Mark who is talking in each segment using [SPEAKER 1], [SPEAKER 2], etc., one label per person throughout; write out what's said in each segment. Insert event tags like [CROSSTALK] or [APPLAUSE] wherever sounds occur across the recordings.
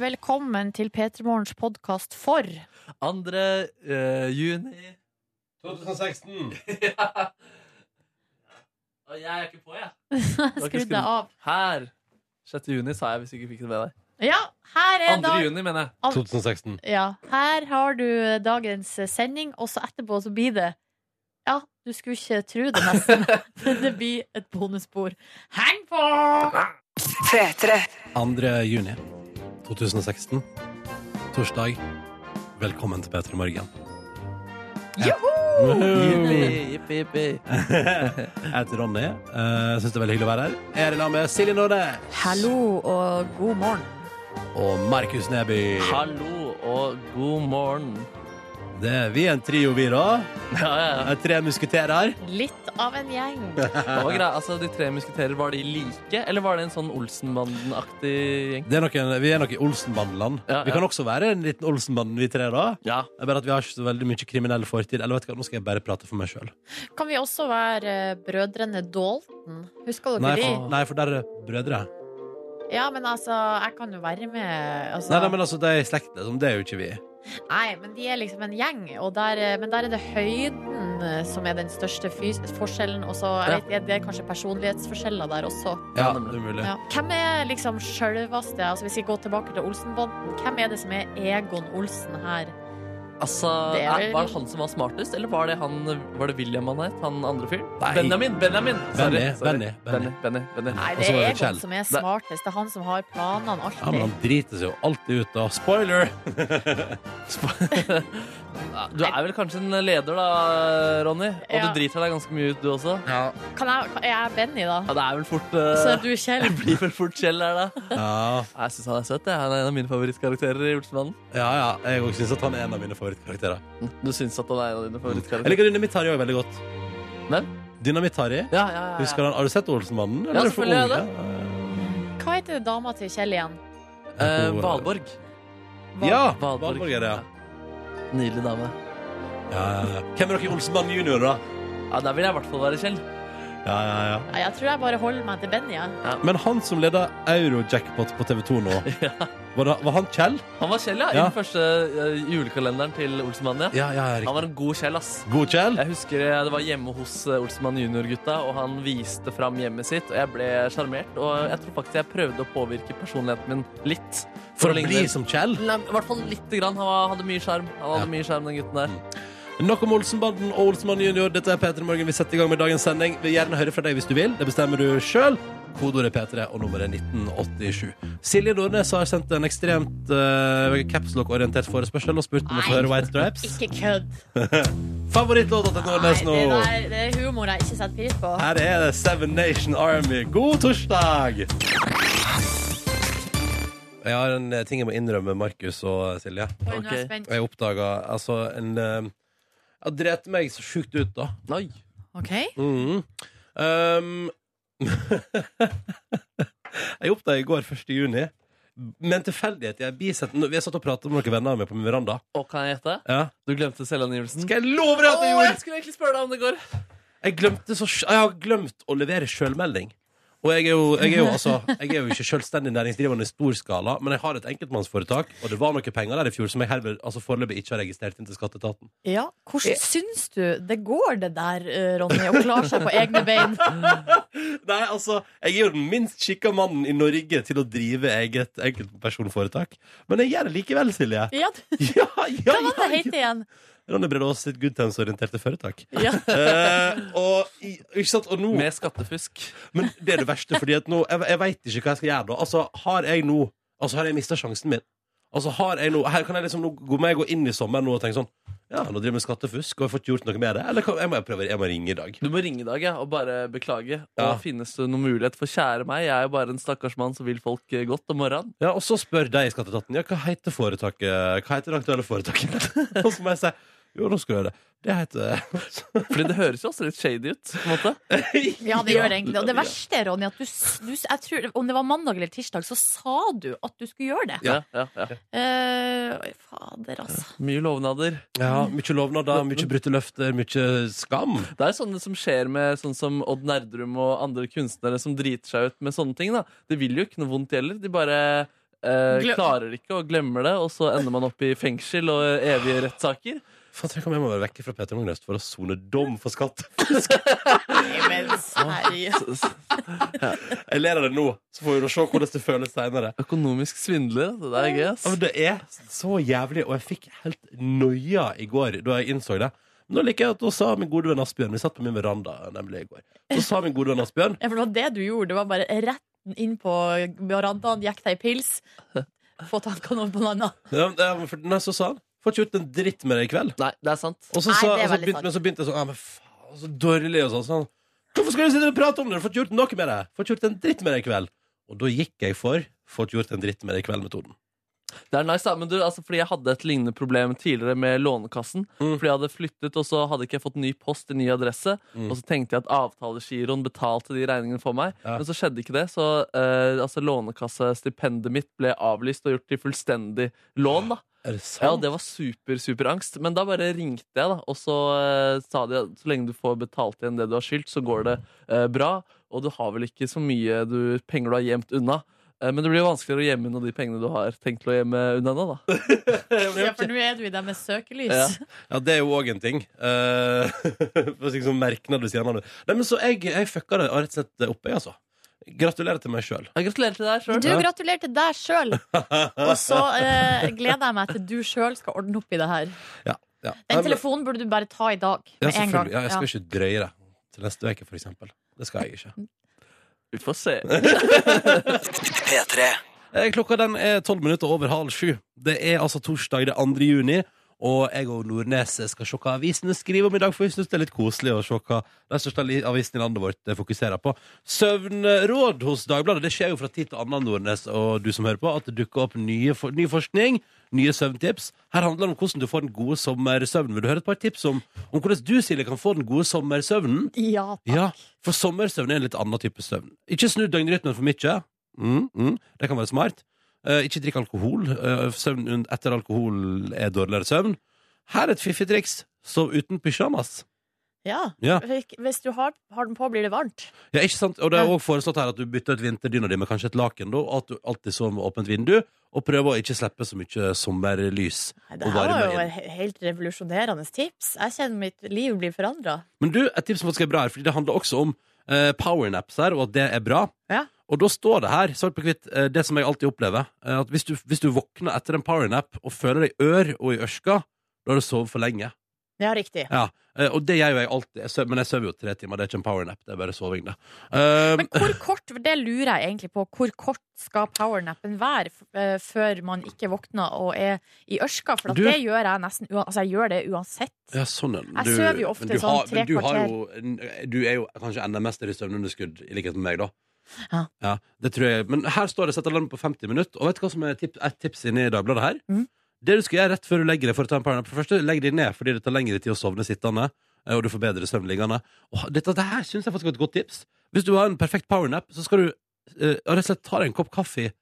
[SPEAKER 1] Velkommen til P3 Morgens podkast for
[SPEAKER 2] 2. eh, [LAUGHS] juni
[SPEAKER 3] 2016.
[SPEAKER 2] Og jeg er ikke på,
[SPEAKER 1] [LAUGHS]
[SPEAKER 2] jeg.
[SPEAKER 1] Skru deg av.
[SPEAKER 2] Her. 6. juni, sa jeg, hvis du ikke fikk det med deg.
[SPEAKER 1] Ja, her er
[SPEAKER 2] 2.
[SPEAKER 1] dag...
[SPEAKER 2] juni, mener jeg.
[SPEAKER 3] 2016.
[SPEAKER 1] Ja, her har du dagens sending, og så etterpå så blir det Ja, du skulle ikke tro det nesten,
[SPEAKER 3] [LAUGHS]
[SPEAKER 1] [LAUGHS] men det blir et bonusbord. Heng på!
[SPEAKER 3] 2. juni 2016. Torsdag. Velkommen til P3 Morgen.
[SPEAKER 2] Jippi, jippi, jippi.
[SPEAKER 3] Jeg heter Ronny. Eh, Syns det er veldig hyggelig å være her. Jeg er i lag med Silje Nordnes.
[SPEAKER 1] Hallo og god morgen.
[SPEAKER 3] Og Markus Neby.
[SPEAKER 2] Hallo og god morgen. [LAUGHS]
[SPEAKER 3] Det er vi er en trio, vi, da.
[SPEAKER 2] Ja, ja.
[SPEAKER 3] Jeg er Tre musketerer.
[SPEAKER 1] Litt av en gjeng.
[SPEAKER 2] Det var greit. Altså, de tre musketerer, var de like, eller var det en sånn Olsenbanden-aktig gjeng?
[SPEAKER 3] Det er noen, vi er noe i Olsenbanden-land.
[SPEAKER 2] Ja,
[SPEAKER 3] Vi
[SPEAKER 2] ja.
[SPEAKER 3] kan også være en liten Olsenbanden, vi tre, da.
[SPEAKER 2] Ja.
[SPEAKER 3] Det er bare at vi har ikke så veldig mye kriminell fortid. Eller vet du hva, nå skal jeg bare prate for meg sjøl.
[SPEAKER 1] Kan vi også være eh, brødrene Dalton? Husker dere
[SPEAKER 3] Nei,
[SPEAKER 1] de?
[SPEAKER 3] for- nei, for der er brødre.
[SPEAKER 1] Ja, men altså, jeg kan jo være med. Altså.
[SPEAKER 3] Nei, nei, men altså, de er i slekt, liksom. Det er jo ikke vi.
[SPEAKER 1] Nei, men de er liksom en gjeng, og der, eh, men der er det høyden eh, som er den største fys forskjellen. Og så jeg
[SPEAKER 2] Ja.
[SPEAKER 1] vet ikke, det er kanskje personlighetsforskjeller der også.
[SPEAKER 3] Ja,
[SPEAKER 2] Ja,
[SPEAKER 3] det er mulig.
[SPEAKER 1] Ja. Hvem er liksom sjølveste altså Hvis vi går tilbake til Olsenbanden, hvem er det som er Egon Olsen her?
[SPEAKER 2] Altså,
[SPEAKER 1] Det er
[SPEAKER 2] er,
[SPEAKER 1] vel-
[SPEAKER 2] Var det han som var smartest, eller var det, han, var det William han het? Han andre fyren?
[SPEAKER 3] Nei.
[SPEAKER 2] Benjamin! Benjamin!
[SPEAKER 3] Benny, Benny,
[SPEAKER 2] Benny, Benny, Benny.
[SPEAKER 1] Nei,
[SPEAKER 3] Og
[SPEAKER 1] det
[SPEAKER 3] så var
[SPEAKER 1] er
[SPEAKER 3] det Kjell.
[SPEAKER 1] Egon som er smartest. Det er han som har planene
[SPEAKER 3] Ja, men
[SPEAKER 1] alltid.
[SPEAKER 3] han driter seg jo alltid ut, da. Spoiler!
[SPEAKER 2] Ja, [LAUGHS] Du er vel kanskje en leder, da, Ronny? Og
[SPEAKER 1] Ja.
[SPEAKER 2] du driter deg ganske mye ut, du også?
[SPEAKER 1] Kan jeg, kan, er jeg Benny, da?
[SPEAKER 2] Ja, det er vel fort
[SPEAKER 1] Så
[SPEAKER 2] eh,
[SPEAKER 1] er du Kjell?
[SPEAKER 2] [LAUGHS] Det blir vel fort Kjell her, da.
[SPEAKER 3] Ja,
[SPEAKER 2] Jeg syns han er søt. jeg. Han er en av mine favorittkarakterer i Olsenmannen.
[SPEAKER 3] ja. ja. Jeg òg syns at han er en av mine favorittkarakterer.
[SPEAKER 2] Du syns at han er en av dine
[SPEAKER 3] Jeg
[SPEAKER 2] favorittkarakterer?
[SPEAKER 3] liker Dynamitt-Harry òg veldig godt.
[SPEAKER 2] Hvem?
[SPEAKER 3] Dynamitt-Harry.
[SPEAKER 2] Ja, ja, ja,
[SPEAKER 3] Husker
[SPEAKER 2] ja.
[SPEAKER 3] han, Har du sett Olsenmannen? Eller
[SPEAKER 2] Ja,
[SPEAKER 3] er du for
[SPEAKER 2] selvfølgelig
[SPEAKER 3] ung?
[SPEAKER 2] har jeg
[SPEAKER 1] Hva heter dama til Kjell igjen?
[SPEAKER 2] Eh,
[SPEAKER 3] Hun-
[SPEAKER 2] Valborg.
[SPEAKER 3] Ja! Valborg er det, ja.
[SPEAKER 2] Nydelig dame.
[SPEAKER 3] ja. ja, ja. Hvem er dere i Olsenmannen junior, da?
[SPEAKER 2] Ja, Der vil jeg i hvert fall være Kjell.
[SPEAKER 3] Ja, ja, ja.
[SPEAKER 1] Nei, Jeg tror jeg bare holder meg til Benny. jeg.
[SPEAKER 3] Men han som leda Eurojackpot på TV2
[SPEAKER 2] [LAUGHS]
[SPEAKER 3] nå, var, da, var han Kjell?
[SPEAKER 2] Han var Kjell, ja. I
[SPEAKER 3] Ja.
[SPEAKER 2] den første eh, julekalenderen til Olsenmannen. Ja.
[SPEAKER 3] Ja, ja,
[SPEAKER 2] Han var en Eh, god Kjell, ass.
[SPEAKER 3] God Kjell?
[SPEAKER 2] Jeg husker jeg det var hjemme hos eh, Olsenmann junior-gutta, og han viste fram hjemmet sitt, og jeg ble sjarmert. Og jeg tror faktisk jeg prøvde å påvirke personligheten min litt.
[SPEAKER 3] For å
[SPEAKER 2] ligne-
[SPEAKER 3] bli som Kjell?
[SPEAKER 2] Nei, I hvert fall lite grann. Han var- hadde mye sjarm, Han hadde
[SPEAKER 3] Ja.
[SPEAKER 2] mye skjerm, den gutten der.
[SPEAKER 3] Nok om Olsenbanden og Olsenmann junior. Dette er P3 Morgen. Vi setter i gang med dagens sending. Vil gjerne høre fra deg hvis du vil. Det bestemmer du sjøl. Kodeordet er P3 og nummeret er 1987. Silje Nordnes har sendt en ekstremt uh, capslock-orientert forespørsel og spurt om å få
[SPEAKER 1] Nei.
[SPEAKER 3] høre White Stripes.
[SPEAKER 1] Ikke kødd.
[SPEAKER 3] Favorittlåta til
[SPEAKER 1] Nei,
[SPEAKER 3] Nordnes
[SPEAKER 1] det,
[SPEAKER 3] nå.
[SPEAKER 1] der, det er humor jeg ikke setter pris på.
[SPEAKER 3] Her er det Seven Nation Army. God torsdag! Jeg har en eh, ting jeg må innrømme, Markus og Silje.
[SPEAKER 1] Oi, nå er jeg
[SPEAKER 2] Ok.
[SPEAKER 1] spent.
[SPEAKER 3] Og jeg oppdaga altså en eh, Jeg dret meg så sjukt ut, da.
[SPEAKER 2] Oi.
[SPEAKER 1] Ok,
[SPEAKER 3] Mhm. Um, [LAUGHS] jeg oppdaget i går 1. juni Med en tilfeldighet i en bisett Vi har satt og pratet med noen venner av meg på min veranda
[SPEAKER 2] Og kan jeg gjette?
[SPEAKER 3] ja.
[SPEAKER 2] Du glemte selvangivelsen.
[SPEAKER 3] Skal jeg love deg at jeg
[SPEAKER 2] Å, jeg
[SPEAKER 3] gjorde
[SPEAKER 2] skulle egentlig spørre deg om det går.
[SPEAKER 3] Jeg, glemte så, sj- jeg har glemt å levere selvmelding og jeg er, jo, jeg, er jo, altså, jeg er jo ikke selvstendig næringsdrivende i stor skala Men jeg har et enkeltmannsforetak Og det var noen penger der i fjor Som jeg herved, altså foreløpig ikke har registrert inn til skatteetaten
[SPEAKER 1] ja, Hvordan syns du det går det der, eh, Ronny, å klare seg på egne bein?
[SPEAKER 3] Nei, altså, jeg er jo den minst skikka mannen i Norge til å drive eget enkeltpersonforetak. Men jeg gjør det likevel, Silje.
[SPEAKER 1] [LAUGHS] [LAUGHS] Ja, du-
[SPEAKER 3] Ja,
[SPEAKER 1] Hva var
[SPEAKER 3] ja,
[SPEAKER 1] det
[SPEAKER 3] ja,
[SPEAKER 1] det het igjen?
[SPEAKER 3] ja. Ronny Bredaas sitt goodtimes-orienterte
[SPEAKER 1] [LAUGHS]
[SPEAKER 3] foretak.
[SPEAKER 1] Ja.
[SPEAKER 3] Eh, og, i- ikke sant, og nå
[SPEAKER 2] Oh. Med skattefusk.
[SPEAKER 3] Men det er det verste, fordi at nå Jeg, jeg veit ikke hva jeg skal gjøre da. Altså, har jeg nå Altså, har jeg mista sjansen min? Altså, har jeg nå Her kan jeg liksom nå gå, må jeg gå inn i sommeren nå og tenke sånn Ja, nå driver jeg med skattefusk, og jeg får ikke gjort noe med det. Eller kan, jeg må jeg prøve Jeg må ringe i dag.
[SPEAKER 2] Du må ringe i dag ja, og bare beklage.
[SPEAKER 3] Ja.
[SPEAKER 2] Og finnes det noen mulighet for kjære meg? Jeg er jo bare en stakkars mann som vil folk eh, godt om morgenen.
[SPEAKER 3] Ja, [LAUGHS] Og så spør de i skatteetaten ja, hva heter foretaket Hva heter det aktuelle foretaket. og så må jeg si Jo, nå skal du gjøre det. Det heter
[SPEAKER 2] Fordi det høres jo også litt shady ut. på en måte
[SPEAKER 1] Ja, det gjør det egentlig. Og det verste, Ronny, at du, s- du s- jeg tror, om det var mandag eller tirsdag, så sa du at du skulle gjøre det.
[SPEAKER 2] Ja, ja, ja.
[SPEAKER 1] Eh, oi, fader, altså.
[SPEAKER 2] Mye lovnader.
[SPEAKER 3] Ja, mye lovnader, mye brutte løfter, mye skam.
[SPEAKER 2] Det er sånne som skjer med sånn som Odd Nerdrum og andre kunstnere som driter seg ut med sånne ting. da Det vil jo ikke noe vondt heller. De bare eh,
[SPEAKER 1] Glem-
[SPEAKER 2] klarer ikke og glemmer det, og så ender man opp i fengsel og evige rettssaker.
[SPEAKER 3] Faen, tenk om jeg må være vekke fra Peter Morgen Øst for å sone dom for skatt. [LAUGHS]
[SPEAKER 1] Nei, men seriøst.
[SPEAKER 2] Så- så-
[SPEAKER 3] Jeg ler av det nå, så får vi nå se hvordan det føles seinere.
[SPEAKER 2] Økonomisk svindler, det der er gøy. ass.
[SPEAKER 3] Det er så jævlig, og jeg fikk helt noia i går da jeg innså det. Nå liker jeg at Da sa min gode venn Asbjørn Vi satt på min veranda nemlig i går. Så sa min gode venn Asbjørn
[SPEAKER 1] Ja, for det var det du gjorde. Det var bare retten inn på verandaen, gikk deg ei pils, få tankene over på noe annet.
[SPEAKER 3] ja, men for- Nei, så sa han Får ikke gjort en dritt med det i kveld.
[SPEAKER 2] Nei, det er sant.
[SPEAKER 3] Og så,
[SPEAKER 1] Nei,
[SPEAKER 3] sa,
[SPEAKER 1] det er
[SPEAKER 3] og så
[SPEAKER 1] veldig
[SPEAKER 3] begynte,
[SPEAKER 1] sant.
[SPEAKER 3] men så begynte jeg sånn Ja, men faen, så dårlig og sånn. sånn. Hvorfor skal du sitte og prate om det? Du får ikke gjort noe med det. Får ikke gjort en dritt med det i kveld. Og da gikk jeg for Får ikke gjort en dritt med det i kveld-metoden.
[SPEAKER 2] Det er nice, da. Men du, altså, fordi jeg hadde et lignende problem tidligere med Lånekassen.
[SPEAKER 3] Mm.
[SPEAKER 2] Fordi jeg hadde flyttet, og så hadde ikke jeg fått ny post i ny adresse.
[SPEAKER 3] Mm.
[SPEAKER 2] Og så tenkte jeg at avtalegiroen betalte de regningene for meg.
[SPEAKER 3] Ja.
[SPEAKER 2] Men så skjedde ikke det. Så eh, altså, lånekassestipendet mitt ble avlyst og gjort til fullstendig lån. da
[SPEAKER 3] Er det
[SPEAKER 2] ja,
[SPEAKER 3] sant?
[SPEAKER 2] og Det var super, superangst. Men da bare ringte jeg, da. Og så eh, sa de at så lenge du får betalt igjen det du har skyldt, så går det eh, bra. Og du har vel ikke så mye du, penger du har gjemt unna. Eh, Men det blir jo vanskeligere å gjemme unna de pengene du har tenkt å gjemme unna nå, da.
[SPEAKER 1] Ja, for nå er du i det med søkelys.
[SPEAKER 2] Ja.
[SPEAKER 3] Ja, det er jo òg en ting. Eh, [LAUGHS] for å si sånn merknad ved siden av det. Nei, men så jeg, jeg fucka det rett og slett opp, jeg, altså. Gratulerer til meg sjøl.
[SPEAKER 2] Ja, Gratulerer til deg sjøl.
[SPEAKER 1] Du, gratulerer til deg sjøl.
[SPEAKER 3] [LAUGHS]
[SPEAKER 1] Og så eh, gleder jeg meg til du sjøl skal ordne opp i det her.
[SPEAKER 3] Ja, ja.
[SPEAKER 1] Den telefonen burde du bare ta i dag.
[SPEAKER 3] ja,
[SPEAKER 1] Med en gang.
[SPEAKER 3] selvfølgelig. Ja, jeg skal
[SPEAKER 1] Ja.
[SPEAKER 3] ikke drøye det til neste uke, for eksempel. Det skal jeg ikke.
[SPEAKER 2] Vi får se.
[SPEAKER 3] Eh, Klokka den er tolv minutter over halv sju. Det er altså torsdag det 2. juni. Og jeg og Nordnes skal se hva avisene skriver om i dag, for vi syns det er litt koselig å se hva de største li- avisene i landet vårt eh, fokuserer på. Søvnråd hos Dagbladet. Det skjer jo fra tid til annen, Nordnes og du som hører på, at det dukker opp nye for ny forskning, nye søvntips. Her handler det om hvordan du får den gode sommersøvnen. Vil du høre et par tips om, om hvordan du, Silje, kan få den gode sommersøvnen?
[SPEAKER 1] Ja, takk.
[SPEAKER 3] Ja, for sommersøvn er en litt annen type søvn. Ikke snu døgnrytmen for mye. Mm, mm, det kan være smart. Eh, ikke drikk alkohol. Eh, søvn un- etter alkohol er dårligere søvn. Her er et fiffig triks. Sov uten pysjamas.
[SPEAKER 1] Ja.
[SPEAKER 3] Ja.
[SPEAKER 1] Hvis du har, har den på, blir det varmt.
[SPEAKER 3] Ja, ikke sant? Og det er også foreslått her at du bytter ut vinterdyna di med kanskje et laken, da, og at du alltid sover med åpent vindu, og prøver å ikke slippe så mye sommerlys.
[SPEAKER 1] Nei, det
[SPEAKER 3] Og
[SPEAKER 1] her
[SPEAKER 3] varme
[SPEAKER 1] var jo
[SPEAKER 3] inn.
[SPEAKER 1] et he- helt revolusjonerende tips. Jeg kjenner mitt liv blir forandra.
[SPEAKER 3] Men du, et tips som faktisk er bra her, fordi det handler også om eh, powernaps her, og at det er bra.
[SPEAKER 1] Ja.
[SPEAKER 3] Og da står det her, svart på hvitt, eh, det som jeg alltid opplever, eh, at hvis du, hvis du våkner etter en powernap og føler deg i ør og i ørska, da har du sovet for lenge.
[SPEAKER 1] Ja, riktig.
[SPEAKER 3] Ja. Eh, og det gjør jo jeg alltid, jeg søv, men jeg sover jo tre timer, det er ikke en powernap, det er bare soving, det. Eh,
[SPEAKER 1] Men hvor kort, for det lurer jeg egentlig på, hvor kort skal powernappen være f- eh, før man ikke våkner og er i ørska? For at
[SPEAKER 3] Du-
[SPEAKER 1] det gjør jeg nesten ua- Altså, jeg gjør det uansett.
[SPEAKER 3] ja, sånn, ja. Men
[SPEAKER 1] Jeg sover jo ofte
[SPEAKER 3] men du
[SPEAKER 1] sånn
[SPEAKER 3] har-
[SPEAKER 1] tre
[SPEAKER 3] men du har jo- Du er jo kanskje enda mester i søvnunderskudd, i likhet med meg, da.
[SPEAKER 1] Ja.
[SPEAKER 3] det tror jeg. Men her står det 'sett alarm på 50 minutter', og vet du hva som er tip, et tips inne i Dagbladet her?
[SPEAKER 1] Mhm.
[SPEAKER 3] Det du skal gjøre rett før du legger deg for å ta en powernap For det første, legg deg ned fordi det tar lengre tid å sovne sittende, eh, og du får bedre søvn liggende. Og dette, det her syns jeg faktisk er et godt tips. Hvis du har en perfekt powernap, så skal du eh, rett og slett ta deg en kopp kaffe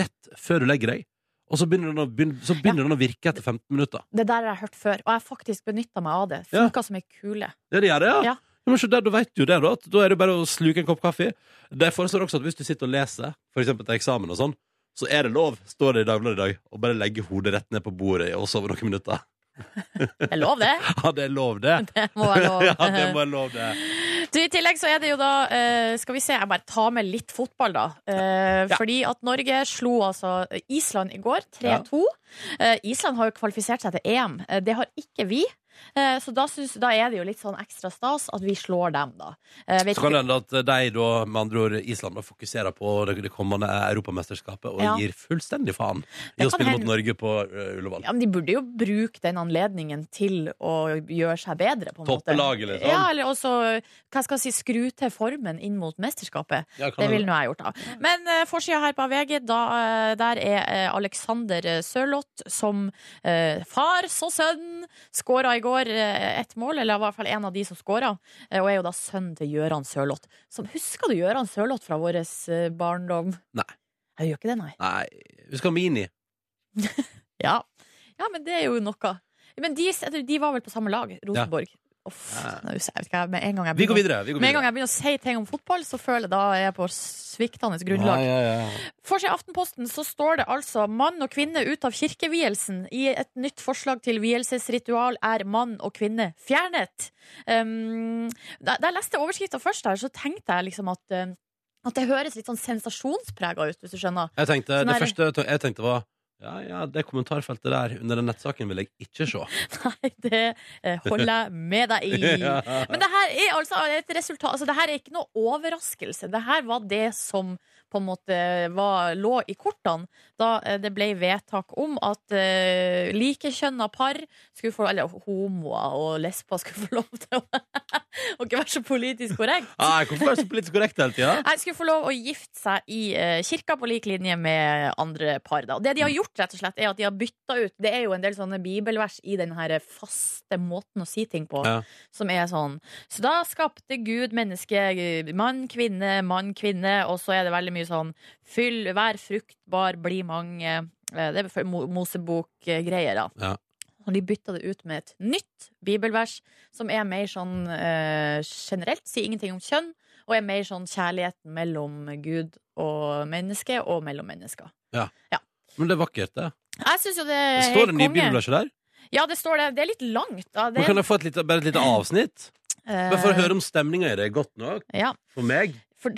[SPEAKER 3] rett før du legger deg, og så begynner den å, begyn- så begynner den å virke etter 15 minutter.
[SPEAKER 1] Det der har jeg hørt før, og jeg har faktisk benytta meg av det.
[SPEAKER 3] Ja.
[SPEAKER 1] Funka som ei kule.
[SPEAKER 3] Ja, det gjør det, ja.
[SPEAKER 1] Ja.
[SPEAKER 3] Ja, men se der, da vet du det, da. at Da er det bare å sluke en kopp kaffe. De foreslår også at hvis du sitter og leser, f.eks. til eksamen og sånn, så er det lov, står det i Dagbladet i dag, å bare legge hodet rett ned på bordet og sove noen minutter. [LAUGHS]
[SPEAKER 1] Jeg lover det. [LAUGHS]
[SPEAKER 3] Ja, det er lov, det.
[SPEAKER 1] Det må jeg love.
[SPEAKER 3] [LAUGHS] Ja, det må være lov, det.
[SPEAKER 1] Du, I tillegg så er det jo da eh, Skal vi se, jeg bare tar med litt fotball, da. Eh,
[SPEAKER 3] Ja.
[SPEAKER 1] Fordi at Norge slo altså Island i går, 3-2. Eh, Island har jo kvalifisert seg til EM. Eh, det har ikke vi. Eh, så da, syns- da er det jo litt sånn ekstra stas at vi slår dem, da. Eh, vet
[SPEAKER 3] Så kan
[SPEAKER 1] ikke-
[SPEAKER 3] det hende at de, da, med andre ord Island, da, fokuserer på det det kommende europamesterskapet og
[SPEAKER 1] Ja.
[SPEAKER 3] gir fullstendig faen
[SPEAKER 1] Det
[SPEAKER 3] i å
[SPEAKER 1] kan
[SPEAKER 3] spille mot
[SPEAKER 1] hende.
[SPEAKER 3] Norge på eh, Ullevål.
[SPEAKER 1] ja, men De burde jo bruke den anledningen til å gjøre seg bedre. på en måte.
[SPEAKER 3] Toppe laget, liksom.
[SPEAKER 1] Ja, eller også, hva skal jeg si, skru til formen inn mot mesterskapet.
[SPEAKER 3] Ja,
[SPEAKER 1] Det
[SPEAKER 3] kan hende.
[SPEAKER 1] ville nå jeg gjort, da. Men uh, forsida her på VG, da, eh, der er eh, Alexander Sørloth som eh, far så sønn skåra i går eh, ett mål, eller i hvert fall en av de som skåra, eh, og er jo da sønnen til Gøran Sørloth. Som, husker du Gøran Sørloth fra vår eh, barndom?
[SPEAKER 3] Nei.
[SPEAKER 1] Jeg gjør ikke det, nei.
[SPEAKER 3] Nei, husker Mini.
[SPEAKER 1] Ja. ja, men det er jo noe. Men de, jeg tror de var vel på samme lag, Rosenborg. Uff,
[SPEAKER 3] Ja.
[SPEAKER 1] nå husker jeg- jeg vet ikke, jeg- med en gang jeg
[SPEAKER 3] Vi går
[SPEAKER 1] begynner-
[SPEAKER 3] videre. Vi går
[SPEAKER 1] Med en gang
[SPEAKER 3] videre.
[SPEAKER 1] jeg begynner å si ting om fotball, så føler jeg da jeg er på sviktende grunnlag.
[SPEAKER 3] Ja, ja, ja.
[SPEAKER 1] For seg i Aftenposten så står det altså 'Mann og kvinne ut av kirkevielsen'. I et nytt forslag til vielsesritual er mann og kvinne fjernet. Um, da, da jeg leste overskrifta først her, så tenkte jeg liksom at um, at det høres litt sånn sensasjonsprega ut, hvis du skjønner. [LAUGHS]
[SPEAKER 3] Jeg tenkte,
[SPEAKER 1] Sånn
[SPEAKER 3] det
[SPEAKER 1] er det.
[SPEAKER 3] første jeg tenkte var Ja, ja, det kommentarfeltet der under den nettsaken vil jeg ikke se.
[SPEAKER 1] Nei, det eh, holder jeg med deg
[SPEAKER 3] [LAUGHS]
[SPEAKER 1] i. Men det her er altså et resultat altså, Det her er ikke noe overraskelse. Det her var det som på en måte var, lå i kortene da eh, det ble vedtak om at uh, likekjønna par skulle få Eller homoer og lesber skulle få lov til å [LAUGHS] å ikke være så politisk korrekt.
[SPEAKER 3] Nei, hvorfor er det så politisk korrekt hele tida?
[SPEAKER 1] Nei, skulle få lov å gifte seg i eh, kirka på lik linje med andre par. Da. Og Det de har gjort, rett og slett, er at de har bytta ut Det er jo en del sånne bibelvers i den her faste måten å si ting på,
[SPEAKER 3] Ja.
[SPEAKER 1] som er sånn Så da skapte Gud menneske, mann, kvinne, mann, kvinne, og så er det veldig mye sånn Fyll, vær fruktbar, bli mange. Eh, Det er for- Mo- Mosebok-greier, da.
[SPEAKER 3] Ja.
[SPEAKER 1] Og de bytta det ut med et nytt bibelvers, som er mer sånn eh, generelt, sier ingenting om kjønn, og er mer sånn kjærligheten mellom Gud og menneske, og mellom mennesker.
[SPEAKER 3] Men det er vakkert, det.
[SPEAKER 1] Jeg syns jo det
[SPEAKER 3] det
[SPEAKER 1] er
[SPEAKER 3] står det
[SPEAKER 1] helt
[SPEAKER 3] nye
[SPEAKER 1] konge.
[SPEAKER 3] bibelverset der.
[SPEAKER 1] Ja, det står det. Det er litt langt. Da. Det,
[SPEAKER 3] Men kan jeg få et lite, bare et lite avsnitt?
[SPEAKER 1] eh,
[SPEAKER 3] Bare for å høre om stemninga i det er godt nok.
[SPEAKER 1] Ja,
[SPEAKER 3] For meg.
[SPEAKER 1] for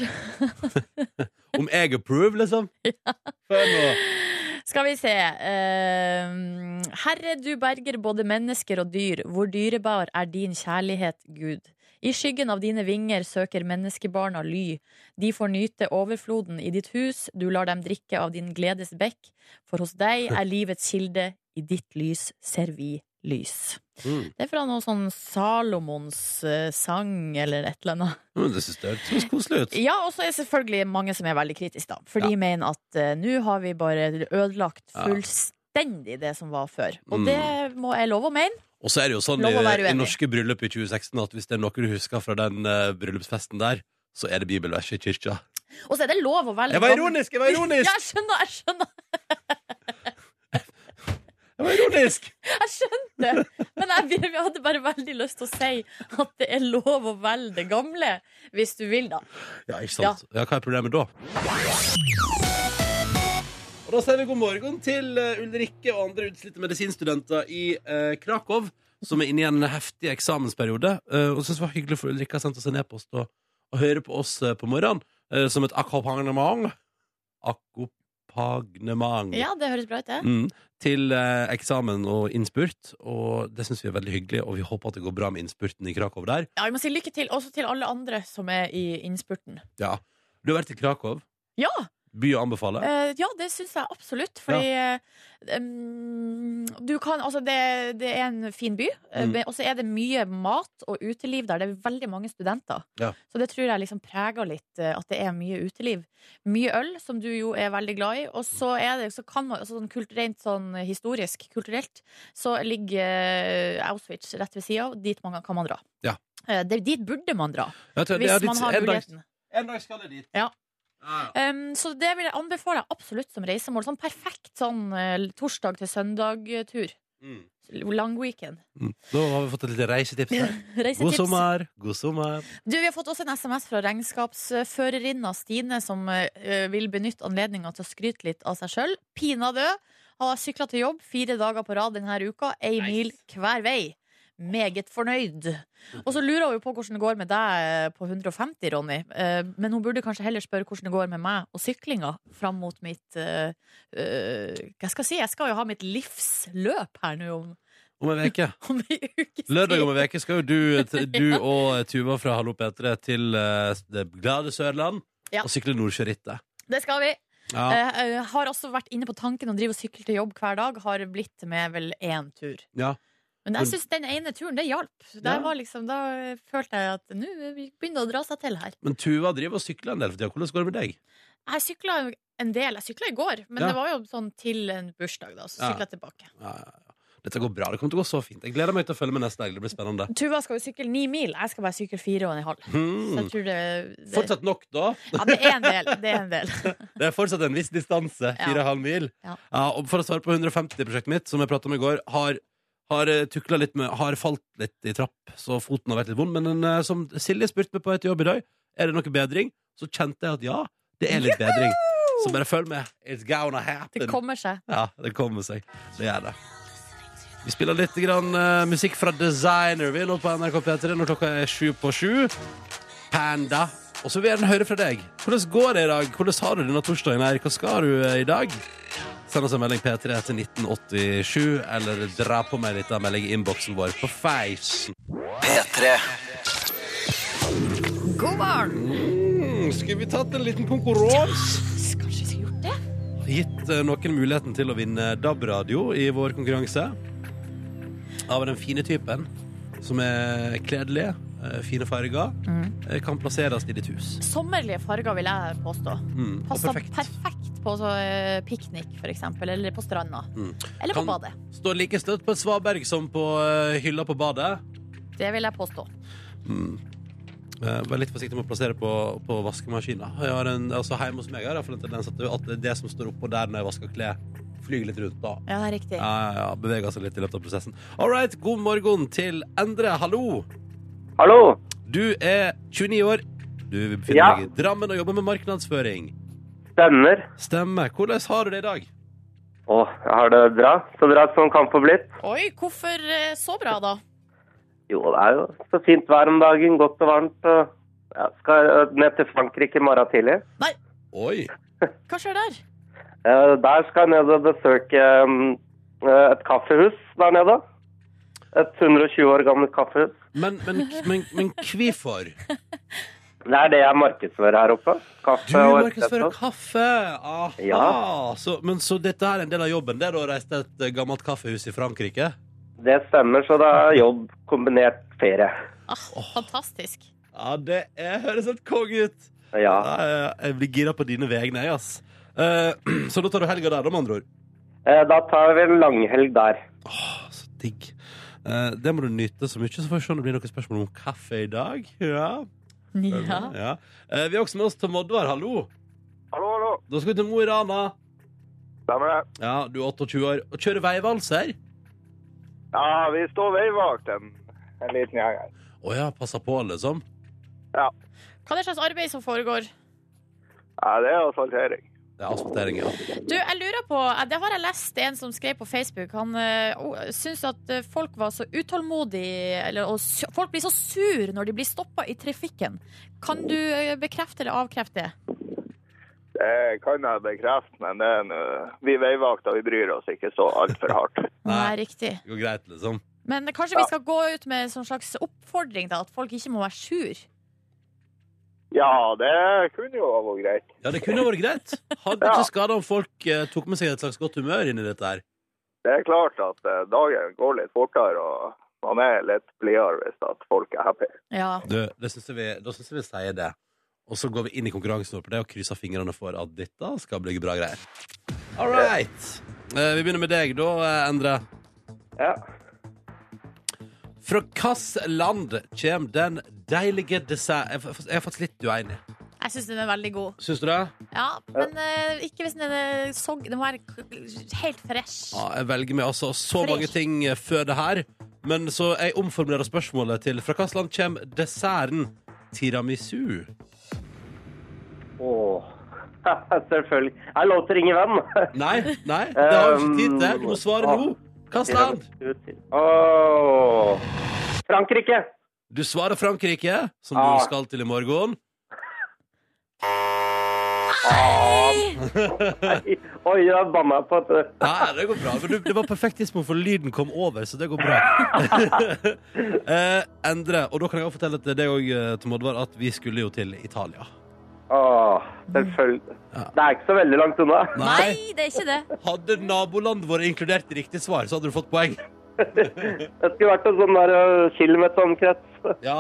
[SPEAKER 3] Om jeg approve, liksom. For nå-
[SPEAKER 1] [LAUGHS] Skal vi se. eh, Herre, du berger både mennesker og dyr. Hvor dyrebar er din kjærlighet, Gud? I skyggen av dine vinger søker menneskebarna ly. De får nyte overfloden i ditt hus, du lar dem drikke av din gledes bekk. For hos deg er livets kilde, i ditt lys ser vi lys.
[SPEAKER 3] Mm.
[SPEAKER 1] Det er fra noe sånn Salomons eh, sang eller et eller annet.
[SPEAKER 3] Men det synes jeg høres koselig ut.
[SPEAKER 1] Ja, og så er det selvfølgelig mange som er veldig kritiske, da. For
[SPEAKER 3] Ja.
[SPEAKER 1] de mener at eh, nå har vi bare ødelagt
[SPEAKER 3] Ja.
[SPEAKER 1] fullstendig det som var før. Og
[SPEAKER 3] Mm.
[SPEAKER 1] det må jeg love å mene.
[SPEAKER 3] Og så er det jo sånn i,
[SPEAKER 1] Lov å være
[SPEAKER 3] i
[SPEAKER 1] uenig.
[SPEAKER 3] norske bryllup i 2016 at hvis det er noe du husker fra den eh, bryllupsfesten der, så er det bibelverset i kirka.
[SPEAKER 1] Og så er det lov å velge
[SPEAKER 3] Jeg var
[SPEAKER 1] gamle-
[SPEAKER 3] ironisk! Jeg var
[SPEAKER 1] Ja,
[SPEAKER 3] ironisk!
[SPEAKER 1] jeg skjønner, jeg skjønner,
[SPEAKER 3] Jeg var ironisk!
[SPEAKER 1] jeg skjønte! Men jeg, jeg hadde bare veldig lyst til å si at det er lov å velge det gamle, hvis du vil, da.
[SPEAKER 3] Ja, ikke sant? Ja. Hva er problemet da? Og Da sier vi god morgen til eh, Ulrikke og andre utslitte medisinstudenter i eh, Krakow, som er inne i en heftig eksamensperiode. Eh, og synes det var hyggelig for Ulrikke har sendt oss en e-post og, og høre på oss eh, på morgenen eh, som et akkompagnement. Akkompagnement.
[SPEAKER 1] Ja, det høres bra ut, det.
[SPEAKER 3] Mm, til eh, eksamen og innspurt, og det syns vi er veldig hyggelig. Og vi håper at det går bra med innspurten i Krakow der.
[SPEAKER 1] Ja, vi må si lykke til også til alle andre som er i innspurten.
[SPEAKER 3] Ja. Du har vært i Krakow.
[SPEAKER 1] Ja!
[SPEAKER 3] By å anbefale.
[SPEAKER 1] Eh, ja, det syns jeg absolutt. Fordi eh, em, du kan Altså, det, det er en fin by, eh,
[SPEAKER 3] Mm.
[SPEAKER 1] men- og så er det mye mat og uteliv der. Det er veldig mange studenter.
[SPEAKER 3] Ja.
[SPEAKER 1] Så det tror jeg liksom preger litt eh, at det er mye uteliv. Mye øl, som du jo er veldig glad i. Og så er det så kan man, altså, sånn kult, rent sånn historisk, kulturelt, så ligger eh, Auschwitz rett ved sida av. Dit man, kan man dra.
[SPEAKER 3] Ja.
[SPEAKER 1] Eh, det, dit burde man dra,
[SPEAKER 3] Jeg tror-
[SPEAKER 1] hvis
[SPEAKER 3] jeg
[SPEAKER 1] man
[SPEAKER 3] litt-
[SPEAKER 1] har
[SPEAKER 3] en dag-
[SPEAKER 1] muligheten.
[SPEAKER 3] En dag skal jeg dit. Ah,
[SPEAKER 1] Ja.
[SPEAKER 3] Ja, ja.
[SPEAKER 1] Um, så det vil jeg anbefale absolutt som reisemål. Sånn perfekt sånn eh, torsdag til søndag-tur.
[SPEAKER 3] Mm.
[SPEAKER 1] Lang weekend.
[SPEAKER 3] Mm. Nå har vi fått et lite reisetips her. God
[SPEAKER 1] [LAUGHS] Reisetips.
[SPEAKER 3] sommer! God sommer.
[SPEAKER 1] Du, Vi har fått også en SMS fra regnskapsførerinna Stine, som eh, vil benytte anledninga til å skryte litt av seg sjøl. Pinadø har sykla til jobb fire dager på rad denne uka, ei mil hver vei. Meget fornøyd. Og så lurer hun jo på hvordan det går med deg eh, på 150, Ronny. Eh, Men hun burde kanskje heller spørre hvordan det går med meg og syklinga fram mot mitt eh, eh, Hva skal jeg si? Jeg skal jo ha mitt livsløp her nå om,
[SPEAKER 3] Om en veke
[SPEAKER 1] om ei ukes tid.
[SPEAKER 3] Lørdag om en veke skal jo du, t- du og Tuva fra Hallo P3 til eh, det glade Sørland
[SPEAKER 1] Ja.
[SPEAKER 3] og sykle Nordsjørittet.
[SPEAKER 1] Det skal vi.
[SPEAKER 3] Ja.
[SPEAKER 1] Eh, eh, har også vært inne på tanken å drive og sykle til jobb hver dag. Har blitt med vel én tur.
[SPEAKER 3] Ja.
[SPEAKER 1] Men jeg syns den ene turen, det hjalp. Der
[SPEAKER 3] Ja.
[SPEAKER 1] var liksom, da følte jeg at nå eh, begynner det å dra seg til her.
[SPEAKER 3] Men Tuva driver og sykler en del for tida. Hvordan går det med deg?
[SPEAKER 1] Jeg sykla en del. Jeg sykla i går, men
[SPEAKER 3] Ja.
[SPEAKER 1] det var jo sånn til en bursdag, da. Så
[SPEAKER 3] Ja.
[SPEAKER 1] sykla jeg tilbake.
[SPEAKER 3] Ja, ja, ja. Dette går bra. Det kommer til å gå så fint. Jeg gleder meg til å følge med neste helg. Det blir spennende.
[SPEAKER 1] Tuva skal jo sykle ni mil, jeg skal bare sykle fire og en halv. Så
[SPEAKER 3] Hmm.
[SPEAKER 1] jeg tror det, det
[SPEAKER 3] Fortsatt nok, da.
[SPEAKER 1] Ja, det er en del. Det er en
[SPEAKER 3] [LAUGHS]
[SPEAKER 1] del.
[SPEAKER 3] Det er fortsatt en viss distanse. Fire og en halv mil.
[SPEAKER 1] Ja.
[SPEAKER 3] Ja, og for å svare på 150-prosjektet mitt, som jeg prata om i går, har, har eh, tukla litt med Har falt litt i trapp, så foten har vært litt vond. Men den, eh, som Silje spurte meg på vei til jobb i dag, er det noe bedring? Så kjente jeg at ja, det er litt bedring. Så bare følg med. It's gonna happen.
[SPEAKER 1] Det kommer seg.
[SPEAKER 3] Ja, det kommer seg. Det gjør det. Vi spiller litt grann, eh, musikk fra Designer vi nå på NRK P3 når klokka er sju på sju. Panda. Og så vil jeg gjerne høre fra deg. Hvordan går det i dag? Hvordan har du denne torsdagen her? Hva skal du eh, i dag? Send oss en melding P3 til 1987, eller dra på meg litt av melding i innboksen vår på Face.
[SPEAKER 1] God morgen!
[SPEAKER 3] Mm, skulle vi tatt en liten konkurranse?
[SPEAKER 1] Kanskje vi skulle gjort det?
[SPEAKER 3] gitt eh, noen muligheten til å vinne DAB-radio i vår konkurranse. Av den fine typen, som er kledelige, eh, fine farger, eh, kan plasseres i ditt hus.
[SPEAKER 1] Sommerlige farger, vil jeg påstå.
[SPEAKER 3] Mm, og
[SPEAKER 1] Passer
[SPEAKER 3] perfekt.
[SPEAKER 1] perfekt. på så, eh, piknik, for eksempel, eller på stranda.
[SPEAKER 3] Mm.
[SPEAKER 1] Eller på
[SPEAKER 3] Kan-
[SPEAKER 1] badet.
[SPEAKER 3] Står like støtt på et svaberg som på eh, hylla på badet.
[SPEAKER 1] Det vil jeg påstå.
[SPEAKER 3] Eh, Vær litt forsiktig med å plassere på, på vaskemaskina. Jeg har en, altså Hjemme hos meg har jeg iallfall en tendens til at det som står oppå der når jeg vasker klær, flyr litt rundt. da.
[SPEAKER 1] Ja, det er riktig.
[SPEAKER 3] Ja, ja, ja, Beveger seg litt i løpet av prosessen. All right, god morgen til Endre. Hallo!
[SPEAKER 4] Hallo!
[SPEAKER 3] Du er 29 år. Du befinner
[SPEAKER 4] Ja.
[SPEAKER 3] deg i Drammen og jobber med markedsføring.
[SPEAKER 4] Stemmer.
[SPEAKER 3] Stemmer. Hvordan har du det i dag?
[SPEAKER 4] Å, jeg har det bra. Så bra som kan få blitt.
[SPEAKER 1] Oi, hvorfor eh, så bra, da?
[SPEAKER 4] Jo, det er jo så fint vær om dagen. Godt og varmt. Og jeg skal eh, ned til Frankrike i morgen tidlig.
[SPEAKER 3] Oi.
[SPEAKER 1] Hva skjer der?
[SPEAKER 4] Eh, Der skal jeg ned og besøke mm, eh, et kaffehus der nede. Et 120 år gammelt kaffehus.
[SPEAKER 3] Men, men, men, men hvorfor?
[SPEAKER 4] Det er det jeg markedsfører her oppe.
[SPEAKER 3] Du
[SPEAKER 4] Kaffe og
[SPEAKER 3] markedsfører
[SPEAKER 4] espresso.
[SPEAKER 3] kaffe! Aha.
[SPEAKER 4] Ja.
[SPEAKER 3] Så, men, så dette er en del av jobben? Det er å reise til et eh, gammelt kaffehus i Frankrike?
[SPEAKER 4] Det stemmer, så det er jobb kombinert ferie.
[SPEAKER 1] Ah, Fantastisk.
[SPEAKER 3] Ja, det er, høres helt konge ut!
[SPEAKER 4] Ja.
[SPEAKER 3] Ja, ja, Jeg blir gira på dine vegne, jeg, ass. Eh, [CLEARS THROAT] så da tar du helga der, da, med andre ord?
[SPEAKER 4] Eh, Da tar vi en langhelg der.
[SPEAKER 3] Åh, så digg. Eh, det må du nyte så mye, så får vi se om det blir noen spørsmål om kaffe i dag. Ja.
[SPEAKER 1] [LAUGHS] Ja.
[SPEAKER 3] Ja. Eh, Vi er også med oss til Oddvar, hallo.
[SPEAKER 5] Hallo, hallo.
[SPEAKER 3] Da skal vi til Mo i Rana.
[SPEAKER 5] Stemmer det?
[SPEAKER 3] Ja, du er 28 år og kjører veivalser.
[SPEAKER 5] Ja, vi står veivakt en, en liten gjeng her.
[SPEAKER 3] Å ja, passer på, liksom.
[SPEAKER 1] Hva er det slags arbeid som foregår?
[SPEAKER 5] Ja, det er altså asfaltering.
[SPEAKER 3] Det er asfaltering, ja.
[SPEAKER 1] Du, jeg lurer på, eh, Det har jeg lest en som skrev på Facebook. Han eh, o- syntes at eh, folk var så utålmodige eller, og su- Folk blir så sur når de blir stoppa i trafikken. Kan du eh, bekrefte eller avkrefte det?
[SPEAKER 5] Det kan jeg bekrefte, men det er nå- vi veivakter vi bryr oss ikke så altfor hardt.
[SPEAKER 1] Nei.
[SPEAKER 3] Nei.
[SPEAKER 1] riktig.
[SPEAKER 3] Det går greit, liksom.
[SPEAKER 1] Men kanskje vi skal gå ut med en sånn slags oppfordring, da, at folk ikke må være sur.
[SPEAKER 5] Ja, det kunne jo ha vært greit.
[SPEAKER 3] Ja, det kunne vært greit. Hadde
[SPEAKER 5] Ja.
[SPEAKER 3] ikke skada om folk eh, tok med seg et slags godt humør inn i dette her.
[SPEAKER 5] Det er klart at eh, dagen går litt fortere, og man er litt blidere hvis at folk er happy.
[SPEAKER 1] Ja.
[SPEAKER 3] Du, det synes jeg vi, da syns jeg vi sier det. Og så går vi inn i konkurransen vår på det og krysser fingrene for at dette skal bli bra greier. All right. Eh, Vi begynner med deg da, eh, Endre.
[SPEAKER 4] Ja.
[SPEAKER 3] Fra hvilket land kommer den deilige dessert... Jeg er fa- Jeg er faktisk litt uenig.
[SPEAKER 1] Jeg syns den er veldig god.
[SPEAKER 3] Syns du det?
[SPEAKER 1] Ja, Men eh, ikke hvis den er sogg. Den må være k- helt fresh.
[SPEAKER 3] Ja, jeg velger meg altså så
[SPEAKER 1] Fresh.
[SPEAKER 3] mange ting eh, før det her. Men så jeg omformulerer spørsmålet til fra hvilket land kommer desserten tiramisu?
[SPEAKER 4] Åh. [LAUGHS] Selvfølgelig. Er det lov til å ringe venn?
[SPEAKER 3] Nei, nei, det har vi ikke tid til. Du må svare
[SPEAKER 4] Um,
[SPEAKER 3] nå. Hvilket land?
[SPEAKER 4] Åh. Frankrike.
[SPEAKER 3] Du svarer Frankrike, som
[SPEAKER 4] Ah.
[SPEAKER 3] du skal til i morgen.
[SPEAKER 4] Oi, jeg banna på at
[SPEAKER 3] Nei, det går bra. Men du, det var perfekt tidspunkt for lyden kom over, så det går bra. [LAUGHS] eh, Endre, og da kan jeg også fortelle til deg òg, Tom Oddvar, at vi skulle jo til Italia.
[SPEAKER 4] Åh,
[SPEAKER 5] Ah.
[SPEAKER 4] selvfølgelig.
[SPEAKER 3] Ja.
[SPEAKER 4] Det er ikke så veldig langt unna.
[SPEAKER 1] Nei, det er ikke det.
[SPEAKER 3] Hadde nabolandet vårt inkludert i riktig svar, så hadde du fått poeng.
[SPEAKER 4] Det skulle vært en sånn der øh, kilometeromkrets.
[SPEAKER 3] Ja,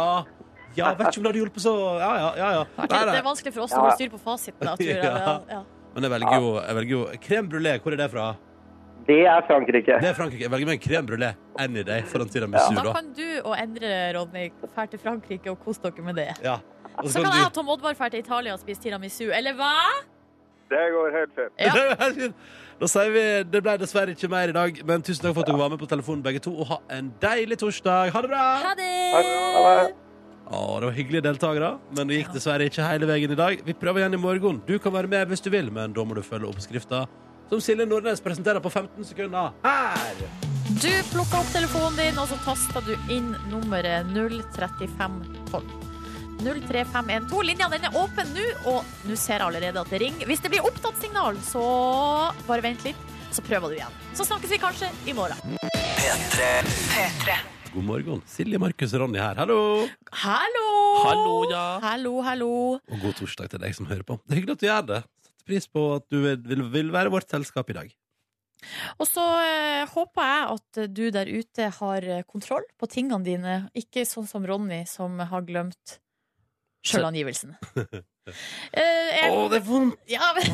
[SPEAKER 3] ja vet ikke om det hadde hjulpet så Ja, ja, ja. ja. Nei,
[SPEAKER 1] Det
[SPEAKER 3] nei.
[SPEAKER 1] er vanskelig for oss å holde styr på fasiten. Da, tror jeg.
[SPEAKER 3] Ja.
[SPEAKER 1] Ja.
[SPEAKER 3] Men jeg velger jo, jeg velger jo Crème brulé, hvor er det fra?
[SPEAKER 4] Det er Frankrike.
[SPEAKER 3] Det er Frankrike. Jeg velger meg en crème brulé any day foran
[SPEAKER 4] Ja.
[SPEAKER 3] tiramisu,
[SPEAKER 1] Da
[SPEAKER 3] da.
[SPEAKER 1] kan du og Endre, Ronny, dra til Frankrike og kose dere med det.
[SPEAKER 3] Ja. Og
[SPEAKER 1] Så kan jeg og Tom Oddvar dra til Italia og spise tiramisu, eller hva?
[SPEAKER 5] Det går helt fint.
[SPEAKER 1] Ja.
[SPEAKER 3] [LAUGHS] Det er jo helt fint. Da sier vi det ble dessverre ikke mer i dag, men tusen takk for at dere var med på telefonen begge to, og ha en deilig torsdag. Ha det bra!
[SPEAKER 1] Ha det!
[SPEAKER 4] Ha det.
[SPEAKER 3] Å, det var hyggelige deltakere, men det gikk dessverre ikke hele veien i dag. Vi prøver igjen i morgen. Du kan være med hvis du vil, men da må du følge oppskrifta som Silje Nordnes presenterer på 15 sekunder her.
[SPEAKER 1] Du plukka opp telefonen din, og så tasta du inn nummeret 03512. 03512. Linja den er åpen nå, og nå ser jeg allerede at det ringer. Hvis det blir opptatt signal, så bare vent litt, så prøver du igjen. Så snakkes vi kanskje i morgen.
[SPEAKER 3] God morgen. Silje, Markus og Ronny her. Hallo!
[SPEAKER 1] Hallo!
[SPEAKER 2] Hallo, ja.
[SPEAKER 1] Hallo, hallo.
[SPEAKER 3] Og god torsdag til deg som hører på. Det er hyggelig at du gjør det. Setter pris på at du vil, vil være vårt selskap i dag.
[SPEAKER 1] Og så eh, håper jeg at du der ute har eh, kontroll på tingene dine, ikke sånn som Ronny, som har glemt sjølangivelsen. [LAUGHS] Eh, jeg-
[SPEAKER 3] Å, det er vondt!
[SPEAKER 1] ja, men...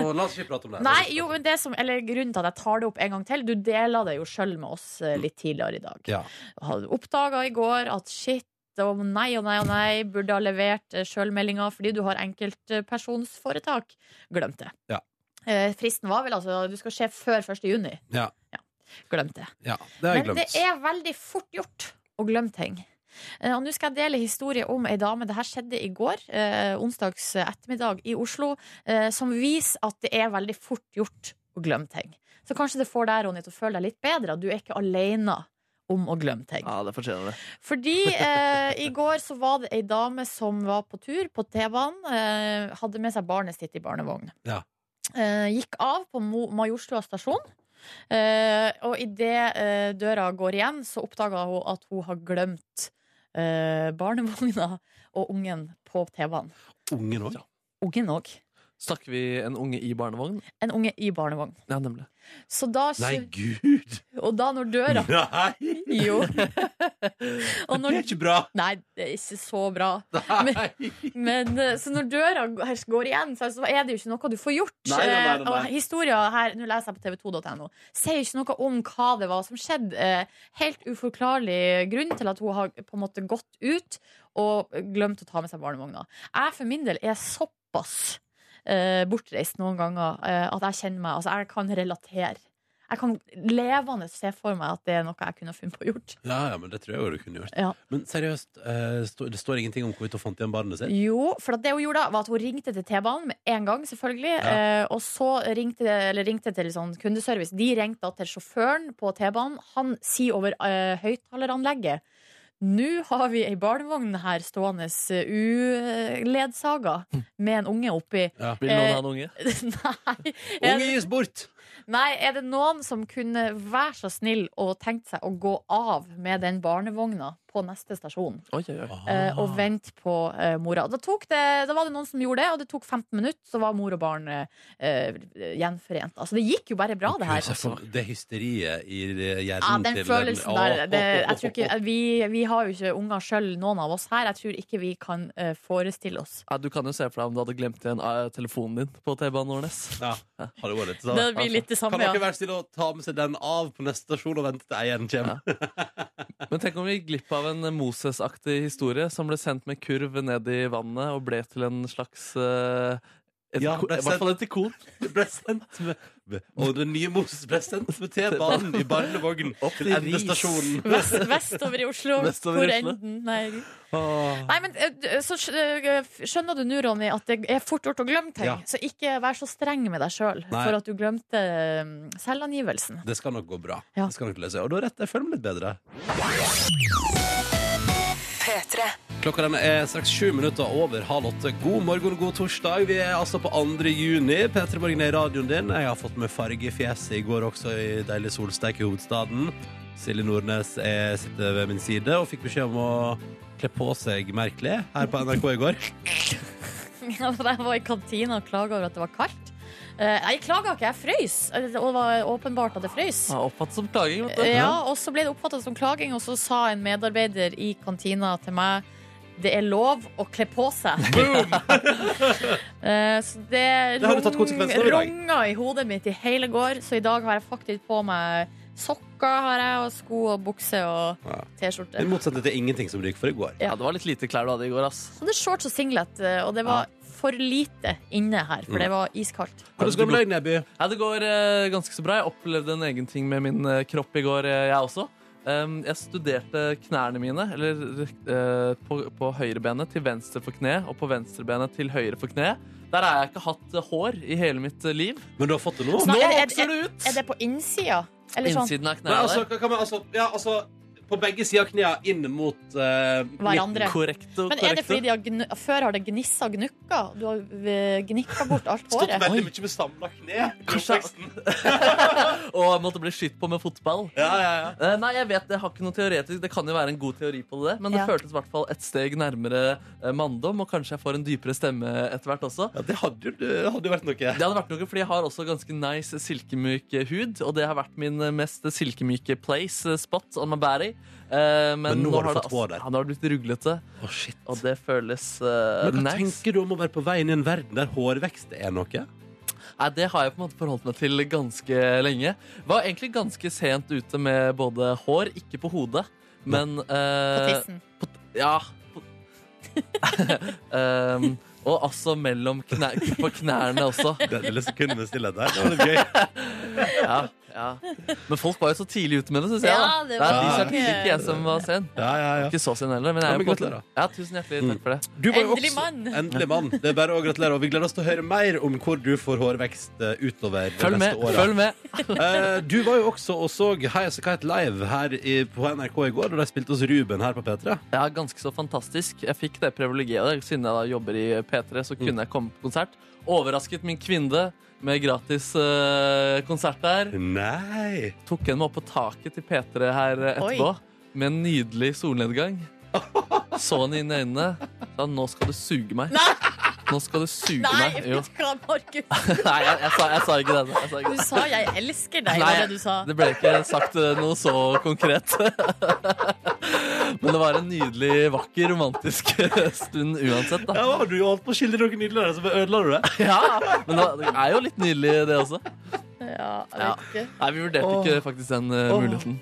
[SPEAKER 3] Å, la oss ikke prate om det.
[SPEAKER 1] Nei, jo, men det som, eller grunnen til at jeg tar det opp en gang til Du deler det jo sjøl med oss eh, litt tidligere i dag.
[SPEAKER 3] Ja.
[SPEAKER 1] Hadde oppdaga i går at shit og nei og nei og nei, burde ha levert eh, sjølmeldinga fordi du har enkeltpersonsforetak. Glemt det.
[SPEAKER 3] Ja.
[SPEAKER 1] Eh, Fristen var vel altså du skal skje før 1. juni.
[SPEAKER 3] Ja.
[SPEAKER 1] Glemt det.
[SPEAKER 3] Ja, det har jeg
[SPEAKER 1] Men det
[SPEAKER 3] glemt.
[SPEAKER 1] er veldig fort gjort å glemme ting. Eh, Og nå skal jeg dele historie om ei dame. Det her skjedde i går, eh, onsdags ettermiddag i Oslo, eh, som viser at det er veldig fort gjort å glemme ting. Så kanskje det får deg, Ronny, til å føle deg litt bedre. at Du er ikke aleine om å glemme ting.
[SPEAKER 2] Ja, det fortjener det.
[SPEAKER 1] Fordi eh, i går så var det ei dame som var på tur på T-banen. Eh, hadde med seg barnet sitt i barnevogn.
[SPEAKER 3] Ja.
[SPEAKER 1] Eh, gikk av på Mo Majorstua stasjon. Eh, og idet eh, døra går igjen, så oppdaga hun at hun har glemt eh, barnevogna og ungen på T-banen.
[SPEAKER 3] Ungen òg.
[SPEAKER 1] Ungen òg.
[SPEAKER 2] Snakker vi en unge i barnevogn?
[SPEAKER 1] En unge i barnevogn.
[SPEAKER 2] Ja, nemlig.
[SPEAKER 1] Så da,
[SPEAKER 3] Nei, gud!
[SPEAKER 1] og da når døra [LAUGHS]
[SPEAKER 3] [LAUGHS] Nei!
[SPEAKER 1] Jo. og
[SPEAKER 3] Det er
[SPEAKER 1] når,
[SPEAKER 3] ikke bra!
[SPEAKER 1] nei, det er ikke så bra.
[SPEAKER 3] Nei!
[SPEAKER 1] [LAUGHS] Men, eh, så når døra g- her går igjen, så så er det jo ikke noe du får gjort.
[SPEAKER 3] Nei, nei, nei, nei.
[SPEAKER 1] Eh, Og historia her, nå leser jeg på tv2.no, sier ikke noe om hva det var som skjedde. Eh, Helt uforklarlig grunn til at hun har på en måte gått ut og glemt å ta med seg barnevogna. Jeg for min del er såpass eh, bortreist noen ganger eh, at jeg kjenner meg Altså, jeg kan relatere. Jeg kan levende se for meg at det er noe jeg kunne ha funnet på å gjort.
[SPEAKER 3] Ja, ja, men det tror jeg jo du kunne gjort.
[SPEAKER 1] Ja.
[SPEAKER 3] Men seriøst, eh, stå- det står ingenting om hvorvidt hun fant igjen barnet sitt?
[SPEAKER 1] Jo, for at det hun gjorde da var at hun ringte til T-banen med en gang, selvfølgelig. Eh, og så ringte, eller ringte til sånn kundeservice. De ringte da til sjåføren på T-banen. Han sier over eh, høyttaleranlegget nå har vi ei barnevogn her stående eh, uledsaga med en unge oppi. [LAUGHS]
[SPEAKER 2] Vil noen ha en unge?
[SPEAKER 1] Nei. Er
[SPEAKER 3] Unge
[SPEAKER 1] det,
[SPEAKER 3] gis bort!
[SPEAKER 1] nei, er det noen som kunne være så snill og tenkt seg å gå av med den barnevogna på neste stasjon?
[SPEAKER 2] Oi, oi, oi.
[SPEAKER 1] eh,
[SPEAKER 3] Ah.
[SPEAKER 1] og vente på eh, mora. Da, tok det, da var det noen som gjorde det, og det tok 15 minutter, så var mor og barn eh, eh, gjenforent. Altså, det gikk jo bare bra, det her.
[SPEAKER 3] Gud, Ah, så for- Det hysteriet i hjernen
[SPEAKER 1] Ja, den
[SPEAKER 3] til
[SPEAKER 1] følelsen
[SPEAKER 3] Åh,
[SPEAKER 1] der det, jeg
[SPEAKER 3] [LAUGHS]
[SPEAKER 1] tror ikke,
[SPEAKER 3] åh, åh,
[SPEAKER 1] vi, vi har jo ikke unger sjøl, noen av oss her. Jeg tror ikke vi kan eh, forestille oss.
[SPEAKER 2] Ja, du kan jo se for deg om du hadde glemt igjen eh, telefonen din på T-banen Årnes.
[SPEAKER 3] åh. Ja, har det vært litt sånn?
[SPEAKER 1] Det blir litt det
[SPEAKER 3] Kan
[SPEAKER 1] samme,
[SPEAKER 3] dere
[SPEAKER 1] ja.
[SPEAKER 3] være snille og ta med seg den av på neste stasjon og vente til eieren kommer?
[SPEAKER 2] Men tenk om vi gikk glipp av en eh, Moses-aktig historie som ble sendt med kurv ned i vannet og ble til en slags eh, et,
[SPEAKER 3] Ja,
[SPEAKER 2] ko-
[SPEAKER 3] ble
[SPEAKER 2] I hvert fall et
[SPEAKER 3] [LAUGHS]
[SPEAKER 2] ikon.
[SPEAKER 3] Det ble sendt med Og den nye Moses ble sendt med T-banen i barnevogn
[SPEAKER 2] Opp
[SPEAKER 3] til
[SPEAKER 2] til
[SPEAKER 3] endestasjonen.
[SPEAKER 1] [LAUGHS] Vest, vestover i Oslo.
[SPEAKER 2] Vestover i
[SPEAKER 1] Hvor
[SPEAKER 2] Oslo.
[SPEAKER 1] enden? Nei.
[SPEAKER 2] Åh.
[SPEAKER 1] Nei, men eh, d- så skj- eh, skjønner du nå, Ronny, at det er fort gjort å glemme ting.
[SPEAKER 3] Ja.
[SPEAKER 1] Så ikke vær så streng med deg sjøl
[SPEAKER 3] Nei.
[SPEAKER 1] for at du glemte eh, selvangivelsen.
[SPEAKER 3] [LAUGHS] Det skal nok gå bra.
[SPEAKER 1] Ja.
[SPEAKER 3] Det skal nok løse. seg. Og du har rett, jeg føler meg litt bedre. Klokka den er straks sju minutter over halv åtte. God morgen, god torsdag. Vi er altså på 2. juni. P3 Morgen er i radioen din. Jeg har fått med farge i fjeset i går også, i deilig solsteik i hovedstaden. Silje Nordnes er, sitter ved min side og fikk beskjed om å kle på seg merkelig her på NRK i går.
[SPEAKER 1] Ja, for Jeg var i kantina og klaga over at det var kaldt. Eh, Nei, jeg klaga ikke, jeg frøys. Eh, Det var åpenbart at det frøys.
[SPEAKER 2] Ja, Oppfattet som klaging, vet du.
[SPEAKER 1] Eh, Ja, og så ble det oppfatta som klaging, og så sa en medarbeider i kantina til meg det er lov å kle på
[SPEAKER 3] [LAUGHS]
[SPEAKER 1] seg. [LAUGHS] Eh, så det
[SPEAKER 3] Det har du tatt
[SPEAKER 1] rung-
[SPEAKER 3] konsekvensen av i dag.
[SPEAKER 1] runga i hodet mitt i hele går, så i dag har jeg faktisk på meg sokker har jeg, og sko og bukse og
[SPEAKER 3] Ja.
[SPEAKER 1] T-skjorte.
[SPEAKER 3] I motsetning til ingenting som du gikk for i går.
[SPEAKER 2] Ja, det var litt lite klær du hadde i går, ass.
[SPEAKER 1] Så det er shorts og singlet, eh, og det var for lite inne her, for det
[SPEAKER 3] Mm.
[SPEAKER 1] var iskaldt.
[SPEAKER 3] Hvordan går det med deg, Neby?
[SPEAKER 2] Ja, det går eh, ganske så bra. Jeg opplevde en egen ting med min eh, kropp i går, eh, jeg også. Um, jeg studerte knærne mine, eller eh, på, på høyrebenet til venstre for kne, og på venstrebenet til høyre for kne. Der har jeg ikke hatt eh, hår i hele mitt eh, liv.
[SPEAKER 3] Men du har fått det nå?
[SPEAKER 1] Nei,
[SPEAKER 2] Nå
[SPEAKER 1] er det-
[SPEAKER 2] vokser det ut!
[SPEAKER 1] Er det på innsida? Eller sånn
[SPEAKER 2] Innsiden av
[SPEAKER 3] Nei,
[SPEAKER 2] knærne
[SPEAKER 3] altså,
[SPEAKER 2] der.
[SPEAKER 3] hva kan man, altså, ja, altså På begge sider av knærne inn mot eh,
[SPEAKER 1] hverandre?
[SPEAKER 2] Korrekto,
[SPEAKER 1] Men er det fordi
[SPEAKER 2] korrekto.
[SPEAKER 1] de har gnu Før har det gnissa og gnukka? Du har eh, gnikka bort alt
[SPEAKER 3] Stått
[SPEAKER 1] håret?
[SPEAKER 3] veldig mye med samla kne.
[SPEAKER 1] [LAUGHS]
[SPEAKER 3] i
[SPEAKER 2] Kanskje-
[SPEAKER 3] oppveksten.
[SPEAKER 2] Og jeg måtte bli skytt på med fotball.
[SPEAKER 3] Ja, ja, ja.
[SPEAKER 2] Eh, Nei, jeg vet, jeg har ikke noe teoretisk Det kan jo være en god teori på det, men det
[SPEAKER 1] Ja.
[SPEAKER 2] føltes i hvert fall et steg nærmere eh, manndom, og kanskje jeg får en dypere stemme etter hvert også.
[SPEAKER 3] ja det hadde jo- det hadde jo vært noe.
[SPEAKER 2] Det hadde vært noe, fordi Jeg har også ganske nice silkemyk hud, og det har vært min mest silkemyke place eh, spot on my body. Eh, men,
[SPEAKER 3] Men nå har du
[SPEAKER 2] det
[SPEAKER 3] fått
[SPEAKER 2] altså-
[SPEAKER 3] hår der.
[SPEAKER 2] Ja, nå har det blitt ruglete,
[SPEAKER 3] Å, shit.
[SPEAKER 2] og det føles eh,
[SPEAKER 3] Men hva
[SPEAKER 2] nice.
[SPEAKER 3] tenker du om å være på vei inn i en verden der hårvekst er noe?
[SPEAKER 2] Nei, Det har jeg på en måte forholdt meg til ganske lenge. Var egentlig ganske sent ute med både hår, ikke på hodet, men
[SPEAKER 1] På
[SPEAKER 2] eh,
[SPEAKER 1] tissen.
[SPEAKER 2] Ja. [LAUGHS] um, og altså mellom knæ på knærne også.
[SPEAKER 3] Det lille sekundet med stillhet der. Det var litt gøy.
[SPEAKER 2] Ja, ja. Men folk var jo så tidlig ute med det, syns jeg.
[SPEAKER 1] Ja,
[SPEAKER 2] Da.
[SPEAKER 1] det
[SPEAKER 2] Det
[SPEAKER 1] var
[SPEAKER 2] er de som er
[SPEAKER 1] mange-
[SPEAKER 2] tidlig, ikke jeg som var sen.
[SPEAKER 3] Ja, ja, ja.
[SPEAKER 2] Ikke så sen heller, men jeg
[SPEAKER 3] Ja,
[SPEAKER 2] er
[SPEAKER 3] men
[SPEAKER 2] jo på en måte-
[SPEAKER 3] gratulerer. Mm.
[SPEAKER 2] Ja, tusen hjertelig takk for det.
[SPEAKER 3] Du var jo
[SPEAKER 1] Endelig mann.
[SPEAKER 3] Endelig mann. Det er bare å gratulere. Og vi gleder oss til å høre mer om hvor du får hårvekst eh, utover de
[SPEAKER 2] Følg med.
[SPEAKER 3] neste åra.
[SPEAKER 2] følg med [LAUGHS]
[SPEAKER 3] Eh, du var jo også og så Highas Kite Live her i, på NRK i går, og de spilte hos Ruben her på P3.
[SPEAKER 2] Ja, ganske så fantastisk. Jeg fikk det privilegiet. Siden jeg da jobber i P3, så
[SPEAKER 3] Mm.
[SPEAKER 2] kunne jeg komme på konsert. Overrasket min kvinne med gratis eh, konsert der.
[SPEAKER 3] Mm. Nei!
[SPEAKER 2] tok henne med opp på taket til P3 her eh, etterpå med en nydelig solnedgang. Så henne inn i øynene. Sa nå skal du suge meg. Nå skal du suge
[SPEAKER 1] Nei,
[SPEAKER 2] meg. Jo.
[SPEAKER 1] vet du hva, Markus?
[SPEAKER 2] [LAUGHS] Nei, jeg, jeg, sa, jeg sa ikke det. Jeg sa ikke
[SPEAKER 1] Du
[SPEAKER 2] det.
[SPEAKER 1] sa 'jeg elsker deg',
[SPEAKER 2] Nei,
[SPEAKER 1] var det du sa.
[SPEAKER 2] det ble ikke sagt eh, noe så konkret. [LAUGHS] Men det var en nydelig, vakker, romantisk [LAUGHS] stund uansett, da.
[SPEAKER 3] Ja, du holdt på å skildre noe nydelig der, så bare altså, ødela du det.
[SPEAKER 2] Ja, Men det var- det er jo litt nydelig, det også.
[SPEAKER 1] Ja, jeg
[SPEAKER 2] Ja.
[SPEAKER 1] vet ikke.
[SPEAKER 2] Nei, vi vurderte ikke faktisk den eh, muligheten.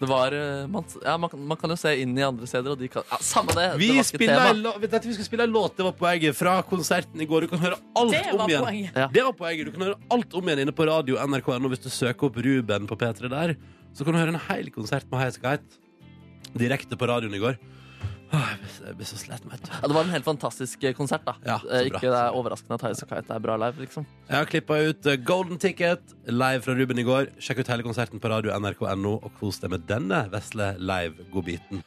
[SPEAKER 2] Det var, eh, man, ja, man, kan- man kan jo se inn i andre steder, og de kan ja, Samme det!
[SPEAKER 3] Vi,
[SPEAKER 2] det var ikke
[SPEAKER 3] spiller
[SPEAKER 2] tema.
[SPEAKER 3] en lå- vet du, vi skal spille en låt, det var poenget, fra konserten i går. Du kan høre alt
[SPEAKER 1] Det
[SPEAKER 3] om
[SPEAKER 1] var
[SPEAKER 3] igjen.
[SPEAKER 1] poenget.
[SPEAKER 2] Ja.
[SPEAKER 3] Det var poenget. Du kan høre alt om igjen inne på radio NRK.no hvis du søker opp Ruben på P3 der. Så kan du høre en hel konsert med Highas Kite direkte på radioen i går. Åh, Jeg blir- jeg blir så sliten, vet du.
[SPEAKER 2] Ja, det var en helt fantastisk eh, konsert, da.
[SPEAKER 3] Ja, så
[SPEAKER 2] Eh,
[SPEAKER 3] bra,
[SPEAKER 2] ikke det er overraskende at Highasakite Kite er bra live, liksom.
[SPEAKER 3] Jeg har klippa ut eh, Golden Ticket live fra Ruben i går. Sjekk ut hele konserten på radio nrk.no, og kos deg med denne vesle live-godbiten.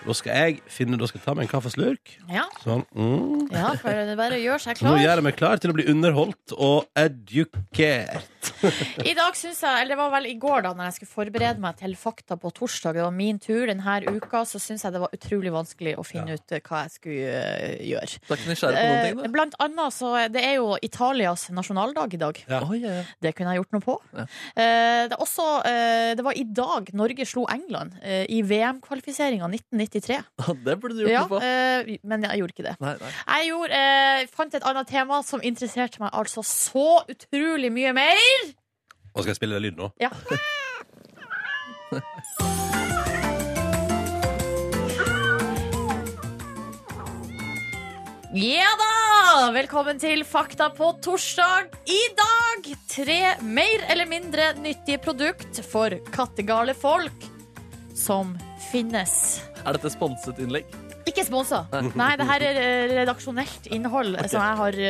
[SPEAKER 3] Da skal jeg finne Da skal jeg ta meg en kaffeslurk.
[SPEAKER 1] Ja,
[SPEAKER 3] Sånn. Mm.
[SPEAKER 1] ja for det er bare å gjøre seg
[SPEAKER 3] Nå gjør
[SPEAKER 1] klar.
[SPEAKER 3] jeg meg klar til å bli underholdt og edukert.
[SPEAKER 1] I dag synes jeg, eller det var vel i går da Når jeg skulle forberede meg til fakta på torsdag Det var min tur denne uka Så synes jeg det var utrolig vanskelig å finne ut eh, hva jeg skulle eh, gjøre
[SPEAKER 2] Du er ikke nysgjerrig på noen
[SPEAKER 1] Eh,
[SPEAKER 2] ting, du?
[SPEAKER 1] Blant annet så eh, Det er jo Italias nasjonaldag i dag
[SPEAKER 3] Ja.
[SPEAKER 2] Oi, ja, [LAUGHS] ja.
[SPEAKER 1] Det kunne jeg gjort noe på.
[SPEAKER 2] Ja.
[SPEAKER 1] Eh, det, er også, eh, det var i dag Norge slo England eh, i VM-kvalifiseringa 1993.
[SPEAKER 2] Det burde du gjort
[SPEAKER 1] Ja,
[SPEAKER 2] noe på.
[SPEAKER 1] eh, men jeg gjorde ikke det.
[SPEAKER 2] Nei, nei.
[SPEAKER 1] Jeg gjorde, eh, fant et annet tema som interesserte meg altså så utrolig mye mer.
[SPEAKER 3] Og skal jeg spille lyd nå?
[SPEAKER 1] Ja. Ja da! Velkommen til Fakta på torsdag. I dag tre mer eller mindre nyttige produkt for kattegale folk som finnes.
[SPEAKER 2] Er dette sponset innlegg?
[SPEAKER 1] Ikke sponsa. Nei, det her er eh, redaksjonelt innhold som jeg har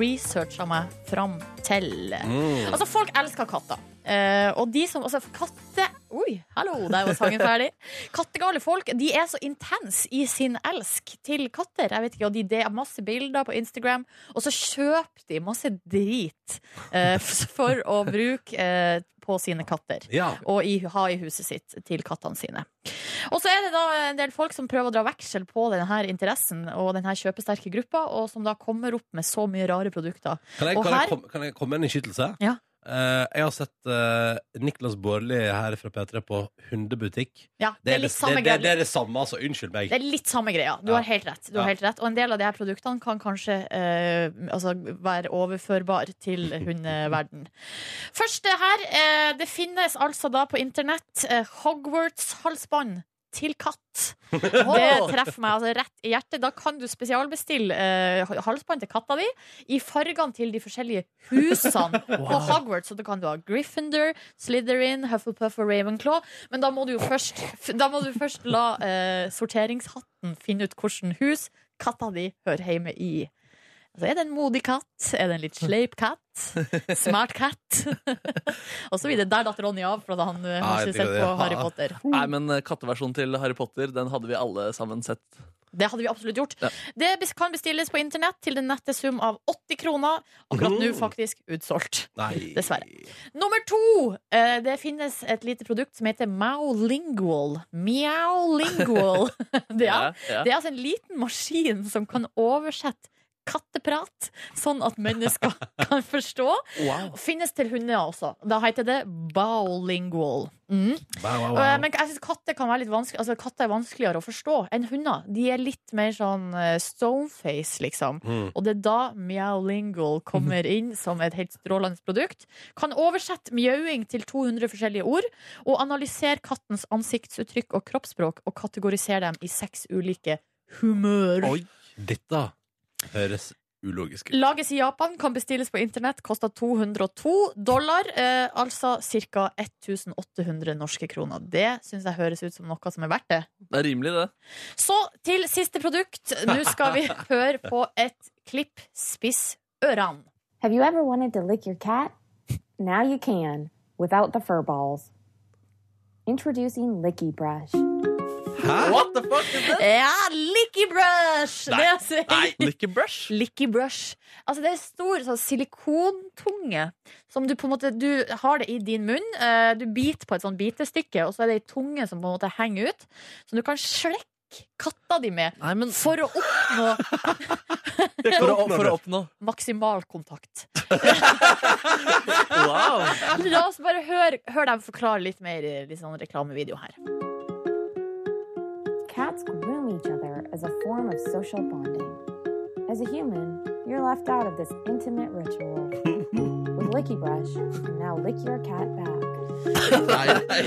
[SPEAKER 1] researcha meg fram til. Altså, folk elsker katter. Eh, og de som altså, Katte... Oi, hallo, der var sangen ferdig. Kattegale folk de er så intense i sin elsk til katter. Jeg vet ikke, og de, Det er masse bilder på Instagram, og så kjøper de masse drit eh, [LAUGHS] f- for å bruke eh, på sine katter
[SPEAKER 3] Ja.
[SPEAKER 1] og i, ha i huset sitt til kattene sine. Og så er det da en del folk som prøver å dra veksel på denne interessen og denne kjøpesterke gruppa, og som da kommer opp med så mye rare produkter.
[SPEAKER 3] Kan jeg,
[SPEAKER 1] Og
[SPEAKER 3] kan,
[SPEAKER 1] her-
[SPEAKER 3] jeg, komme- kan jeg komme med en innskytelse?
[SPEAKER 1] Ja.
[SPEAKER 3] Eh, Eh, jeg har sett eh, Niklas Bårli her fra P3 på hundebutikk.
[SPEAKER 1] Ja, det er litt samme
[SPEAKER 3] det, det,
[SPEAKER 1] greia.
[SPEAKER 3] det er det samme, altså. Unnskyld meg.
[SPEAKER 1] Det er litt samme greia. Du
[SPEAKER 3] Ja.
[SPEAKER 1] har helt rett. Du
[SPEAKER 3] Ja.
[SPEAKER 1] har helt rett. Og en del av de her produktene kan kanskje eh, altså, være overførbar
[SPEAKER 3] [LAUGHS]
[SPEAKER 1] til hundeverden. Første her. Eh, det finnes altså da på internett eh, Hogwarts-halsbånd til
[SPEAKER 3] [LAUGHS]
[SPEAKER 1] katt. Det treffer meg altså rett i hjertet. Da kan du spesialbestille eh, halsbånd til katta di i fargene til de forskjellige
[SPEAKER 3] [LAUGHS]
[SPEAKER 1] husene på Hogwarts. Så da kan du ha Gryffindor, Slytherin, Hufflepuff og Ravenclaw. Men da må du jo først, [LAUGHS] da må du først la eh, sorteringshatten finne ut hvilket hus katta di hører hjemme i. Altså, er det en modig katt? Er det en litt sleip katt? Smart katt? [LAUGHS] og så videre. Der datt Ronny av, for da han eh,
[SPEAKER 3] Ja,
[SPEAKER 1] har
[SPEAKER 3] jeg
[SPEAKER 1] ikke sett
[SPEAKER 3] digger det.
[SPEAKER 1] på Harry Potter.
[SPEAKER 2] Nei, men eh, katteversjonen til Harry Potter Den hadde vi alle sammen sett.
[SPEAKER 1] Det hadde vi absolutt gjort.
[SPEAKER 2] Ja.
[SPEAKER 1] Det bes- kan bestilles på internett til den nette sum av 80 kroner. Akkurat nå
[SPEAKER 2] Mm.
[SPEAKER 1] faktisk utsolgt.
[SPEAKER 3] Nei.
[SPEAKER 1] Dessverre. Nummer to! Eh, Det finnes et lite produkt som heter Maulingual.
[SPEAKER 2] [LAUGHS]
[SPEAKER 1] Mjaulingual. [LAUGHS] Det er,
[SPEAKER 2] Ja,
[SPEAKER 1] det er altså en liten maskin som kan oversette katteprat, sånn at
[SPEAKER 2] [LAUGHS]
[SPEAKER 1] mennesker kan forstå.
[SPEAKER 2] Wow.
[SPEAKER 1] Finnes til hunder også. Da heter det Baulingual. Mm.
[SPEAKER 3] Wow, wow,
[SPEAKER 1] Eh,
[SPEAKER 3] wow.
[SPEAKER 1] Men jeg synes katter kan være litt vanskelig Altså katter er vanskeligere å forstå enn hunder. De er litt mer sånn eh, stoneface, liksom.
[SPEAKER 3] Mm.
[SPEAKER 1] Og det er da Meowlingual kommer inn som et helt strålende produkt. Kan oversette mjauing til 200 forskjellige ord, og analysere kattens ansiktsuttrykk og kroppsspråk og kategorisere dem i seks ulike humør.
[SPEAKER 3] Oi. Dette høres ulogisk ut.
[SPEAKER 1] Lages i Japan, kan bestilles på internett, koster 202 dollar. Eh, altså ca. 1800 norske kroner. Det syns jeg høres ut som noe som er verdt det.
[SPEAKER 2] Det er rimelig, det.
[SPEAKER 1] Så til siste produkt. Nå skal vi høre på et klipp. Spiss ørene.
[SPEAKER 6] Have you ever wanted to lick your cat? Now you can, without the fur balls. Introducing Licky Brush.
[SPEAKER 2] What the fuck is that?
[SPEAKER 1] Ja, licky brush!
[SPEAKER 3] Nei,
[SPEAKER 1] Det er så-
[SPEAKER 3] nei.
[SPEAKER 2] Licky brush.
[SPEAKER 1] Licky brush. Altså, det er stor sånn silikontunge som du på en måte Du har det i din munn. eh, Du biter på et sånt bitestykke, og så er det ei tunge som på en måte henger ut, som du kan slekke katta di med
[SPEAKER 2] Nei, men
[SPEAKER 1] for å oppnå
[SPEAKER 2] for å, for å oppnå
[SPEAKER 1] maksimal kontakt.
[SPEAKER 2] Wow!
[SPEAKER 1] La oss bare høre, høre dem forklare litt mer i litt sånn reklamevideo her.
[SPEAKER 6] Cats groom each other as a form of social bonding. As a human, you're left out of this intimate ritual. With Licky Brush, you can now lick your cat back.
[SPEAKER 3] [LAUGHS]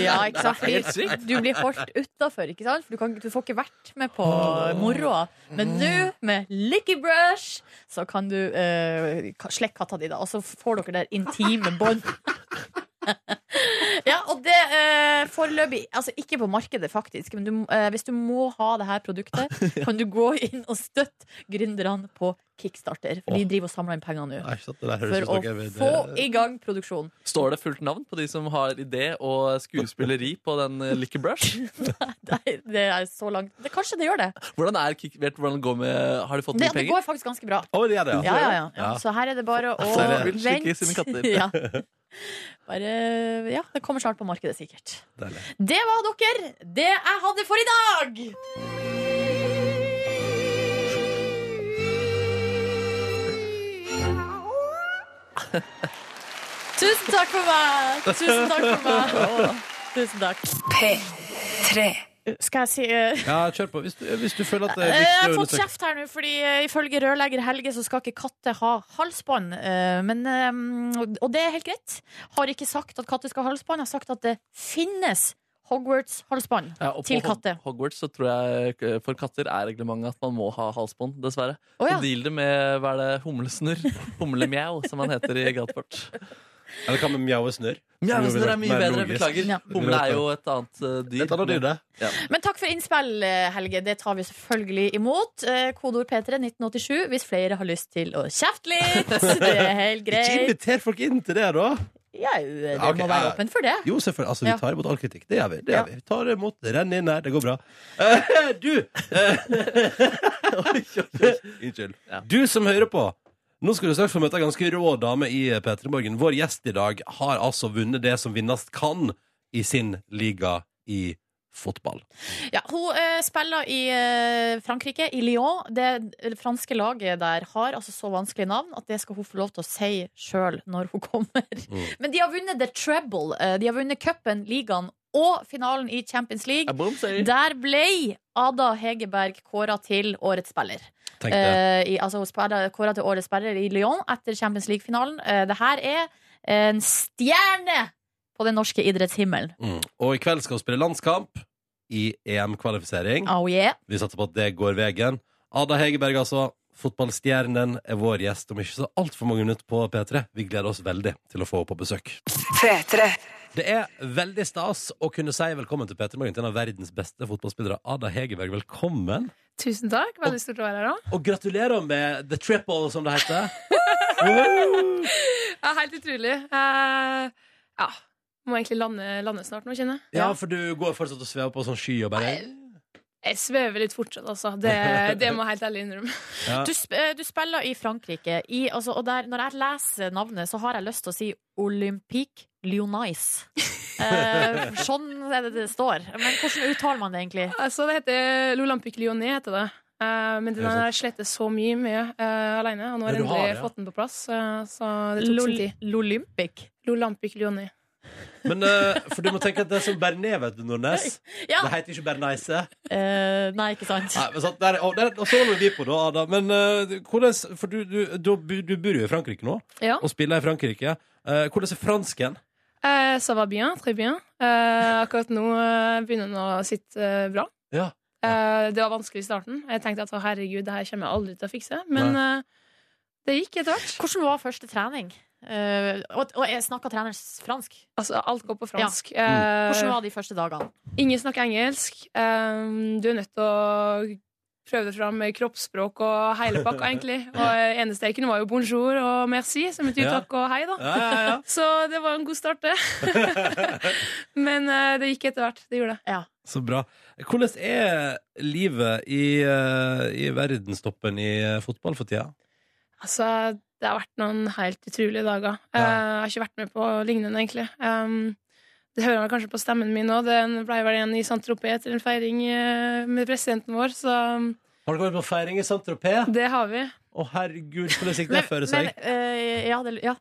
[SPEAKER 1] Ja, ikke sant?
[SPEAKER 2] Helt
[SPEAKER 1] Fordi
[SPEAKER 2] sykt.
[SPEAKER 1] du blir holdt utafor, ikke sant? For du, kan, du får ikke vært med på moroa.
[SPEAKER 3] Mm.
[SPEAKER 1] Men nå, med Licky Brush, så kan du eh, ka- slekke katta di, da. Og så får dere der intime bånd. [LAUGHS] ja, og det eh, foreløpig Altså ikke på markedet, faktisk, men du, eh, hvis du må ha det her produktet,
[SPEAKER 3] [LAUGHS]
[SPEAKER 1] kan du gå inn og støtte gründerne på Kickstarter. For de driver og samler inn penger nå.
[SPEAKER 3] Nei, ikke sant, det der høres
[SPEAKER 1] For
[SPEAKER 3] ut som
[SPEAKER 1] å
[SPEAKER 3] noe jeg vil-
[SPEAKER 1] få i gang produksjon.
[SPEAKER 2] Står det fullt navn på de som har idé og skuespilleri på den eh, Licky Brush?
[SPEAKER 1] [LAUGHS] Nei, det er så langt det, Kanskje det gjør det.
[SPEAKER 2] Hvordan er kick, vet du hvordan det går med Har de fått
[SPEAKER 1] Det,
[SPEAKER 2] mye
[SPEAKER 1] det
[SPEAKER 2] penger?
[SPEAKER 1] går faktisk ganske bra.
[SPEAKER 3] Å, det gjør det,
[SPEAKER 1] Ja, ja, ja.
[SPEAKER 3] Ja.
[SPEAKER 1] Så her er det bare å
[SPEAKER 2] Så er det- Vil slikke
[SPEAKER 1] vente.
[SPEAKER 2] sine katter.
[SPEAKER 1] [LAUGHS] Ja. Bare, ja, det kommer snart på markedet, sikkert.
[SPEAKER 3] Deilig.
[SPEAKER 1] Det var dere, det jeg hadde for i dag! Tusen takk for meg! Tusen takk for meg! Å, tusen takk. Skal jeg si eh,
[SPEAKER 3] Ja, kjør på. Hvis du, hvis du føler at det er
[SPEAKER 1] Eh, Jeg
[SPEAKER 3] viktig
[SPEAKER 1] har
[SPEAKER 3] å
[SPEAKER 1] fått
[SPEAKER 3] understreke
[SPEAKER 1] kjeft her nå, fordi eh, ifølge rørlegger Helge så skal ikke katter ha halsbånd. Eh, Men, eh, og det er helt greit. Har ikke sagt at katter skal ha halsbånd, jeg har sagt at det finnes Hogwarts-halsbånd.
[SPEAKER 2] Ja, og på
[SPEAKER 1] til
[SPEAKER 2] Hog-
[SPEAKER 1] katter.
[SPEAKER 2] Hogwarts så tror jeg eh, for katter er reglementet at man må ha halsbånd, dessverre.
[SPEAKER 1] Å ja.
[SPEAKER 2] Så deal det med hva er det, humlesnurr. Humlemjau, som han heter i Galtvort.
[SPEAKER 3] Eller hva med mjauesnurr?
[SPEAKER 2] Mjauesnurr er mye
[SPEAKER 3] Mer
[SPEAKER 2] bedre,
[SPEAKER 3] logisk.
[SPEAKER 2] beklager.
[SPEAKER 1] Ja.
[SPEAKER 2] Humle er jo et annet eh, dyr.
[SPEAKER 3] Et annet dyr, det.
[SPEAKER 1] Men takk for innspill, eh, Helge. Det tar vi selvfølgelig imot. Eh, Kodeord P3 1987 hvis flere har lyst til å kjefte
[SPEAKER 3] [LAUGHS]
[SPEAKER 1] litt. Det er helt
[SPEAKER 3] Ikke
[SPEAKER 1] greit.
[SPEAKER 3] inviter folk inn til det, da!
[SPEAKER 1] Ja, det
[SPEAKER 3] Ja, ok,
[SPEAKER 1] må
[SPEAKER 3] ja,
[SPEAKER 1] være
[SPEAKER 3] ja.
[SPEAKER 1] åpen for det.
[SPEAKER 3] Jo, selvfølgelig. Altså, vi
[SPEAKER 1] Ja.
[SPEAKER 3] tar imot all kritikk. Det gjør vi. Det
[SPEAKER 1] Ja.
[SPEAKER 3] gjør vi. vi tar det imot. Renn inn her. Det går bra. Eh, [LAUGHS] du! Unnskyld. Du som hører på. Nå skal du straks få møte en ganske rå dame i P3 Morgen. Vår gjest i dag har altså vunnet det som vinnast kan i sin liga i fotball.
[SPEAKER 1] Ja, hun eh, spiller i eh, Frankrike, i Lyon. Det franske laget der har altså så vanskelig navn at det skal hun få lov til å si sjøl når hun [LAUGHS] kommer.
[SPEAKER 3] Mm.
[SPEAKER 1] Men de har vunnet The Treble. Eh, de har vunnet cupen, ligaen og finalen i Champions League. Der ble Ada Hegerberg kåra til årets spiller.
[SPEAKER 3] Tenk det.
[SPEAKER 1] Eh, i, altså, hun spiller- kåra til årets spiller i Lyon etter Champions League-finalen. Eh, det her er en stjerne på den norske idrettshimmelen.
[SPEAKER 3] Mm. Og i kveld skal hun spille landskamp i EM-kvalifisering.
[SPEAKER 1] Oh yeah.
[SPEAKER 3] Vi satser på at det går veien. Ada Hegerberg, altså. Fotballstjernen er vår gjest om ikke så altfor mange minutter på P3. Vi gleder oss veldig til å få henne på besøk. Det er veldig stas å kunne si velkommen til P3 Morgen til en av verdens beste fotballspillere. Ada Hegerberg, velkommen.
[SPEAKER 7] Tusen takk. Veldig stort å være her òg.
[SPEAKER 3] Og gratulerer med the triple, som det heter.
[SPEAKER 7] Ja, helt utrolig. Eh, ja. Må egentlig lande, lande snart nå, kjenner jeg.
[SPEAKER 3] Ja, for du går fortsatt og svever på sånn sky og bare
[SPEAKER 7] Jeg svever litt fortsatt, altså. Det, det må jeg helt ærlig [LAUGHS] innrømme.
[SPEAKER 3] ja.
[SPEAKER 1] Du, sp eh, du spiller i Frankrike, i, altså, og der, når jeg leser navnet, så har jeg lyst til å si Olympique Lyonnais. Eh, sånn er det det står. Men hvordan uttaler man det egentlig?
[SPEAKER 7] Altså, det heter L'Olympique Lyonnais, heter det. Eh, men
[SPEAKER 3] Er
[SPEAKER 7] den
[SPEAKER 3] det
[SPEAKER 7] har jeg slettet så mye med uh, alene. Og nå
[SPEAKER 3] Ja,
[SPEAKER 7] har jeg
[SPEAKER 3] du har
[SPEAKER 7] endelig
[SPEAKER 3] det, ja.
[SPEAKER 7] fått den på plass, eh, så det tok sin tid.
[SPEAKER 1] L'Olympic?
[SPEAKER 7] L'Olympique Lyonnais.
[SPEAKER 3] Men eh, For du må tenke at det er som bearnés, vet du, Nordnes.
[SPEAKER 1] Ja.
[SPEAKER 3] Det heter ikke bearnése.
[SPEAKER 1] Eh, nei, ikke sant?
[SPEAKER 3] Nei, men sant, der, og, der, og så holder vi på, da, Ada. Men eh, hvordan For du, du, du, bo- du bor jo i Frankrike nå,
[SPEAKER 7] Ja.
[SPEAKER 3] og spiller i Frankrike. Eh, hvordan er fransken?
[SPEAKER 7] Eh, ça va bien, très bien. Eh, akkurat nå eh, begynner den å sitte eh, bra.
[SPEAKER 3] Ja.
[SPEAKER 7] Eh, det var vanskelig i starten. Jeg tenkte at å, herregud, det her kommer jeg aldri til å fikse. Men eh, det gikk etter hvert.
[SPEAKER 1] Hvordan var første trening? Eh, og og snakka treneren s- fransk?
[SPEAKER 7] Altså, alt går på
[SPEAKER 3] Mm.
[SPEAKER 7] fransk.
[SPEAKER 1] Hvordan
[SPEAKER 7] Eh,
[SPEAKER 1] var de første dagene?
[SPEAKER 7] ingen snakker engelsk. Eh, du er nødt til å prøve deg fram med kroppsspråk og hele pakka,
[SPEAKER 3] [LAUGHS]
[SPEAKER 7] egentlig. Og eh, eneste jeg kunne, var jo bonjour og merci, som betyr
[SPEAKER 3] Ja.
[SPEAKER 7] takk og hei, da.
[SPEAKER 3] Ja, ja,
[SPEAKER 7] [LAUGHS]
[SPEAKER 3] ja.
[SPEAKER 7] Så det var en god start,
[SPEAKER 3] [LAUGHS]
[SPEAKER 7] det. [LAUGHS] Men eh, det gikk etter hvert. Det gjorde det.
[SPEAKER 3] Så bra. Hvordan er livet i, eh, i verdenstoppen i eh, fotball for tida?
[SPEAKER 7] Altså, det har vært noen helt utrolige dager. Eh, jeg har ikke vært med på lignende, egentlig. Um, det hører man kanskje på stemmen min nå. Den ble vel igjen i Saint-Tropez etter en feiring eh, med presidenten vår, så um,
[SPEAKER 3] Har dere vært på feiring i Saint-Tropez?
[SPEAKER 7] det har vi.
[SPEAKER 3] Å, herregud, hvordan gikk det for seg?
[SPEAKER 1] Men, eh, ja, det, ja.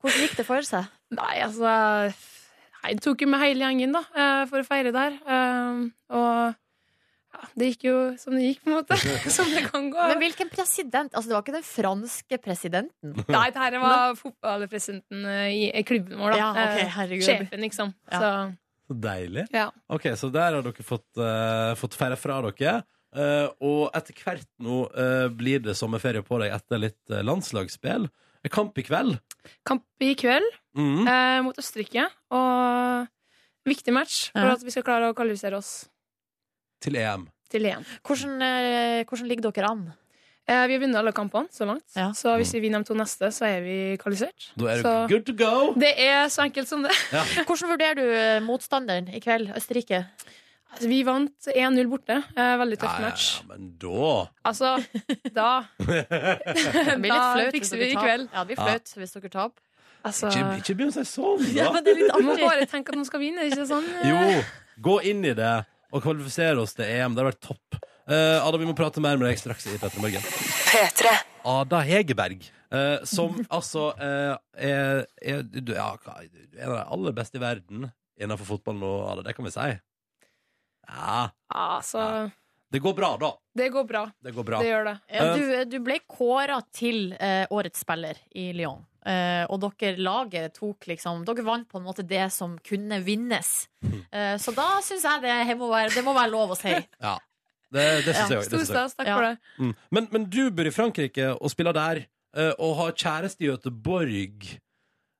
[SPEAKER 1] Hvordan gikk det for seg?
[SPEAKER 7] Nei, altså Nei, det tok jo med hele gjengen, da, eh, for å feire der. Um, og ja, det gikk jo som det gikk, på en måte. [LAUGHS] som det kan gå.
[SPEAKER 1] Men hvilken president? Altså, det var ikke den franske presidenten?
[SPEAKER 7] Nei, det her var fotballpresidenten eh, i i klubben vår, da.
[SPEAKER 1] Ja, ok,
[SPEAKER 7] Eh,
[SPEAKER 1] herregud.
[SPEAKER 7] Sjefen, liksom.
[SPEAKER 1] Ja.
[SPEAKER 7] Så
[SPEAKER 3] Så deilig.
[SPEAKER 7] ja.
[SPEAKER 3] Ok, så der har dere fått, uh, fått feire fra dere. Eh, og etter hvert nå eh, blir det sommerferie på deg etter litt eh, landslagsspill. En kamp i kveld.
[SPEAKER 7] Kamp i kveld.
[SPEAKER 1] [LAUGHS]
[SPEAKER 3] Mhm.
[SPEAKER 7] eh, mot Østerrike. Og viktig match for
[SPEAKER 1] Ja.
[SPEAKER 7] at vi skal klare å kvalifisere oss
[SPEAKER 3] Til EM.
[SPEAKER 7] til EM.
[SPEAKER 1] Hvordan, eh, hvordan ligger dere an?
[SPEAKER 7] Eh, vi har vunnet alle kampene så langt,
[SPEAKER 1] Ja.
[SPEAKER 7] så hvis vi vinner de to neste, så er vi kvalifisert.
[SPEAKER 3] Da er
[SPEAKER 7] Så
[SPEAKER 3] du good to go!
[SPEAKER 7] det er så enkelt som det. [LAUGHS]
[SPEAKER 1] Hvordan vurderer du eh, motstanderen i kveld, Østerrike?
[SPEAKER 7] Altså, vi vant 1-0 borte. Eh, veldig
[SPEAKER 3] Ja,
[SPEAKER 7] tøff
[SPEAKER 3] ja,
[SPEAKER 7] match.
[SPEAKER 3] ja, men da
[SPEAKER 7] Altså, da
[SPEAKER 1] [LAUGHS] Det blir litt
[SPEAKER 7] Da
[SPEAKER 1] flaut
[SPEAKER 7] fikser
[SPEAKER 1] hvis
[SPEAKER 7] vi i
[SPEAKER 1] dere
[SPEAKER 7] kveld.
[SPEAKER 1] taper. Ja, det blir flaut hvis dere taper.
[SPEAKER 7] Altså,
[SPEAKER 3] Ikke, ikke begynn å si sånn, da!
[SPEAKER 1] [LAUGHS] Ja, men det er
[SPEAKER 7] [LAUGHS]
[SPEAKER 1] litt
[SPEAKER 7] man må
[SPEAKER 1] artig.
[SPEAKER 7] bare tenke at man skal vinne, ikke sånn?
[SPEAKER 3] Jo, gå inn i det og kvalifisere oss til EM. Det har vært topp. Eh, Ada, vi må prate mer med deg straks i Petter Morgen. Ada Hegerberg, eh, som [LAUGHS] altså eh, er, er du, ja, hva- du er en av de aller beste i verden innenfor fotball nå, Ada. Det kan vi si. Ja.
[SPEAKER 7] Altså,
[SPEAKER 3] Det går bra, da.
[SPEAKER 7] det går bra.
[SPEAKER 3] Det går bra.
[SPEAKER 7] Det gjør det.
[SPEAKER 1] Ja, du, du ble kåra til eh, årets spiller i Lyon. Eh, og dere laget tok liksom Dere vant på en måte det som kunne
[SPEAKER 7] [LAUGHS]
[SPEAKER 1] vinnes. Eh, så da syns jeg det, må være, det må være lov å
[SPEAKER 7] [LAUGHS]
[SPEAKER 1] si.
[SPEAKER 3] Ja. Det, det syns
[SPEAKER 1] Ja,
[SPEAKER 3] jeg òg.
[SPEAKER 7] Stor stas. Takk
[SPEAKER 1] Ja.
[SPEAKER 7] for det.
[SPEAKER 3] Mm. Men, men du bor i Frankrike og spiller der, eh, og har kjæreste i Göteborg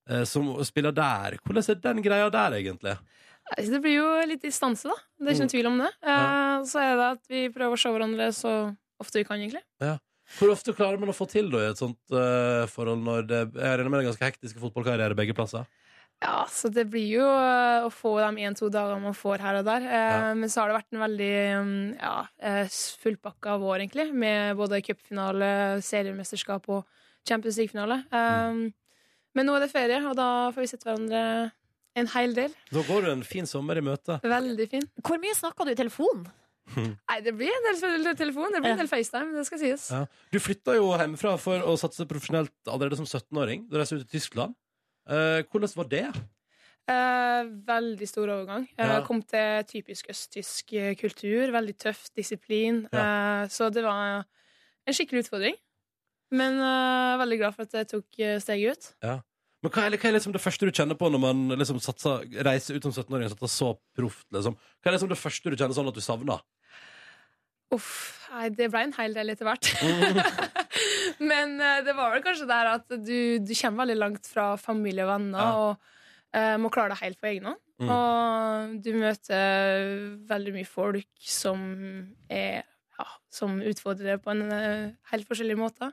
[SPEAKER 3] eh, som spiller der. Hvordan er den greia der, egentlig?
[SPEAKER 7] Nei, Det blir jo litt distanse, da. Det
[SPEAKER 3] Mm.
[SPEAKER 7] er ikke noen tvil om det. Eh, Så er det at vi prøver å se hverandre så ofte vi kan, egentlig.
[SPEAKER 3] Hvor ofte klarer man å få til da, i et sånt eh, forhold når det Jeg regner med det er ganske hektiske fotballkarriere begge plasser?
[SPEAKER 7] Ja, så det blir jo eh, å få de en-to dagene man får her og der. Eh, Men så har det vært en veldig mm, ja, eh, fullpakka vår, egentlig, med både cupfinale, seriemesterskap Um, og Champions League-finale. Eh, Men nå er det ferie, og da får vi sett hverandre En hel del.
[SPEAKER 3] Da går du en fin sommer i møte.
[SPEAKER 7] Veldig fin.
[SPEAKER 1] Hvor mye snakka du i telefonen?
[SPEAKER 7] Nei, det blir en del telefon. Det blir en del FaceTime, det skal sies.
[SPEAKER 3] Ja. Du flytta jo hjemmefra for å satse profesjonelt allerede som 17-åring. Du reiste ut til Tyskland. Eh, hvordan var det?
[SPEAKER 7] Eh, veldig stor overgang. Eh,
[SPEAKER 3] Ja.
[SPEAKER 7] Kom til typisk østtysk eh, kultur. Veldig tøff disiplin. Eh, så det var en skikkelig utfordring. Men eh, veldig glad for at jeg tok eh, steget ut.
[SPEAKER 3] Men hva, er- eller, hva er liksom det første du kjenner på når man liksom satser, reiser ut som 17-åring og satser så proft? Liksom? Hva er liksom det første du kjenner sånn at du savner?
[SPEAKER 7] Uff, nei, det ble en hel del etter hvert.
[SPEAKER 3] [LAUGHS]
[SPEAKER 7] [LAUGHS] Men eh, det var vel kanskje der at du, du kommer veldig langt fra familie og venner
[SPEAKER 3] Ja.
[SPEAKER 7] og eh, må klare deg helt på egen hånd.
[SPEAKER 3] Mm.
[SPEAKER 7] Og du møter veldig mye folk som er ja, som utfordrer deg på en eh, helt forskjellig måte.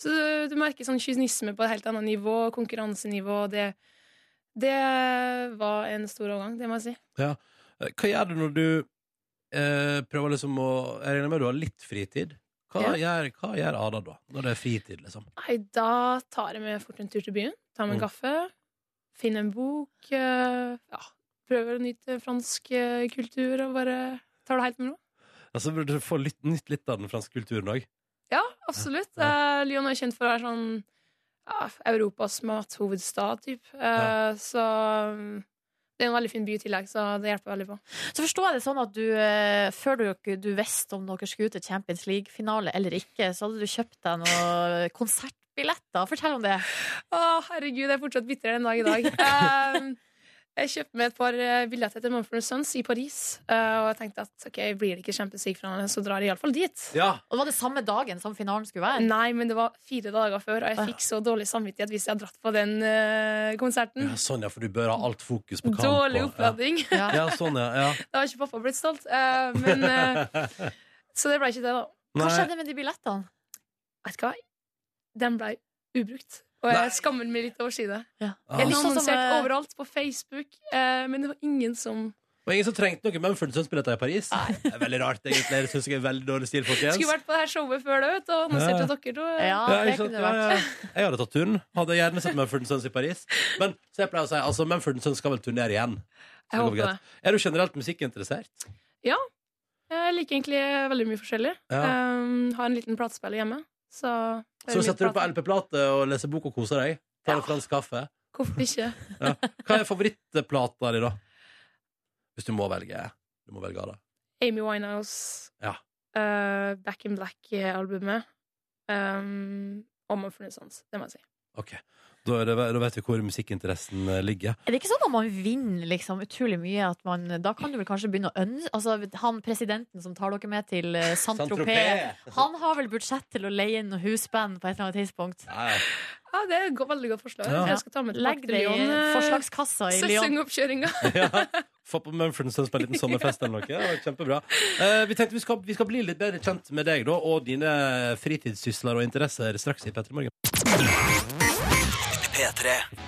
[SPEAKER 7] Så du, du merker sånn kynisme på et helt annet nivå, konkurransenivå. Det, det var en stor overgang, det må jeg si.
[SPEAKER 3] Eh, Hva gjør du når du eh, prøver liksom å Jeg regner med du har litt fritid. Hva, gjør, hva gjør Ada da, når det er fritid, liksom?
[SPEAKER 7] Nei, da tar jeg meg fort en tur til byen. Tar meg en
[SPEAKER 3] Mm.
[SPEAKER 7] kaffe. Finner en bok. eh, ja, prøver å nyte fransk eh, kultur og bare tar det helt med ro.
[SPEAKER 3] Altså, du får litt, nytt litt av den franske kulturen òg.
[SPEAKER 7] Ja, absolutt. Eh, Lyon er kjent for å være sånn ja, Europas mathovedstad, typ. Eh, Så mm, det er en veldig fin by i tillegg, så det hjelper veldig på.
[SPEAKER 1] Så forstår jeg det sånn at du, eh, før du, du visste om dere skulle ut til Champions League-finale eller ikke, så hadde du kjøpt deg noen konsertbilletter. Fortell om det.
[SPEAKER 7] Å, herregud, jeg er fortsatt bitter den dag i dag. Ehm, jeg kjøpte meg et par eh, billetter til Mumford Sons i Paris, eh, og jeg tenkte at ok, blir det ikke Champions League-finale, så drar jeg iallfall dit.
[SPEAKER 3] Ja.
[SPEAKER 1] Og det var det samme dagen som finalen skulle være.
[SPEAKER 7] Nei, men det var fire dager før, og jeg fikk så dårlig samvittighet hvis jeg hadde dratt på den eh, konserten.
[SPEAKER 3] Sånn, ja, for du bør ha alt fokus på kamp.
[SPEAKER 7] Dårlig
[SPEAKER 3] og-
[SPEAKER 7] oppladning.
[SPEAKER 1] Ja.
[SPEAKER 3] Ja. ja, sånn, ja. ja.
[SPEAKER 7] [LAUGHS] Da har ikke pappa blitt stolt. eh, men,
[SPEAKER 3] [LAUGHS]
[SPEAKER 7] [LAUGHS] eh, så det ble ikke det, da.
[SPEAKER 1] Hva
[SPEAKER 3] Nei.
[SPEAKER 1] skjedde med de billettene?
[SPEAKER 7] Vet du hva? Den ble ubrukt. Og jeg skammer meg litt over å si det.
[SPEAKER 3] Ah.
[SPEAKER 7] Jeg
[SPEAKER 1] Litt
[SPEAKER 7] ble
[SPEAKER 1] sånn som,
[SPEAKER 7] annonsert
[SPEAKER 1] eh,
[SPEAKER 7] overalt på Facebook, eh, men det var ingen som
[SPEAKER 3] Og ingen som trengte noen Mumford Sons-billetter i Paris. Det er veldig rart, egentlig. Det synes jeg er veldig dårlig stil, folkens.
[SPEAKER 7] Skulle vært på det her showet før det, vet du, og annonsert
[SPEAKER 3] Ja.
[SPEAKER 7] til dere to.
[SPEAKER 1] Ja,
[SPEAKER 3] Ja,
[SPEAKER 1] det
[SPEAKER 3] ikke sant?
[SPEAKER 1] kunne det
[SPEAKER 3] Ja,
[SPEAKER 1] vært.
[SPEAKER 3] ja. Jeg hadde tatt turen. Hadde gjerne sett Mumford Sons i Paris. Men så jeg pleier å si, altså, Mumford Sons skal vel turnere igjen. Så
[SPEAKER 7] Jeg
[SPEAKER 3] det går
[SPEAKER 7] håper
[SPEAKER 3] greit.
[SPEAKER 7] det.
[SPEAKER 3] Er du generelt musikkinteressert?
[SPEAKER 7] Jeg liker egentlig veldig mye forskjellig.
[SPEAKER 3] Ja.
[SPEAKER 7] Um, har en liten platespiller hjemme. Så,
[SPEAKER 3] Så setter du på LP-plate og leser bok og koser deg? Tar en fransk kaffe?
[SPEAKER 7] Hvorfor ikke?
[SPEAKER 3] Hva er favorittplata di, da? Hvis du må velge. Du må velge Ada.
[SPEAKER 7] Amy Winehouse,
[SPEAKER 3] Ja.
[SPEAKER 7] eh, Back in Black-albumet. Um, og Mumford Sons, det må jeg si.
[SPEAKER 3] Ok. Da, er det, da vet vi hvor musikkinteressen eh, ligger.
[SPEAKER 1] Er det ikke sånn at man vinner liksom, utrolig mye? At man, da kan du vel kanskje begynne å ønske altså, Han presidenten som tar dere med til eh, Saint-Tropez,
[SPEAKER 3] Saint-Tropez.
[SPEAKER 1] han har vel budsjett til å leie inn noe husband på et eller annet tidspunkt?
[SPEAKER 3] Ja, [LAUGHS] ja.
[SPEAKER 7] Ja, Det er et go- veldig godt forslag.
[SPEAKER 3] Ja.
[SPEAKER 7] Jeg skal ta med eh,
[SPEAKER 1] Legg det i forslagskassa i Lyon.
[SPEAKER 7] Sesongoppkjøringa.
[SPEAKER 3] ja. Få på Mumford Sons på en liten sommerfest eller noe. Ja, kjempebra. Eh, vi tenkte vi skal, vi skal bli litt bedre kjent med deg da, og dine fritidssysler og interesser straks i P3 Morgen.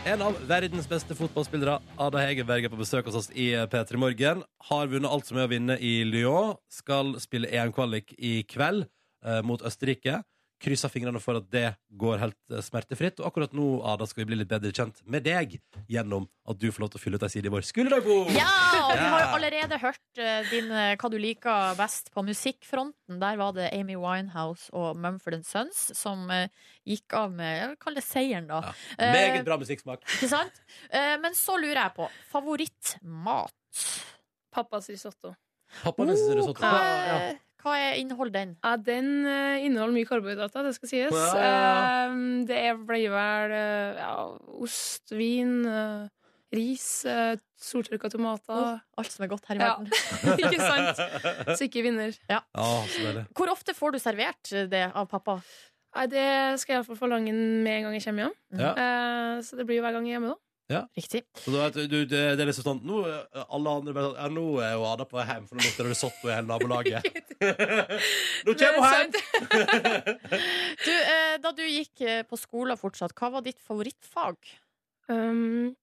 [SPEAKER 3] En av verdens beste fotballspillere, Ada Hegerberg, er på besøk hos oss i P3 Morgen. Har vunnet alt som er å vinne i Lyon. Skal spille EM-kvalik i kveld eh, mot Østerrike. Krysser fingrene for at det går helt eh, smertefritt. Og akkurat nå Ada, skal vi bli litt bedre kjent med deg gjennom at du får lov til å fylle ut ei side i vår skoledagbok.
[SPEAKER 1] Ja, og vi har jo
[SPEAKER 3] Ja.
[SPEAKER 1] allerede hørt eh, din, eh, hva du liker best på musikkfronten. Der var det Amy Winehouse og Mumford Sons som eh, gikk av med jeg vil kalle det seieren, da.
[SPEAKER 3] Ja.
[SPEAKER 1] Eh,
[SPEAKER 3] Meget bra musikksmak.
[SPEAKER 1] Ikke sant? Eh, Men så lurer jeg på favorittmat.
[SPEAKER 7] [LAUGHS] Pappas risotto.
[SPEAKER 3] Pappaen min synes det er sånn.
[SPEAKER 1] hva, er- hva er inneholder den?
[SPEAKER 7] Ja, den eh, inneholder mye karbohydrater, det skal sies.
[SPEAKER 3] Ja, ja,
[SPEAKER 7] Eh, det er- blir vel eh, ja, ost, vin, eh, ris, uh, soltørka tomater.
[SPEAKER 1] Alt som er godt her i
[SPEAKER 7] Ja.
[SPEAKER 1] verden.
[SPEAKER 7] [LAUGHS] ikke sant? Så ikke vinner.
[SPEAKER 3] [LAUGHS] Ja, så deilig.
[SPEAKER 1] Hvor ofte får du servert eh, det av pappa?
[SPEAKER 7] Nei, det skal jeg iallfall forlange med en gang jeg kommer hjem.
[SPEAKER 3] Ja.
[SPEAKER 7] Eh, så det blir jo hver gang jeg er hjemme, da.
[SPEAKER 1] Riktig.
[SPEAKER 3] Så da vet du, du, det, det er liksom sånn Nå er alle andre bare sånn Ja, nå er jo Ada på vei hjem, for nå lukter det risotto i hele
[SPEAKER 7] [LAUGHS]
[SPEAKER 3] nabolaget. [LAUGHS] nå
[SPEAKER 7] Det er
[SPEAKER 3] kommer hun hjem!
[SPEAKER 7] sant.
[SPEAKER 1] Du, eh, da du gikk eh, på skolen fortsatt, hva var ditt favorittfag?
[SPEAKER 7] Um,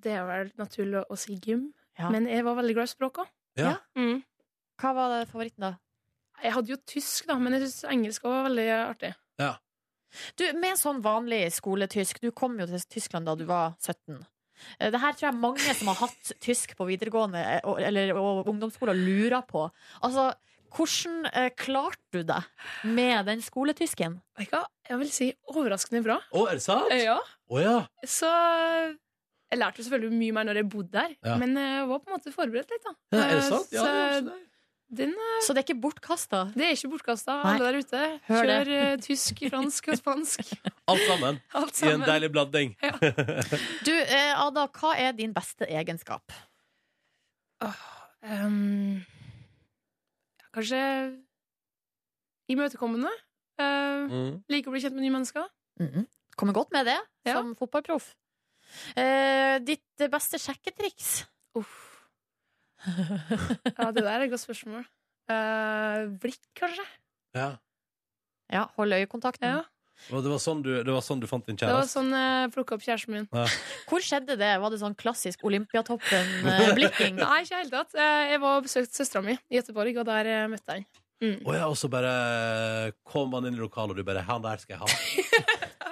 [SPEAKER 7] det er vel naturlig å si gym,
[SPEAKER 1] Ja.
[SPEAKER 7] men jeg var veldig glad i språk òg.
[SPEAKER 3] Ja.
[SPEAKER 7] Mm.
[SPEAKER 1] Hva var det favoritten da?
[SPEAKER 7] Jeg hadde jo tysk, da, men jeg syns engelsk også var veldig artig.
[SPEAKER 1] Du, med sånn vanlig skoletysk, du kom jo til Tyskland da du var 17. Eh, Det her tror jeg mange som har hatt tysk på videregående eh, og, eller, og ungdomsskole, lurer på. Altså, hvordan eh, klarte du deg med den skoletysken?
[SPEAKER 7] Vet du hva? Jeg vil si overraskende bra.
[SPEAKER 3] [LAUGHS] Å, er det sant?
[SPEAKER 7] Eh, Ja,
[SPEAKER 3] Å ja.
[SPEAKER 7] så jeg lærte jo selvfølgelig mye mer når jeg bodde der,
[SPEAKER 3] Ja.
[SPEAKER 7] men jeg var på en måte forberedt litt, da.
[SPEAKER 3] ja. Er det
[SPEAKER 7] Eh,
[SPEAKER 3] sant? Ja, det er
[SPEAKER 7] så
[SPEAKER 3] sant.
[SPEAKER 7] den, eh,
[SPEAKER 1] Så det er ikke bortkasta.
[SPEAKER 7] det er ikke bortkasta,
[SPEAKER 1] Nei.
[SPEAKER 7] alle der ute.
[SPEAKER 1] Hør
[SPEAKER 7] Kjør
[SPEAKER 1] det.
[SPEAKER 7] eh, tysk, fransk og
[SPEAKER 1] [LAUGHS]
[SPEAKER 7] spansk.
[SPEAKER 3] Alt sammen
[SPEAKER 7] Alt
[SPEAKER 3] i en
[SPEAKER 7] sammen.
[SPEAKER 3] deilig blanding.
[SPEAKER 1] Du, eh, Ada, hva er din beste egenskap?
[SPEAKER 7] Ehm, ja, kanskje imøtekommende. Uh,
[SPEAKER 3] Mm.
[SPEAKER 7] Liker å bli kjent med nye mennesker.
[SPEAKER 1] Mhm. Kommer godt med det
[SPEAKER 7] Mm-hmm. Ja.
[SPEAKER 1] som fotballproff. Eh, ditt beste sjekketriks?
[SPEAKER 7] [LAUGHS] Uff. Ja, det der er et godt spørsmål. Eh, blikk, kanskje?
[SPEAKER 3] Ja.
[SPEAKER 1] Ja, hold øyekontakten.
[SPEAKER 7] Ja.
[SPEAKER 3] Og Det var sånn du, det var sånn du fant din
[SPEAKER 7] Det var
[SPEAKER 3] kjæreste?
[SPEAKER 7] sånn jeg plukka opp kjæresten min.
[SPEAKER 1] Hvor skjedde det? Var det sånn klassisk
[SPEAKER 7] [LAUGHS]
[SPEAKER 1] eh, Olympiatoppen-blikking?
[SPEAKER 7] Nei, ikke i det hele tatt. Eh, Jeg var og besøkte søstera mi i Gøteborg, og der eh, møtte jeg henne. Mm.
[SPEAKER 3] Å ja, og så bare eh, kom han inn i lokalet, og du bare Han der skal jeg ha.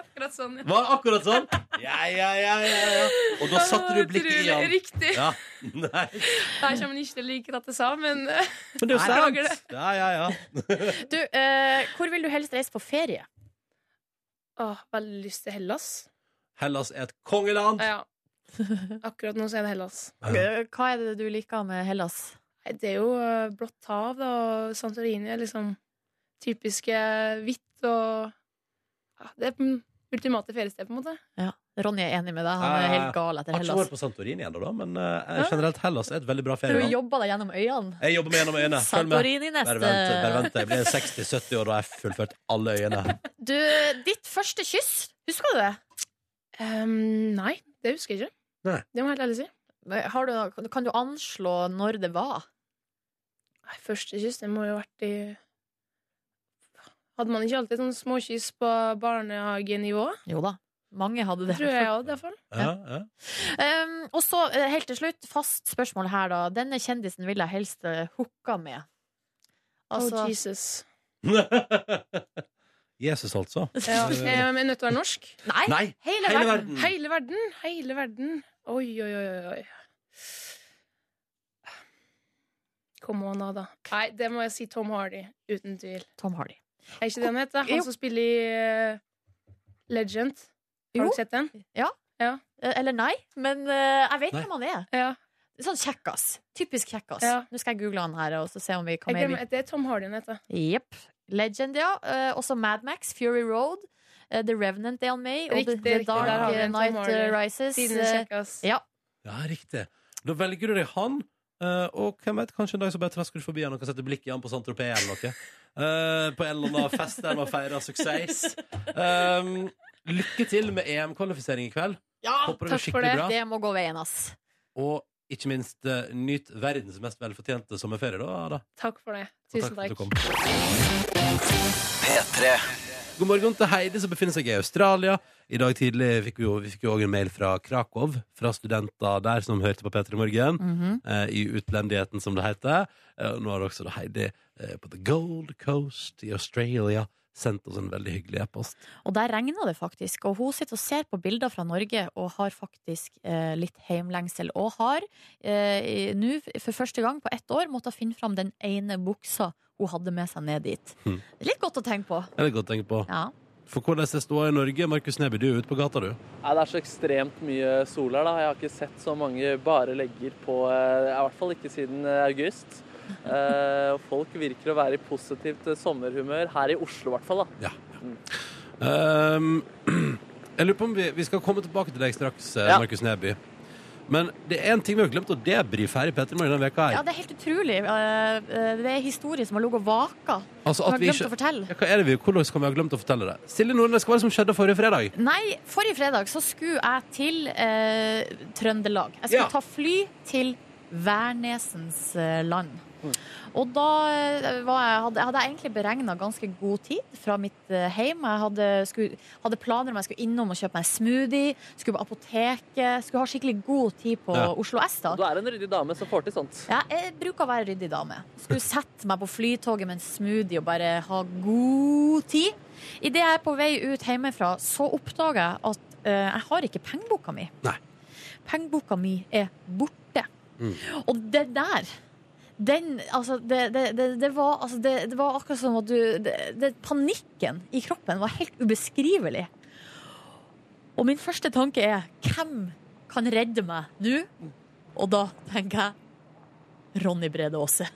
[SPEAKER 7] Akkurat sånn, ja.
[SPEAKER 3] Var det akkurat
[SPEAKER 7] [LAUGHS]
[SPEAKER 3] sånn? Ja, ja, ja, ja, ja. Og da satte du blikket i han.
[SPEAKER 7] Riktig.
[SPEAKER 3] Ja. [LAUGHS] Nei.
[SPEAKER 7] Jeg kommer ikke til å like at jeg sa, men eh,
[SPEAKER 3] Men det er jo
[SPEAKER 7] Nei, jeg lager
[SPEAKER 3] sant. Ja, ja, ja.
[SPEAKER 1] Du, eh, hvor vil du helst reise på ferie?
[SPEAKER 7] Åh, veldig lyst til Hellas.
[SPEAKER 3] Hellas er et kongeland.
[SPEAKER 7] [LAUGHS] Ja. Akkurat nå så er det Hellas.
[SPEAKER 1] Eh, Hva er det du liker med Hellas?
[SPEAKER 7] Nei, Det er jo eh, blått hav, da, og Santorini er liksom typiske hvitt og ja, Det er den ultimate feriested, på en måte.
[SPEAKER 1] Ronny er enig med deg. Han er
[SPEAKER 3] Eh,
[SPEAKER 1] helt gal etter
[SPEAKER 3] Har ikke vært
[SPEAKER 1] Hellas.
[SPEAKER 3] på Santorini ennå, da, men eh, generelt Hellas er et veldig bra
[SPEAKER 1] Du
[SPEAKER 3] ferieland.
[SPEAKER 1] jobba deg gjennom øyene.
[SPEAKER 3] Jeg jobber meg gjennom øyene. Følg med.
[SPEAKER 1] Santorini
[SPEAKER 3] Bare vent, bare
[SPEAKER 1] neste.
[SPEAKER 3] vent. Jeg blir 60-70 år og har fullført alle
[SPEAKER 1] [LAUGHS]
[SPEAKER 3] øyene.
[SPEAKER 1] Du, ditt første kyss, husker du det?
[SPEAKER 7] Ehm, nei, det husker jeg ikke.
[SPEAKER 3] Nei.
[SPEAKER 7] Det må jeg helt ærlig si.
[SPEAKER 1] Har du, kan du anslå når det var?
[SPEAKER 7] Nei, første kyss, det må jo ha vært i Hadde man ikke alltid sånne småkyss på barnehagenivå?
[SPEAKER 1] Jo da. Mange hadde det.
[SPEAKER 7] Tror jeg òg, iallfall.
[SPEAKER 3] Ja, ja. [LAUGHS]
[SPEAKER 1] Um, og så eh, helt til slutt, fast spørsmål her, da. Denne kjendisen vil jeg helst eh, hooka med.
[SPEAKER 7] Oh,
[SPEAKER 1] Altså,
[SPEAKER 7] Jesus.
[SPEAKER 3] Jesus, altså.
[SPEAKER 7] Ja. Eh, men jeg er nødt til å være norsk.
[SPEAKER 1] nei,
[SPEAKER 3] Nei,
[SPEAKER 1] hele,
[SPEAKER 3] hele
[SPEAKER 1] verden.
[SPEAKER 3] verden.
[SPEAKER 7] Hele verden! Hele verden. Oi, oi, oi, oi. Come on, Ada. Nei, det må jeg si Tom Hardy. Uten tvil.
[SPEAKER 1] Tom Hardy.
[SPEAKER 7] Er ikke det han heter?
[SPEAKER 1] Jo.
[SPEAKER 7] Han som spiller i eh, Legend. Har
[SPEAKER 1] Jo.
[SPEAKER 7] du sett den?
[SPEAKER 1] Eh, Eller nei, men eh, jeg vet
[SPEAKER 3] Nei.
[SPEAKER 1] hvem han er.
[SPEAKER 7] Ja.
[SPEAKER 1] Sånn kjekkas. Typisk kjekkas.
[SPEAKER 7] Ja.
[SPEAKER 1] Nå skal jeg google han her og så se om vi
[SPEAKER 7] Jeg
[SPEAKER 1] kan
[SPEAKER 7] glemmer, det er Tom Hardy han heter.
[SPEAKER 1] Jepp. Legend, ja. Eh, også Madmax, Fury Road. eh, The Revenant er han med i. Og The,
[SPEAKER 7] Riktig,
[SPEAKER 1] The
[SPEAKER 7] riktig.
[SPEAKER 1] Dark
[SPEAKER 3] Der har
[SPEAKER 7] vi en Tom
[SPEAKER 1] Night
[SPEAKER 7] Hardy.
[SPEAKER 1] Rises.
[SPEAKER 7] Siden det
[SPEAKER 1] eh,
[SPEAKER 7] kjekkas.
[SPEAKER 1] ja.
[SPEAKER 3] Ja, riktig. Da velger du deg han, eh, og hvem vet, kanskje en dag så bare trasker du forbi han og kan sette blikket i han på Saint-Tropez eller noe. Eh, på en eller annen fest der man feirer suksess. Um, lykke til med EM-kvalifisering i kveld. Håper det går
[SPEAKER 7] takk for
[SPEAKER 3] skikkelig
[SPEAKER 7] det.
[SPEAKER 3] bra.
[SPEAKER 1] Det må gå veien, ass.
[SPEAKER 3] Og ikke minst, eh, nyt verdens mest velfortjente sommerferie, da. Ada.
[SPEAKER 7] Takk for det.
[SPEAKER 3] Og
[SPEAKER 7] Tusen
[SPEAKER 3] for at
[SPEAKER 7] takk.
[SPEAKER 3] du kom. God morgen til Heidi som befinner seg i Australia. I dag tidlig fikk vi jo vi fikk jo også en mail fra Krakow, fra studenter der som hørte på P3 Morgen.
[SPEAKER 7] Mhm.
[SPEAKER 3] eh, I utlendigheten, som det heter. Eh, og nå har også da Heidi eh, på The Gold Coast i Australia sendt oss en veldig hyggelig e-post.
[SPEAKER 1] Og der regner det faktisk. Og hun sitter og ser på bilder fra Norge og har faktisk eh, litt heimlengsel. Og har eh, i- nå for første gang på ett år måttet finne fram den ene buksa hun hadde med seg ned dit.
[SPEAKER 3] Hmm.
[SPEAKER 1] Litt godt å tenke på.
[SPEAKER 3] Det er det godt å tenke på.
[SPEAKER 1] Ja.
[SPEAKER 3] For hvordan det står i Norge? Markus Neby, du er ute på gata, du.
[SPEAKER 2] Nei, det er så ekstremt mye sol her. da. Jeg har ikke sett så mange bare legger på eh, I hvert fall ikke siden eh, august. Eh, og folk virker å være i positivt eh, sommerhumør her i Oslo, i hvert fall. da.
[SPEAKER 3] Ja.
[SPEAKER 1] Mm.
[SPEAKER 3] Um, [CLEARS THROAT] jeg lurer på om vi, vi skal komme tilbake til deg straks, eh,
[SPEAKER 2] Ja.
[SPEAKER 3] Markus Neby. Men det er en ting vi har glemt å debrife her i Petter Morgen denne veka her.
[SPEAKER 1] ja, det er helt utrolig. Eh, eh, det er historie som har ligget og vaka.
[SPEAKER 3] altså,
[SPEAKER 1] Som
[SPEAKER 3] at
[SPEAKER 1] har
[SPEAKER 3] vi
[SPEAKER 1] glemt å
[SPEAKER 3] ikke...
[SPEAKER 1] fortelle.
[SPEAKER 3] Ja, hva er det vi, hvordan kan vi ha glemt å fortelle det? Silje Nordnes, hva var det som skjedde forrige fredag?
[SPEAKER 1] Nei, forrige fredag så skulle jeg til eh, Trøndelag. Jeg skulle
[SPEAKER 3] Ja.
[SPEAKER 1] ta fly til Værnesens eh, land. Og da eh, var jeg, hadde, hadde jeg egentlig beregna ganske god tid fra mitt eh, heim. Jeg hadde, skulle, hadde planer om jeg skulle innom og kjøpe meg en smoothie, skulle på apoteket, skulle ha skikkelig god tid på
[SPEAKER 3] Ja.
[SPEAKER 1] Oslo S. da.
[SPEAKER 2] Du er en ryddig dame som får til sånt.
[SPEAKER 1] Ja, jeg bruker å være ryddig dame. Skulle sette meg på flytoget med en smoothie og bare ha god tid. Idet jeg er på vei ut hjemmefra, så oppdager jeg at eh, jeg har ikke pengeboka mi.
[SPEAKER 3] Nei.
[SPEAKER 1] Pengeboka mi er borte.
[SPEAKER 3] Mm.
[SPEAKER 1] Og det der den, altså, det, det, det, det, var, altså det, det var akkurat som at du det, det, Panikken i kroppen var helt ubeskrivelig. Og min første tanke er hvem kan redde meg nå? Og da tenker jeg Ronny Brede Aase.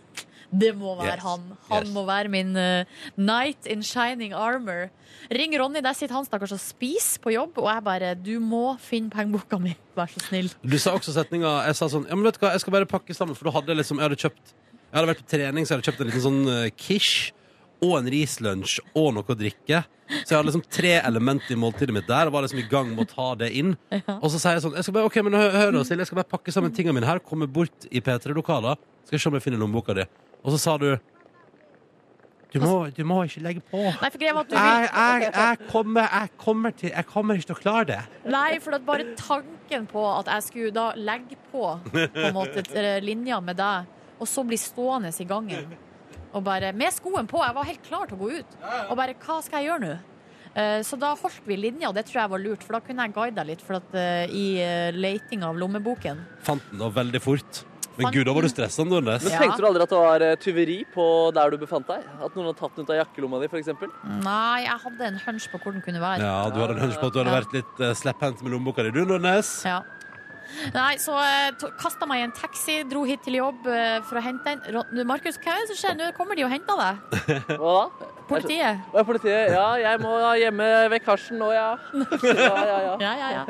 [SPEAKER 1] Det må være
[SPEAKER 3] Yes.
[SPEAKER 1] han. Han
[SPEAKER 3] Yes.
[SPEAKER 1] må være min eh, knight in shining armor. Ring Ronny, der sitter han stakkars og spiser på jobb, og jeg bare Du må finne pengeboka mi, vær så snill.
[SPEAKER 3] Du sa også setninga Jeg sa sånn Ja, men vet du hva, jeg skal bare pakke sammen, for da hadde jeg liksom Jeg hadde kjøpt Jeg hadde vært på trening, så jeg hadde kjøpt en liten sånn eh, quiche og en rislunsj og noe å drikke. Så jeg hadde liksom tre elementer i måltidet mitt der og var liksom i gang med å ta det inn. Og så sier jeg sånn Jeg skal bare, ok, men hør, hør nå, Silje, jeg skal bare pakke sammen tingene mine her, komme bort i P3-lokaler, skal se om jeg finner lommeboka di. Og så sa du du må, du må ikke legge på.
[SPEAKER 1] Nei, for greia var at du
[SPEAKER 3] Jeg,
[SPEAKER 1] vil
[SPEAKER 3] jeg, jeg, kommer, jeg, kommer til, jeg kommer ikke til å klare det.
[SPEAKER 1] Nei, for at bare tanken på at jeg skulle da legge på på en måte eh, linja med deg, og så bli stående i gangen og bare Med skoen på, jeg var helt klar til å gå ut. Og bare Hva skal jeg gjøre nå? Eh, Så da holdt vi linja, og det tror jeg var lurt, for da kunne jeg guida litt for at, eh, i eh, leitinga av lommeboken.
[SPEAKER 3] Fant den da veldig fort. Men
[SPEAKER 1] Fant
[SPEAKER 3] gud, da var du stressa, Nordnes.
[SPEAKER 2] Men
[SPEAKER 1] Ja.
[SPEAKER 2] tenkte du aldri at det var eh, tyveri på der du befant deg? At noen hadde tatt den ut av jakkelomma di, f.eks.?
[SPEAKER 1] Nei, jeg hadde en hunch på hvor den kunne være.
[SPEAKER 3] Ja, du hadde en hunch på at du hadde
[SPEAKER 1] Ja.
[SPEAKER 3] vært litt uh, slepphendt med lommeboka di, du, Nordnes.
[SPEAKER 1] Ja. Nei, så uh, kasta meg i en taxi, dro hit til jobb eh, for å hente den. Ron- Markus, hva er det som skjer? Nå kommer de og henter deg.
[SPEAKER 2] Hva da?
[SPEAKER 1] Politiet.
[SPEAKER 2] Å, ja, politiet. Ja, jeg må hjemme ved Karsten nå, ja. Ja, ja, ja.
[SPEAKER 1] Ja, ja, ja.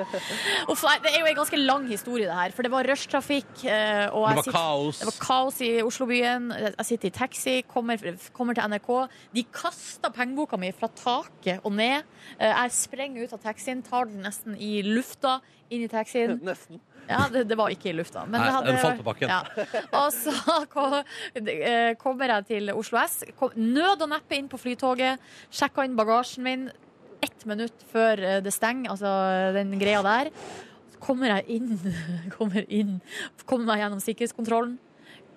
[SPEAKER 1] Uff, nei, det er jo en ganske lang historie, det her. For det var rushtrafikk. eh, og
[SPEAKER 3] Det
[SPEAKER 1] jeg
[SPEAKER 3] var
[SPEAKER 1] sitter-
[SPEAKER 3] kaos.
[SPEAKER 1] Det var kaos i Oslobyen. Jeg sitter i taxi, kommer, kommer til NRK. De kasta pengeboka mi fra taket og ned. Eh, Jeg sprenger ut av taxien, tar den nesten i lufta, inn i taxien.
[SPEAKER 2] Nesten.
[SPEAKER 1] Ja, det, det var ikke i lufta. Men
[SPEAKER 3] Nei,
[SPEAKER 1] det hadde,
[SPEAKER 3] den falt på bakken.
[SPEAKER 1] Ja. Og så kom, eh, kommer jeg til Oslo S. Kom, nød og neppe inn på flytoget. Sjekka inn bagasjen min ett minutt før eh, det stenger, altså den greia der. Så kommer jeg inn, [LAUGHS] kommer inn, kommer meg gjennom sikkerhetskontrollen.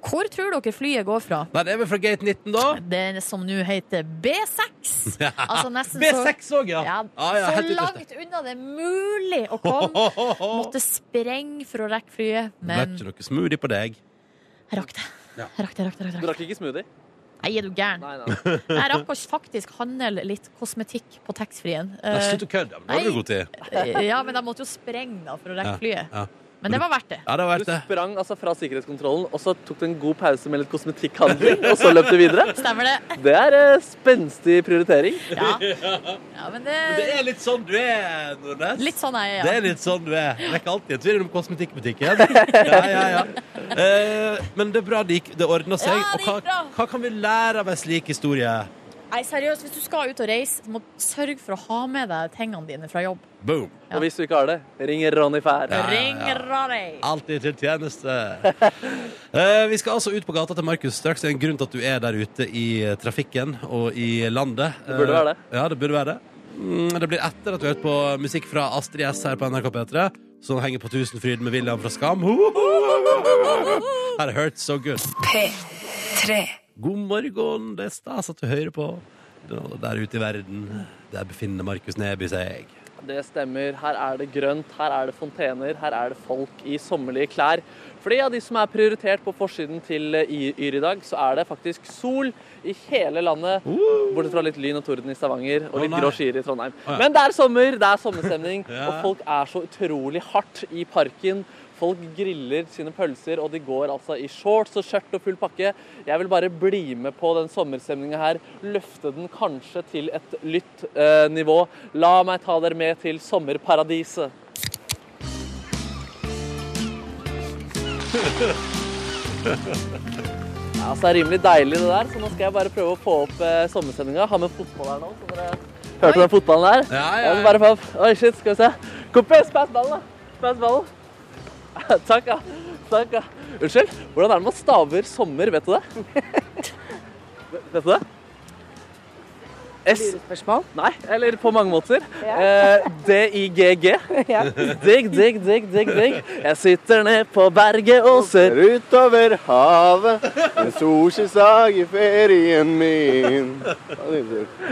[SPEAKER 1] Hvor tror dere flyet går fra?
[SPEAKER 3] Nei, det er vel fra gate 19, da.
[SPEAKER 1] Den som nå heter
[SPEAKER 3] [LAUGHS]
[SPEAKER 1] B6. Altså nesten så-
[SPEAKER 3] B6 òg, ja.
[SPEAKER 1] ja,
[SPEAKER 3] Ah, Ja, ja,
[SPEAKER 1] så
[SPEAKER 3] helt ytterst.
[SPEAKER 1] langt unna det er mulig å komme.
[SPEAKER 3] Måtte
[SPEAKER 1] Måtte sprenge for å rekke flyet, men
[SPEAKER 3] ikke noe smoothie på deg.
[SPEAKER 1] jeg rakk det.
[SPEAKER 3] Ja.
[SPEAKER 1] Jeg rakk det, rakk det, rakk
[SPEAKER 2] Du
[SPEAKER 1] det.
[SPEAKER 2] drakk ikke smoothie?
[SPEAKER 1] Nei, er du gæren?
[SPEAKER 2] Nei, nei.
[SPEAKER 1] [LAUGHS] Jeg rakk å faktisk handle litt kosmetikk på taxfree-en.
[SPEAKER 3] Nei,
[SPEAKER 1] Eh,
[SPEAKER 3] Slutt å kødde. men Nå har du
[SPEAKER 1] nei.
[SPEAKER 3] god tid.
[SPEAKER 1] ja, men jeg måtte jo sprenge da for å rekke
[SPEAKER 3] Ja,
[SPEAKER 1] flyet.
[SPEAKER 3] ja.
[SPEAKER 1] Men det var verdt det.
[SPEAKER 3] Ja, det har
[SPEAKER 2] Du
[SPEAKER 3] vært det.
[SPEAKER 2] sprang altså fra sikkerhetskontrollen, og så tok du en god pause med litt kosmetikkhandling, og så løp du videre?
[SPEAKER 1] Stemmer det?
[SPEAKER 2] Det er eh, spenstig prioritering.
[SPEAKER 3] [LAUGHS]
[SPEAKER 1] Ja. ja men
[SPEAKER 3] Det
[SPEAKER 1] det
[SPEAKER 3] er litt sånn du er, Nordnes.
[SPEAKER 1] Litt sånn jeg
[SPEAKER 3] Det
[SPEAKER 1] er,
[SPEAKER 3] er
[SPEAKER 1] ja.
[SPEAKER 3] litt sånn du er. Det er ikke alltid en tvil om
[SPEAKER 1] [LAUGHS]
[SPEAKER 3] kosmetikkbutikken. Ja, ja, ja. Eh, men det er bra det gikk. Det ordna seg.
[SPEAKER 1] Ja, det
[SPEAKER 3] og hva,
[SPEAKER 1] gikk bra.
[SPEAKER 3] hva kan vi lære av ei slik historie?
[SPEAKER 1] Nei, seriøst, hvis du skal ut og reise, så må du sørge for å ha med deg tingene dine fra jobb.
[SPEAKER 3] Boom.
[SPEAKER 1] Ja.
[SPEAKER 2] Og hvis du ikke har det, ring Ronny Fær.
[SPEAKER 3] Ja, ja, ja.
[SPEAKER 1] Ring Rari!
[SPEAKER 3] Alltid til tjeneste. Eh, vi skal altså ut på gata til Markus straks. Det er en grunn til at du er der ute i trafikken og i landet.
[SPEAKER 2] Det burde være det.
[SPEAKER 3] Eh, Ja, det burde være det. Mm, det blir etter at du har hørt på musikk fra Astrid S her på NRK P3, som henger på Tusenfryd med William fra Skam. Her hurts so good. God morgen, det er stas at du hører på. Der ute i verden, der befinner Markus Neby seg.
[SPEAKER 2] Det stemmer. Her er det grønt, her er det fontener, her er det folk i sommerlige klær. Flere av de som er prioritert på forsiden til eh, Y- Yr i dag, så er det faktisk sol i hele landet. Bortsett fra litt lyn og torden i Stavanger og
[SPEAKER 3] Å,
[SPEAKER 2] litt
[SPEAKER 3] nei.
[SPEAKER 2] grå skyer i Trondheim.
[SPEAKER 3] ja.
[SPEAKER 2] Men det er sommer, det er sommerstemning,
[SPEAKER 3] [LAUGHS] Ja.
[SPEAKER 2] og folk er så utrolig hardt i parken. Folk griller sine pølser, og de går altså i shorts og skjørt og full pakke. Jeg vil bare bli med på den sommerstemninga her. Løfte den kanskje til et lytt eh, nivå. La meg ta dere med til sommerparadiset. Ja, altså, det er rimelig deilig det der, så nå skal jeg bare prøve å få opp eh, sommerstemninga. Har med fotball her nå, så dere hørte den fotballen der?
[SPEAKER 3] Ja, ja,
[SPEAKER 2] Jeg må
[SPEAKER 3] ja.
[SPEAKER 2] bare få opp. Oi, shit, skal vi se. Kompis, pass ballen, da. Pass ballen. [LAUGHS] Takk, ja. Takk, ja. Unnskyld, hvordan er det man staver sommer, vet du det? [LAUGHS] vet du det? S... Spørsmål? Nei, eller på mange måter. Eh, D-I-G-G. Digg, digg, digg, digg, digg. Jeg sitter ned på berget og ser
[SPEAKER 5] utover havet, en solskinnsdag i ferien min.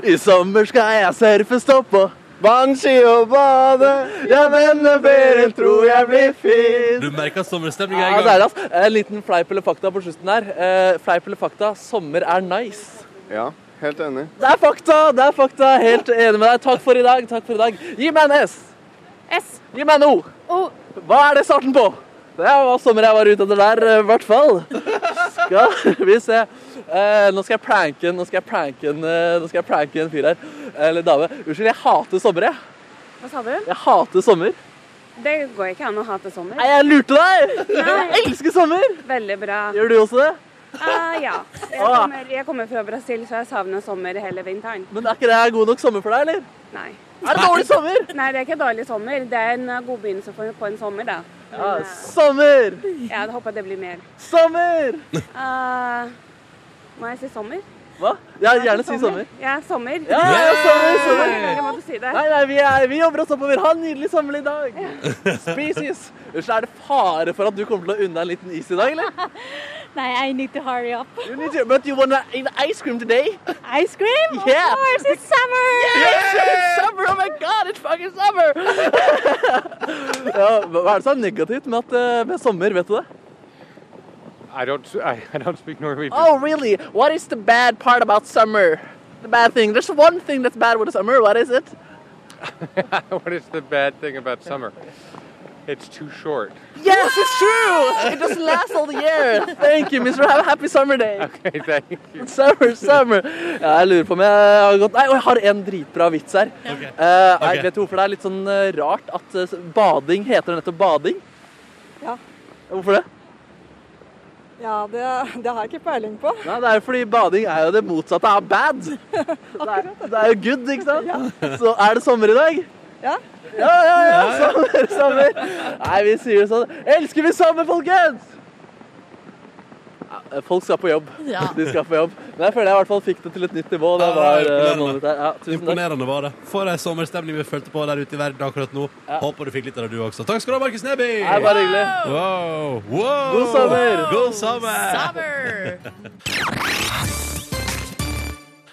[SPEAKER 2] I sommer skal jeg surfe, stå på
[SPEAKER 8] Banshi og bade. Jeg vender ferien, tror jeg blir fin.
[SPEAKER 3] Du merker
[SPEAKER 2] Ja,
[SPEAKER 3] sommerstemninga i
[SPEAKER 2] det er
[SPEAKER 3] gang.
[SPEAKER 2] det, ass. En liten fleip eller fakta på slutten der. Eh, fleip eller fakta, sommer er nice.
[SPEAKER 8] Ja, helt enig.
[SPEAKER 2] Det er fakta! det er fakta, Helt enig med deg. Takk for i dag. takk for i dag. Gi meg en S.
[SPEAKER 9] S.
[SPEAKER 2] Gi meg en O.
[SPEAKER 9] O.
[SPEAKER 2] Hva er det starten på? Det var sommer jeg var ute etter der, eh, i hvert fall. Skal [LAUGHS] vi se. Eh, nå skal jeg pranke en nå skal jeg pranke en, eh, nå skal jeg pranke en fyr her. Eh, Eller dame. Unnskyld, jeg hater sommer, jeg.
[SPEAKER 9] Hva sa du?
[SPEAKER 2] Jeg hater sommer.
[SPEAKER 9] Det går ikke an å hate sommer.
[SPEAKER 2] Nei, jeg lurte deg!
[SPEAKER 9] Nei.
[SPEAKER 2] Jeg elsker sommer!
[SPEAKER 9] Veldig bra.
[SPEAKER 2] Gjør du også det?
[SPEAKER 9] Eh, ja. Jeg
[SPEAKER 2] Ah.
[SPEAKER 9] kommer, jeg kommer fra Brasil, så jeg savner sommer hele vinteren.
[SPEAKER 2] Men er ikke det god nok sommer for deg, eller?
[SPEAKER 9] Nei.
[SPEAKER 2] Er det dårlig sommer?
[SPEAKER 9] Nei, det er ikke dårlig sommer. Det er en eh, god begynnelse for- på en sommer, da. Men,
[SPEAKER 2] Ja,
[SPEAKER 9] eh,
[SPEAKER 2] sommer!
[SPEAKER 9] jeg hadde håpet det blir mer.
[SPEAKER 2] Sommer!
[SPEAKER 9] Eh, må jeg si sommer?
[SPEAKER 2] Hva? Ja, gjerne si sommer.
[SPEAKER 9] Ja, sommer.
[SPEAKER 2] Ja, ja, sommer,
[SPEAKER 9] Nei,
[SPEAKER 2] sommer!
[SPEAKER 9] Jeg måtte si det.
[SPEAKER 2] Nei, nei, vi, er, vi jobber oss oppover. Ha en nydelig sommer i dag. Species. Unnskyld, er det fare for at du kommer til å unne en liten is i dag, eller?
[SPEAKER 10] [LAUGHS] Nei, I need to hurry up.
[SPEAKER 2] You need to, but you wanna eat ice cream today?
[SPEAKER 10] Ice cream?
[SPEAKER 2] Yeah.
[SPEAKER 10] Of course, it's summer!
[SPEAKER 2] Yes, it's summer! Oh my god, it's fucking summer! [LAUGHS] ja, hva hva er det som er negativt med, at, eh, med sommer, vet du det?
[SPEAKER 8] I don't, I, I don't speak Norwegian.
[SPEAKER 2] Oh, really? What is the bad part about summer? The bad thing. There's one thing that's bad with summer. What is it?
[SPEAKER 8] What is the bad thing about summer? It's too short.
[SPEAKER 2] Yes, it's true. It doesn't last all the year. Thank you, mister. Have a happy summer day.
[SPEAKER 8] [LAUGHS] Okay, thank you.
[SPEAKER 2] Summer, summer. Ja, jeg lurer på om jeg har gått Nei, og jeg har en dritbra vits her. Eh, nei,
[SPEAKER 3] Ok.
[SPEAKER 2] Vet du hvorfor det er litt sånn eh, rart at eh, bading heter nettopp bading?
[SPEAKER 10] Ja.
[SPEAKER 2] Hvorfor det?
[SPEAKER 10] Ja, det, det har jeg ikke peiling på.
[SPEAKER 2] Nei, Det er jo fordi bading er jo det motsatte av
[SPEAKER 1] [LAUGHS]
[SPEAKER 2] bad. Det er, det er jo good, ikke sant? Så er det sommer i dag?
[SPEAKER 10] Ja.
[SPEAKER 2] Ja, ja, ja. Sommer, sommer. Nei, vi sier det sånn. Elsker vi sommer, folkens? Ja, Folk skal på jobb.
[SPEAKER 1] Ja.
[SPEAKER 2] De skal på jobb. Men jeg føler jeg i hvert fall fikk det til et nytt nivå. Det
[SPEAKER 3] Ja,
[SPEAKER 2] var eh,
[SPEAKER 3] imponerende.
[SPEAKER 2] målet der. Ja, tusen takk.
[SPEAKER 3] Imponerende var det. For ei sommerstemning vi følte på der ute i verden akkurat nå. Håper du fikk litt av det, du også. Takk skal du ha, Markus Neby!
[SPEAKER 2] Det er bare hyggelig.
[SPEAKER 3] Wow. Wow.
[SPEAKER 2] God sommer.
[SPEAKER 3] God sommer!
[SPEAKER 1] Summer!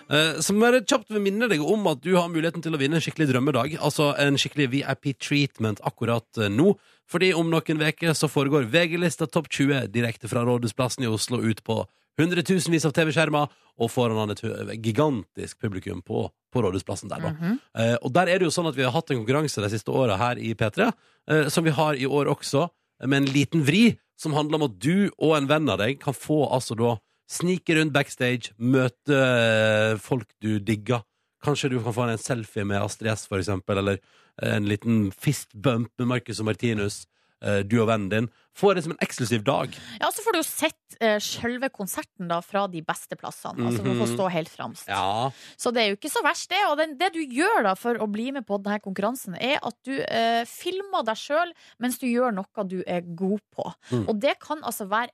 [SPEAKER 3] Eh, Så må jeg kjapt minne deg om at du har muligheten til å vinne en skikkelig drømmedag. Altså en skikkelig VIP-treatment akkurat eh, nå. Fordi om noen veker så foregår VG-lista Topp 20 direkte fra Rådhusplassen i Oslo ut på hundretusenvis av TV-skjermer og foran et hø- gigantisk publikum på, på Rådhusplassen der, da. Eh, Og der er det jo sånn at vi har hatt en konkurranse de siste åra her i P3, eh, som vi har i år også, med en liten vri, som handler om at du og en venn av deg kan få altså da Snike rundt backstage, møte eh, folk du digger. Kanskje du kan få en selfie med Astrid S, for eksempel, eller eh, en liten fist bump med Marcus og Martinus, eh, du og vennen din. Få det som en eksklusiv dag.
[SPEAKER 1] Ja, så får du jo sett eh, selve konserten da fra de beste plassene. Altså for å få
[SPEAKER 3] Mhm.
[SPEAKER 1] stå helt fremst.
[SPEAKER 3] Ja.
[SPEAKER 1] Så det er jo ikke så verst, det. Og den, det du gjør da for å bli med på denne konkurransen, er at du eh, filmer deg sjøl mens du gjør noe du er god på.
[SPEAKER 3] Mm.
[SPEAKER 1] Og det kan altså være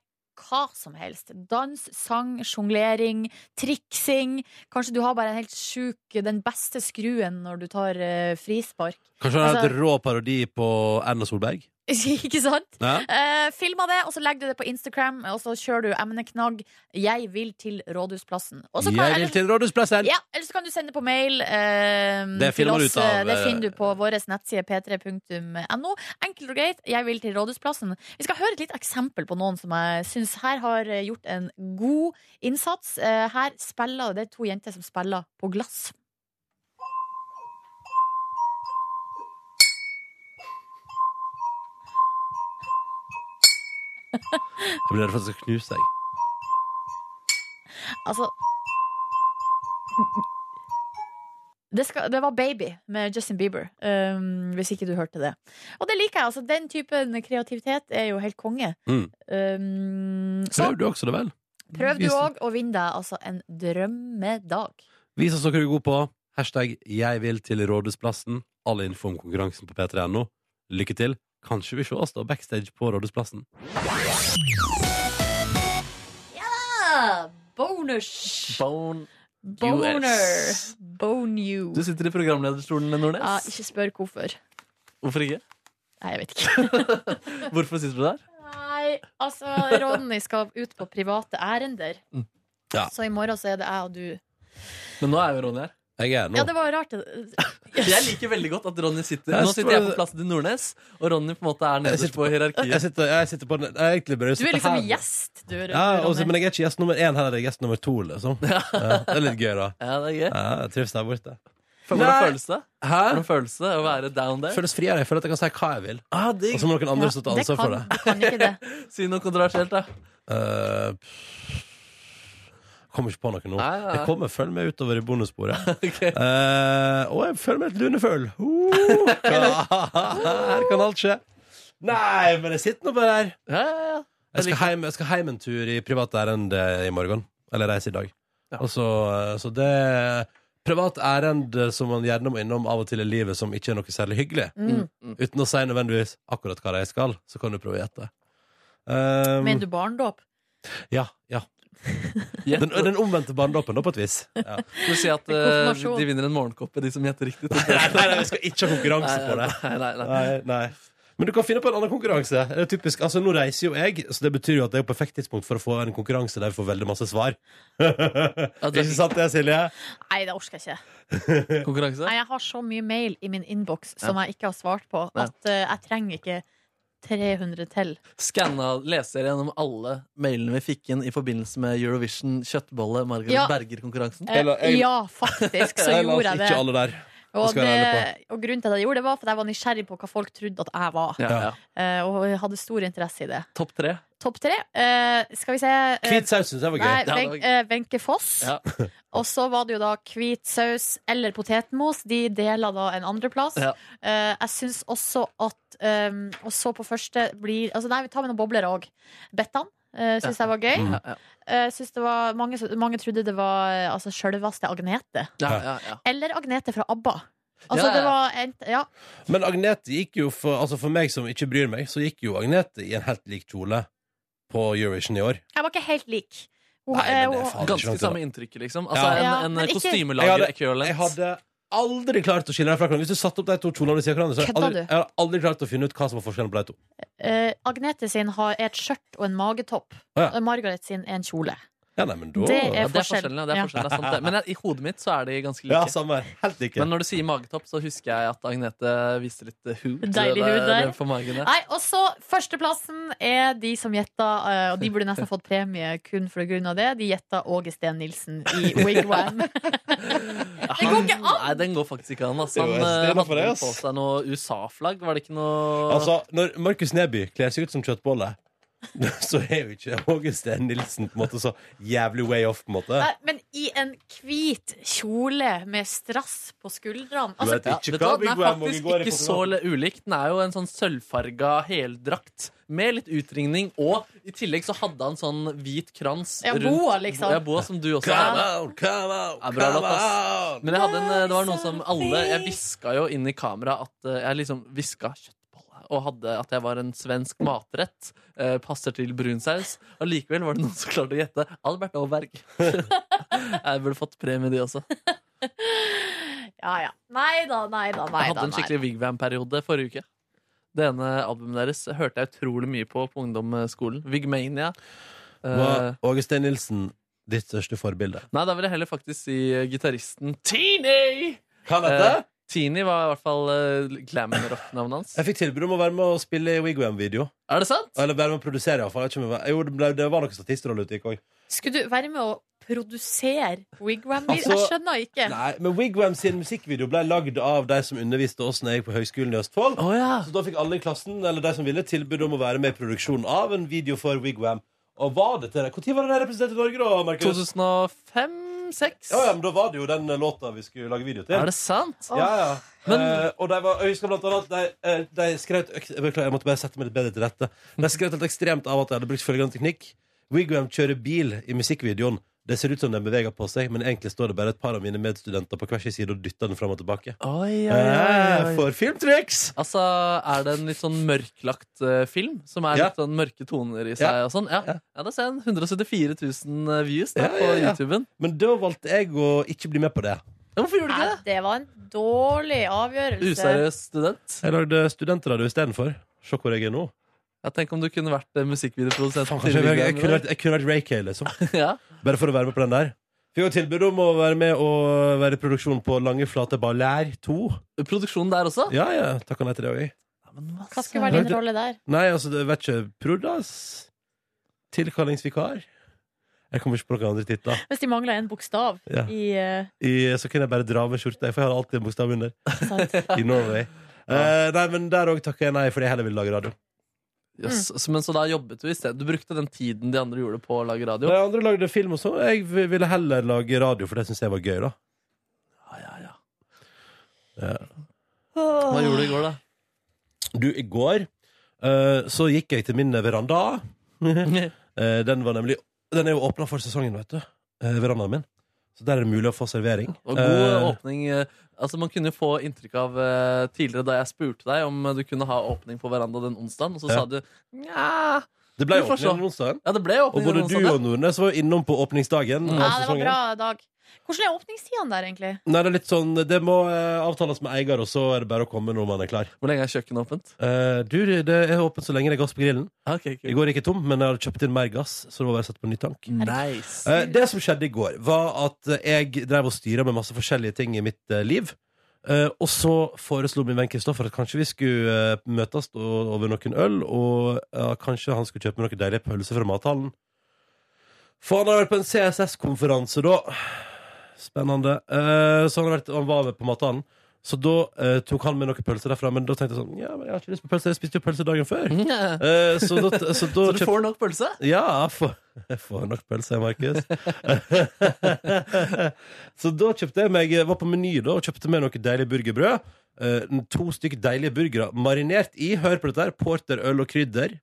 [SPEAKER 1] hva som helst. Dans, sang, sjonglering, triksing. Kanskje du har bare en helt sjuk Den beste skruen når du tar eh, frispark. [LAUGHS]
[SPEAKER 3] Kanskje han har
[SPEAKER 1] Altså-
[SPEAKER 3] et rå parodi på Erna Solberg?
[SPEAKER 1] ikke sant?
[SPEAKER 3] Ja.
[SPEAKER 1] Eh, Filma det, og så legger du det på Instagram, og så kjører du emneknagg 'Jeg vil til Rådhusplassen'. Og så kan,
[SPEAKER 3] Jeg vil til Rådhusplasset!
[SPEAKER 1] ja, eller så kan du sende det på mail. eh,
[SPEAKER 3] Det finner
[SPEAKER 1] til
[SPEAKER 3] man
[SPEAKER 1] oss.
[SPEAKER 3] ut av,
[SPEAKER 1] Det
[SPEAKER 3] eh,
[SPEAKER 1] finner du på vår nettside p3.no. Enkelt og greit. Jeg vil til Rådhusplassen. Vi skal høre et lite eksempel på noen som jeg syns her har eh, gjort en god innsats. Eh, Her spiller det er to jenter som spiller på glass.
[SPEAKER 3] Jeg blir redd for at det skal knuse deg.
[SPEAKER 1] Altså det, skal, det var Baby med Justin Bieber, um, hvis ikke du hørte det. Og det liker jeg. altså Den typen kreativitet er jo helt konge.
[SPEAKER 3] Mm.
[SPEAKER 1] Um, så
[SPEAKER 3] Prøv du også det, vel?
[SPEAKER 1] prøv du
[SPEAKER 3] Vis-
[SPEAKER 1] òg å vinne deg altså en drømmedag.
[SPEAKER 3] Vis oss hva du er god på. Hashtag 'jeg vil til Rådhusplassen'. All info om konkurransen på p3.no. Lykke til. Kanskje vi sees da backstage på Rådhusplassen.
[SPEAKER 1] Ah, bonus!
[SPEAKER 2] Bone.
[SPEAKER 1] Boner!
[SPEAKER 2] US.
[SPEAKER 1] Bone you.
[SPEAKER 2] Du sitter i programlederstolen, Nordnes.
[SPEAKER 1] Ja, ikke spør hvorfor.
[SPEAKER 2] Hvorfor ikke?
[SPEAKER 1] Nei, jeg vet [LAUGHS] ikke.
[SPEAKER 2] Hvorfor sitter du der?
[SPEAKER 1] Nei, altså, Ronny skal ut på private ærender.
[SPEAKER 2] Mm.
[SPEAKER 3] Ja.
[SPEAKER 1] Så i morgen så er det jeg og du
[SPEAKER 2] Men nå er jo Ronny her.
[SPEAKER 3] Jeg er nå.
[SPEAKER 1] Ja, det var rart. det-
[SPEAKER 2] For Jeg liker veldig godt at Ronny sitter
[SPEAKER 3] Jeg
[SPEAKER 2] Nå
[SPEAKER 3] sitter
[SPEAKER 2] sitter jeg
[SPEAKER 3] bare-
[SPEAKER 2] på plassen til Nordnes, og Ronny på en måte er
[SPEAKER 3] Jeg
[SPEAKER 2] nederst
[SPEAKER 3] sitter
[SPEAKER 2] på hierarkiet.
[SPEAKER 3] Jeg sitter, jeg sitter på den jeg egentlig burde
[SPEAKER 1] Du er
[SPEAKER 3] sitte
[SPEAKER 1] liksom
[SPEAKER 3] her.
[SPEAKER 1] gjest, du,
[SPEAKER 3] Ja, og så-
[SPEAKER 1] Ronny.
[SPEAKER 3] men jeg er ikke gjest nummer én heller, jeg er gjest nummer to, liksom. Ja, det er litt gøy, da.
[SPEAKER 2] Ja, det er gøy.
[SPEAKER 3] Ja, jeg trives der borte.
[SPEAKER 2] Hvordan
[SPEAKER 3] Nei.
[SPEAKER 2] føles det?
[SPEAKER 3] Hæ?
[SPEAKER 2] Hvordan føles det å være down there?
[SPEAKER 3] Føles friere. Jeg føler at jeg kan si hva jeg vil.
[SPEAKER 2] Ah, digg.
[SPEAKER 3] Og så må noen andre
[SPEAKER 1] Ja,
[SPEAKER 3] stå til
[SPEAKER 1] det
[SPEAKER 3] ansvar for
[SPEAKER 1] kan-
[SPEAKER 3] det.
[SPEAKER 1] Du kan ikke det.
[SPEAKER 2] Si noe kontroversielt,
[SPEAKER 3] [LAUGHS]
[SPEAKER 2] da.
[SPEAKER 3] Eh, kommer ikke på noe nå.
[SPEAKER 2] Nei, nei, nei.
[SPEAKER 3] Jeg kommer, følg med utover i bonussporet.
[SPEAKER 2] Ok.
[SPEAKER 3] Eh, og jeg føler meg litt lunefull. [LAUGHS] Uh, her kan alt skje. Nei, men jeg sitter nå bare her.
[SPEAKER 2] Ja, ja, ja.
[SPEAKER 3] Jeg skal, heim, jeg skal heim en tur i privat ærend eh, i morgen. Eller reise i dag. Og så, eh, så det Privat ærend eh, som man gjerne må innom av og til i livet som ikke er noe særlig hyggelig.
[SPEAKER 1] Mm.
[SPEAKER 3] Uten å si nødvendigvis akkurat hva de skal, så kan du prøve å gjette. [LAUGHS] Um,
[SPEAKER 1] Mener du barndåp?
[SPEAKER 3] Ja. ja.
[SPEAKER 2] Gjett-
[SPEAKER 3] Den, den omvendte barndommen, da, på et vis. Ja.
[SPEAKER 2] Skal du si at eh,
[SPEAKER 1] Konfirmasjon.
[SPEAKER 2] de vinner en morgenkoppe, de som gjetter riktig?
[SPEAKER 3] Nei, nei, nei, vi skal ikke ha konkurranse på det.
[SPEAKER 2] Nei, nei, nei.
[SPEAKER 3] Nei, nei. Men du kan finne på en annen konkurranse. Det er typisk, altså Nå reiser jo jeg, så det betyr jo at det er jo perfekt tidspunkt for å få en konkurranse der vi får veldig masse svar. ikke sant det, Silje?
[SPEAKER 1] Nei, det orker jeg ikke.
[SPEAKER 2] Konkurranse?
[SPEAKER 1] Nei, jeg har så mye mail i min innboks som jeg ikke har svart på, at eh, jeg trenger ikke 300 til.
[SPEAKER 2] Skanna, leser gjennom alle mailene vi fikk inn i forbindelse med Eurovision kjøttbolle Margaret
[SPEAKER 1] Ja.
[SPEAKER 2] Berger-konkurransen.
[SPEAKER 1] Eh,
[SPEAKER 3] la- jeg-
[SPEAKER 1] ja, faktisk,
[SPEAKER 3] [LAUGHS]
[SPEAKER 1] så
[SPEAKER 3] Nei, la oss
[SPEAKER 1] gjorde jeg
[SPEAKER 3] Ikke
[SPEAKER 1] det.
[SPEAKER 3] alle der.
[SPEAKER 1] Og,
[SPEAKER 3] skal
[SPEAKER 1] det.
[SPEAKER 3] jeg være
[SPEAKER 1] og grunnen til at jeg gjorde det, var for at jeg var nysgjerrig på hva folk trodde at jeg var.
[SPEAKER 2] Ja, ja.
[SPEAKER 1] eh, Og jeg hadde stor interesse i det.
[SPEAKER 2] Topp tre.
[SPEAKER 1] Topp tre. eh, skal vi se eh,
[SPEAKER 3] Hvit saus syns jeg
[SPEAKER 1] Nei,
[SPEAKER 3] var gøy.
[SPEAKER 2] Ja, det var
[SPEAKER 1] Ven-
[SPEAKER 2] gøy.
[SPEAKER 1] eh, Wenche Foss.
[SPEAKER 2] Ja.
[SPEAKER 1] [LAUGHS] Og så var det jo da hvit saus eller potetmos. De deler da en andreplass.
[SPEAKER 2] Ja.
[SPEAKER 1] Eh, jeg syns også at um, Og så på første blir altså Nei, vi tar med noen bobler òg. Bettan. Uh, syns jeg var gøy.
[SPEAKER 2] Ja, ja,
[SPEAKER 1] Eh, synes det var, mange, mange trodde det var eh, altså, sjølveste Agnete.
[SPEAKER 2] ja, ja, ja.
[SPEAKER 1] Eller Agnete fra ABBA. Altså,
[SPEAKER 2] Ja, ja.
[SPEAKER 1] det var en, ja.
[SPEAKER 3] Men Agnete gikk jo for Altså for meg som ikke bryr meg, så gikk jo Agnete i en helt lik kjole på Eurovision i år.
[SPEAKER 1] Jeg var ikke helt lik. Hun-
[SPEAKER 3] Nei, men det er
[SPEAKER 1] eh, hun-
[SPEAKER 3] faen ikke
[SPEAKER 2] Ganske
[SPEAKER 3] langt
[SPEAKER 2] samme
[SPEAKER 3] unna.
[SPEAKER 2] inntrykket, liksom. Altså,
[SPEAKER 3] Ja.
[SPEAKER 1] Ja,
[SPEAKER 2] En,
[SPEAKER 1] men
[SPEAKER 2] en
[SPEAKER 1] ikke-
[SPEAKER 2] kostymelager
[SPEAKER 3] Jeg Jeg
[SPEAKER 2] equivalent.
[SPEAKER 3] hadde aldri klart å skille dem fra hverandre. Hvis du satte opp de to kjolene ved siden av hverandre, så hadde jeg
[SPEAKER 1] Kødda
[SPEAKER 3] aldri,
[SPEAKER 1] du?
[SPEAKER 3] jeg hadde aldri klart å finne ut hva som var forskjellen på de to.
[SPEAKER 1] eh, Agnete sin har et skjørt og en magetopp.
[SPEAKER 3] Å, ja.
[SPEAKER 1] Og Margaret sin er en kjole.
[SPEAKER 3] Ja, nei, men da
[SPEAKER 1] Det er
[SPEAKER 2] Ja, det er
[SPEAKER 1] forskjell.
[SPEAKER 2] forskjellen, ja. Det er
[SPEAKER 1] Ja.
[SPEAKER 2] forskjellen, det er sant, det. Men jeg, i hodet mitt så er de ganske
[SPEAKER 3] Ja,
[SPEAKER 2] like.
[SPEAKER 3] samme. her. Helt like.
[SPEAKER 2] Men når du sier magetopp, så husker jeg at Agnete viste litt eh, hud.
[SPEAKER 1] Deilig
[SPEAKER 2] eh,
[SPEAKER 1] hud der.
[SPEAKER 2] På magen, ja.
[SPEAKER 1] Nei, og så Førsteplassen er de som gjetta, eh, og de burde nesten fått premie kun for grunn av det. De gjetta Åge Steen Nilsen i
[SPEAKER 3] [LAUGHS]
[SPEAKER 1] Wigwam.
[SPEAKER 2] Det
[SPEAKER 1] går ikke an!
[SPEAKER 2] Nei, den går faktisk ikke an. Altså.
[SPEAKER 3] Jo, jeg
[SPEAKER 2] Han
[SPEAKER 3] synes det er
[SPEAKER 2] eh,
[SPEAKER 3] noe for
[SPEAKER 2] hadde
[SPEAKER 3] det,
[SPEAKER 2] på
[SPEAKER 3] ass.
[SPEAKER 2] seg noe USA-flagg. Var det ikke noe
[SPEAKER 3] Altså, når Markus Neby kler seg ut som kjøttbolle, [LAUGHS] så er jo ikke Åge Steen Nilsen på en måte så jævlig way off, på en måte.
[SPEAKER 1] Nei, Men i en hvit kjole med strass på skuldrene.
[SPEAKER 3] Du
[SPEAKER 1] Altså,
[SPEAKER 3] vet ikke
[SPEAKER 2] Vet du hva, Den
[SPEAKER 3] hva Big
[SPEAKER 2] er
[SPEAKER 3] Wham Åge
[SPEAKER 2] faktisk
[SPEAKER 3] går i.
[SPEAKER 2] ikke så
[SPEAKER 3] Portugal.
[SPEAKER 2] le- ulik. Den er jo en sånn sølvfarga heldrakt med litt utringning. Og i tillegg så hadde han sånn hvit krans
[SPEAKER 1] Ja,
[SPEAKER 2] rundt
[SPEAKER 1] boa, liksom.
[SPEAKER 2] Ja, boa som du også
[SPEAKER 3] Come
[SPEAKER 2] har.
[SPEAKER 3] on, come on,
[SPEAKER 2] Ja, bra låt,
[SPEAKER 3] come
[SPEAKER 2] ass.
[SPEAKER 3] on!
[SPEAKER 2] Men jeg hadde en, eh, det var noen som alle Jeg hviska jo inn i kamera at eh, jeg liksom hviska kjøttbolle. Og hadde at jeg var en svensk matrett. Eh, passer til brunsaus. Og likevel var det noen som klarte å gjette Albert Aaberg. [LAUGHS] jeg burde fått premie, de også.
[SPEAKER 1] Altså, [LAUGHS] ja, ja. Nei da, nei da, nei
[SPEAKER 2] Jeg
[SPEAKER 1] da.
[SPEAKER 2] hadde en
[SPEAKER 1] Nei.
[SPEAKER 2] skikkelig Vigvam-periode forrige uke. Det ene albumet deres hørte jeg utrolig mye på på ungdomsskolen. Vigmania. Eh,
[SPEAKER 3] Var Åge Steen Nilsen ditt største forbilde?
[SPEAKER 2] nei, da vil jeg heller faktisk si eh, gitaristen Teenie!
[SPEAKER 3] Hva
[SPEAKER 2] Eh, Teenie var i hvert fall eh, glam rock-navnet hans.
[SPEAKER 3] Jeg fikk tilbud om å være med og spille i Wigwam-video.
[SPEAKER 2] Er det sant?
[SPEAKER 3] Eller være med og produsere, iallfall. Jo, det, ble, det var noen statistroller ute i går.
[SPEAKER 1] Skulle du være med å produsere Wigwam? jeg
[SPEAKER 3] Altså,
[SPEAKER 1] skjønner ikke.
[SPEAKER 3] Nei, men Wigwam sin musikkvideo ble lagd av de som underviste oss når jeg gikk på Høgskolen i Østfold.
[SPEAKER 2] Å ja.
[SPEAKER 3] Så da fikk alle i klassen eller de som ville tilbud om å være med i produksjonen av en video for Wigwam. Og var det til det? Når var det de representerte Norge, da? Markus?
[SPEAKER 2] 2005-2006.
[SPEAKER 3] Ja, ja, men Da var det jo den eh, låta vi skulle lage video til.
[SPEAKER 2] Er det sant?
[SPEAKER 3] Ja, ja. Eh, og de var, jeg husker blant annet de, eh, de skrøt ek- Beklager, jeg måtte bare sette meg litt bedre til rette. De skrøt helt ekstremt av at de hadde brukt følgende teknikk. Wigwam kjører bil i musikkvideoen. Det ser ut som de beveger på seg, men egentlig står det bare et par av mine medstudenter på hver sin side og dytter den fram og tilbake.
[SPEAKER 2] Oi, oi, oi,
[SPEAKER 3] Eh,
[SPEAKER 2] oi.
[SPEAKER 3] for filmtriks!
[SPEAKER 2] Altså, Er det en litt sånn mørklagt eh, film? Som er
[SPEAKER 3] Ja.
[SPEAKER 2] litt sånn mørke toner i seg?
[SPEAKER 3] Ja.
[SPEAKER 2] og sånn? Ja, ja. da ser jeg en 174 000 views da,
[SPEAKER 3] Ja, ja, ja.
[SPEAKER 2] på YouTuben.
[SPEAKER 3] Men da valgte jeg å ikke bli med på det.
[SPEAKER 2] Ja, Hvorfor gjorde du
[SPEAKER 1] Nei,
[SPEAKER 2] ikke det?
[SPEAKER 1] det var en dårlig avgjørelse.
[SPEAKER 2] Useriøs student.
[SPEAKER 3] Jeg lagde studentradio istedenfor. Se hvor jeg er nå.
[SPEAKER 2] Ja, tenk om du kunne vært eh, musikkvideoprodusent.
[SPEAKER 3] Faen,
[SPEAKER 2] til
[SPEAKER 3] kanskje jeg, jeg,
[SPEAKER 2] Vigdal
[SPEAKER 3] kunne
[SPEAKER 2] Miller.
[SPEAKER 3] vært, jeg kunne vært Ray Kay, liksom.
[SPEAKER 2] ja.
[SPEAKER 3] Bare for å være med på den der. Vi har jo tilbud om å være med og være i produksjon på Lange flate Ballær 2.
[SPEAKER 2] Produksjon der også?
[SPEAKER 3] Ja, ja. Takk og nei til det òg, jeg.
[SPEAKER 1] Hva skulle være din rolle der?
[SPEAKER 3] Nei, altså, det vet ikke. Prodas. Tilkallingsvikar. Jeg kommer ikke på noen andre titler.
[SPEAKER 1] Hvis de mangler en bokstav
[SPEAKER 3] Ja.
[SPEAKER 1] i eh,
[SPEAKER 3] I, så kunne jeg bare dra av meg skjorta, for jeg har alltid en bokstav [LAUGHS] under. I Norway.
[SPEAKER 2] Ja.
[SPEAKER 3] Eh, nei, men der òg takker jeg nei, fordi jeg heller vil lage radio. Mm.
[SPEAKER 2] Yes. Så, men, så da jobbet du i stedet? Du brukte den tiden de andre gjorde på å lage radio?
[SPEAKER 3] De andre lagde film og sånn. Jeg vi- ville heller lage radio, for det syns jeg var gøy, da. Ja, ja, ja.
[SPEAKER 2] Hva gjorde du i
[SPEAKER 3] [LAUGHS]
[SPEAKER 2] går, da?
[SPEAKER 3] Du, i går eh, så gikk jeg til min veranda. Eh, den var nemlig Den er jo åpna for sesongen, vet du. eh, verandaen min. Så der er det mulig å få servering.
[SPEAKER 2] Og god åpning. eh, Altså, man kunne jo få inntrykk av eh, tidligere da jeg spurte deg om eh, du kunne ha åpning på veranda den onsdagen, og så
[SPEAKER 3] Ja.
[SPEAKER 2] sa du nja
[SPEAKER 3] Det ble
[SPEAKER 2] Vi får se.
[SPEAKER 3] åpning den onsdagen.
[SPEAKER 2] Ja, det ble
[SPEAKER 3] Og
[SPEAKER 2] åpning
[SPEAKER 3] både
[SPEAKER 2] den
[SPEAKER 3] du
[SPEAKER 2] onsdagen.
[SPEAKER 3] og Nordnes var jo innom på åpningsdagen.
[SPEAKER 1] Ja, det
[SPEAKER 3] av
[SPEAKER 1] var
[SPEAKER 3] sesongen.
[SPEAKER 1] bra dag. Hvordan er åpningstidene der, egentlig?
[SPEAKER 3] Nei, det er litt sånn Det må eh, avtales med eier, og så er det bare å komme når man er klar. Eh,
[SPEAKER 2] Hvor lenge er kjøkkenet åpent?
[SPEAKER 3] du, det er åpent så lenge det er gass på grillen.
[SPEAKER 2] Okay,
[SPEAKER 3] I går gikk jeg tom, men jeg hadde kjøpt inn mer gass, så det var bare å sette på ny tank.
[SPEAKER 2] Nice.
[SPEAKER 3] Eh, det som skjedde i går, var at eh, jeg drev og styra med masse forskjellige ting i mitt eh, liv. Eh, og så foreslo min venn Kristoffer at kanskje vi skulle eh, møtes og, over noen øl, og ja, kanskje han skulle kjøpe meg noen deilige pølser fra mathallen. For han har vært på en CSS-konferanse, da. Spennende. Eh, så han, har vært, han var med på mathallen. Så da eh, tok han med noen pølser derfra, men da tenkte jeg sånn Ja, men jeg har ikke lyst på pølser, jeg spiste jo pølse dagen før. Eh, så, da, så, da
[SPEAKER 2] [LAUGHS] Mhm. [LAUGHS] Så du får nok pølse?
[SPEAKER 3] Ja, jeg får, jeg får nok pølse, Markus. så da kjøpte jeg meg Var på Meny da og kjøpte meg noe deilig burgerbrød. Eh, to stykker deilige burgere marinert i, hør på dette, her, porterøl og krydder.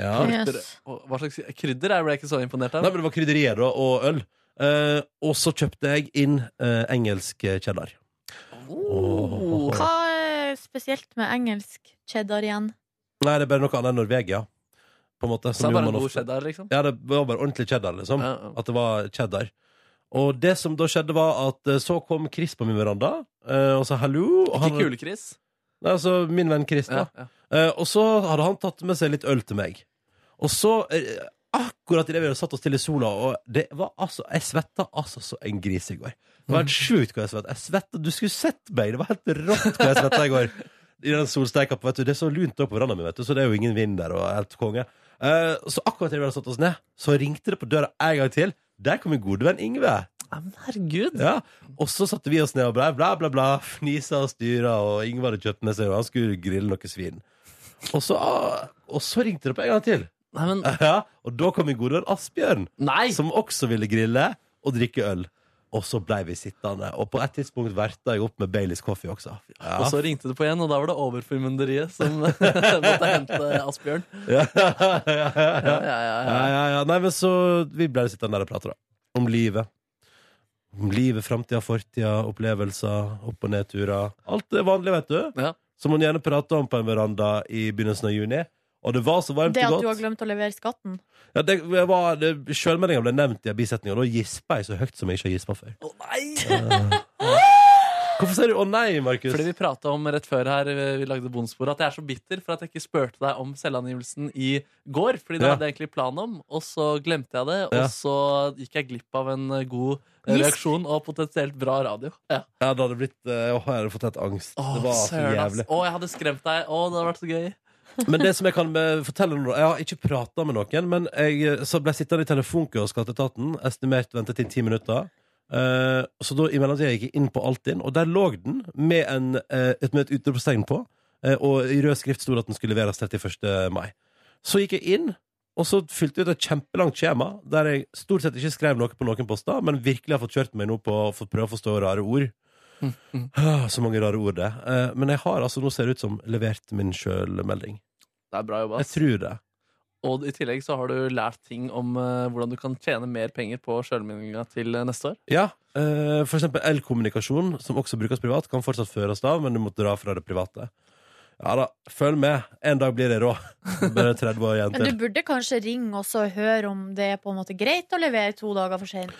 [SPEAKER 3] Ja.
[SPEAKER 2] Krydder- og Hva slags krydder? Jeg ble ikke så imponert av.
[SPEAKER 3] Nei, men det var krydderier da, og øl. Eh, og så kjøpte jeg inn eh, engelsk cheddar.
[SPEAKER 2] Oh.
[SPEAKER 3] Åh.
[SPEAKER 1] Hva er spesielt med engelsk cheddar igjen?
[SPEAKER 3] Nei, det er bare noe annet enn Norvegia. På en måte,
[SPEAKER 2] Så det
[SPEAKER 3] som
[SPEAKER 2] er
[SPEAKER 3] jo
[SPEAKER 2] bare
[SPEAKER 3] man
[SPEAKER 2] god
[SPEAKER 3] ofte-
[SPEAKER 2] cheddar, liksom?
[SPEAKER 3] Ja, det var bare ordentlig cheddar, liksom. At det var cheddar. Og det som da skjedde, var at eh, så kom Chris på min veranda eh, og sa hallo. Og
[SPEAKER 2] Ikke kule-Chris?
[SPEAKER 3] Nei, altså min venn Chris, da.
[SPEAKER 2] Ja,
[SPEAKER 3] Eh, og så hadde han tatt med seg litt øl til meg. Og så, eh, akkurat idet vi hadde satt oss til i sola, og det var altså Jeg svetta altså så en gris i går. Det var helt sjukt hva jeg svetta. Jeg svetta, Du skulle sett meg! Det var helt rått hva jeg svetta i går. I den solsteika på, vet du. Det er så lunt oppe på verandaen min, vet du, så det er jo ingen vind der, og helt konge. Eh, så akkurat idet vi hadde satt oss ned, så ringte det på døra en gang til. Der kom min gode venn Ingve.
[SPEAKER 2] Herregud.
[SPEAKER 3] Ja. Og så satte vi oss ned og ble bla, bla, bla. Fnisa og styra, og Ingvar hadde kjøpt med seg, og han skulle grille noe svin. Og så, ah, og så ringte det på en gang til. [LAUGHS] ja, og da kom min gode venn Asbjørn, som også ville grille og drikke øl. Og så blei vi sittende, og på et tidspunkt verta jeg opp med Baileys coffee også. Ja.
[SPEAKER 2] Og så ringte du på igjen, og da var det overformynderiet som [LAUGHS] måtte hente Asbjørn.
[SPEAKER 3] ja, [LAUGHS] ja, ja, ja.
[SPEAKER 2] Ja, ja, ja, ja.
[SPEAKER 3] Ja, ja, ja. Nei, men så Vi ble sittende der og prate, da. Om livet. Om livet, framtida, fortida, opplevelser, opp- og nedturer. Alt det vanlige, vet du. Som man gjerne prater om på en veranda i begynnelsen av juni. Og det var så varmt
[SPEAKER 1] Det at
[SPEAKER 3] og
[SPEAKER 1] du har
[SPEAKER 3] godt.
[SPEAKER 1] glemt å levere skatten?
[SPEAKER 3] Ja, det jeg var, det, Sjølmeldinga ble nevnt i en bisetning, og da gispa jeg så høyt som jeg ikke har gispa før. Hvorfor sier du 'å nei', Markus?
[SPEAKER 2] Fordi vi prata om rett før her eh, vi lagde bonussporet, at jeg er så bitter for at jeg ikke spurte deg om selvangivelsen i går. Fordi det
[SPEAKER 3] Ja.
[SPEAKER 2] hadde jeg egentlig plan om, og så glemte jeg det. Og
[SPEAKER 3] Ja.
[SPEAKER 2] så gikk jeg glipp av en eh, god eh,
[SPEAKER 3] Gisp.
[SPEAKER 2] reaksjon og potensielt bra radio. Ja.
[SPEAKER 3] Ja, det hadde blitt eh, Åh, jeg hadde fått helt angst. det var så
[SPEAKER 2] søren, ass.
[SPEAKER 3] jævlig.
[SPEAKER 2] Å, jeg hadde skremt deg. Å, det hadde vært så gøy.
[SPEAKER 3] Men det som jeg kan eh, fortelle nå, jeg har ikke prata med noen, men jeg eh, så ble jeg sittende i telefonkø hos Skatteetaten, estimert ventetid ti minutter. Eh, så da i mellomtida gikk jeg inn på Altinn, og der lå den med, en, eh, et, med et utropstegn på, eh, og i rød skrift sto det at den skulle leveres 31. mai. Så gikk jeg inn, og så fylte jeg ut et kjempelangt skjema, der jeg stort sett ikke skrev noe på noen poster, men virkelig har fått kjørt meg nå på å få prøve å forstå rare ord. Ah, Så mange rare ord det. er. Eh, Men jeg har altså, nå ser det ut som, levert min sjølmelding.
[SPEAKER 2] Det er bra jobba.
[SPEAKER 3] Jeg
[SPEAKER 2] ass.
[SPEAKER 3] tror det.
[SPEAKER 2] Og i tillegg så har du lært ting om eh, hvordan du kan tjene mer penger på sjølmeldinga til eh, neste år.
[SPEAKER 3] Ja. eh, for eksempel elkommunikasjon, som også brukes privat, kan fortsatt føres av, men du må dra fra det private. Ja da, følg med. En dag blir det rå. [LAUGHS] Bare 30 år igjen
[SPEAKER 1] Men du
[SPEAKER 3] til.
[SPEAKER 1] burde kanskje ringe og så høre om det er på en måte greit å levere to dager for seint.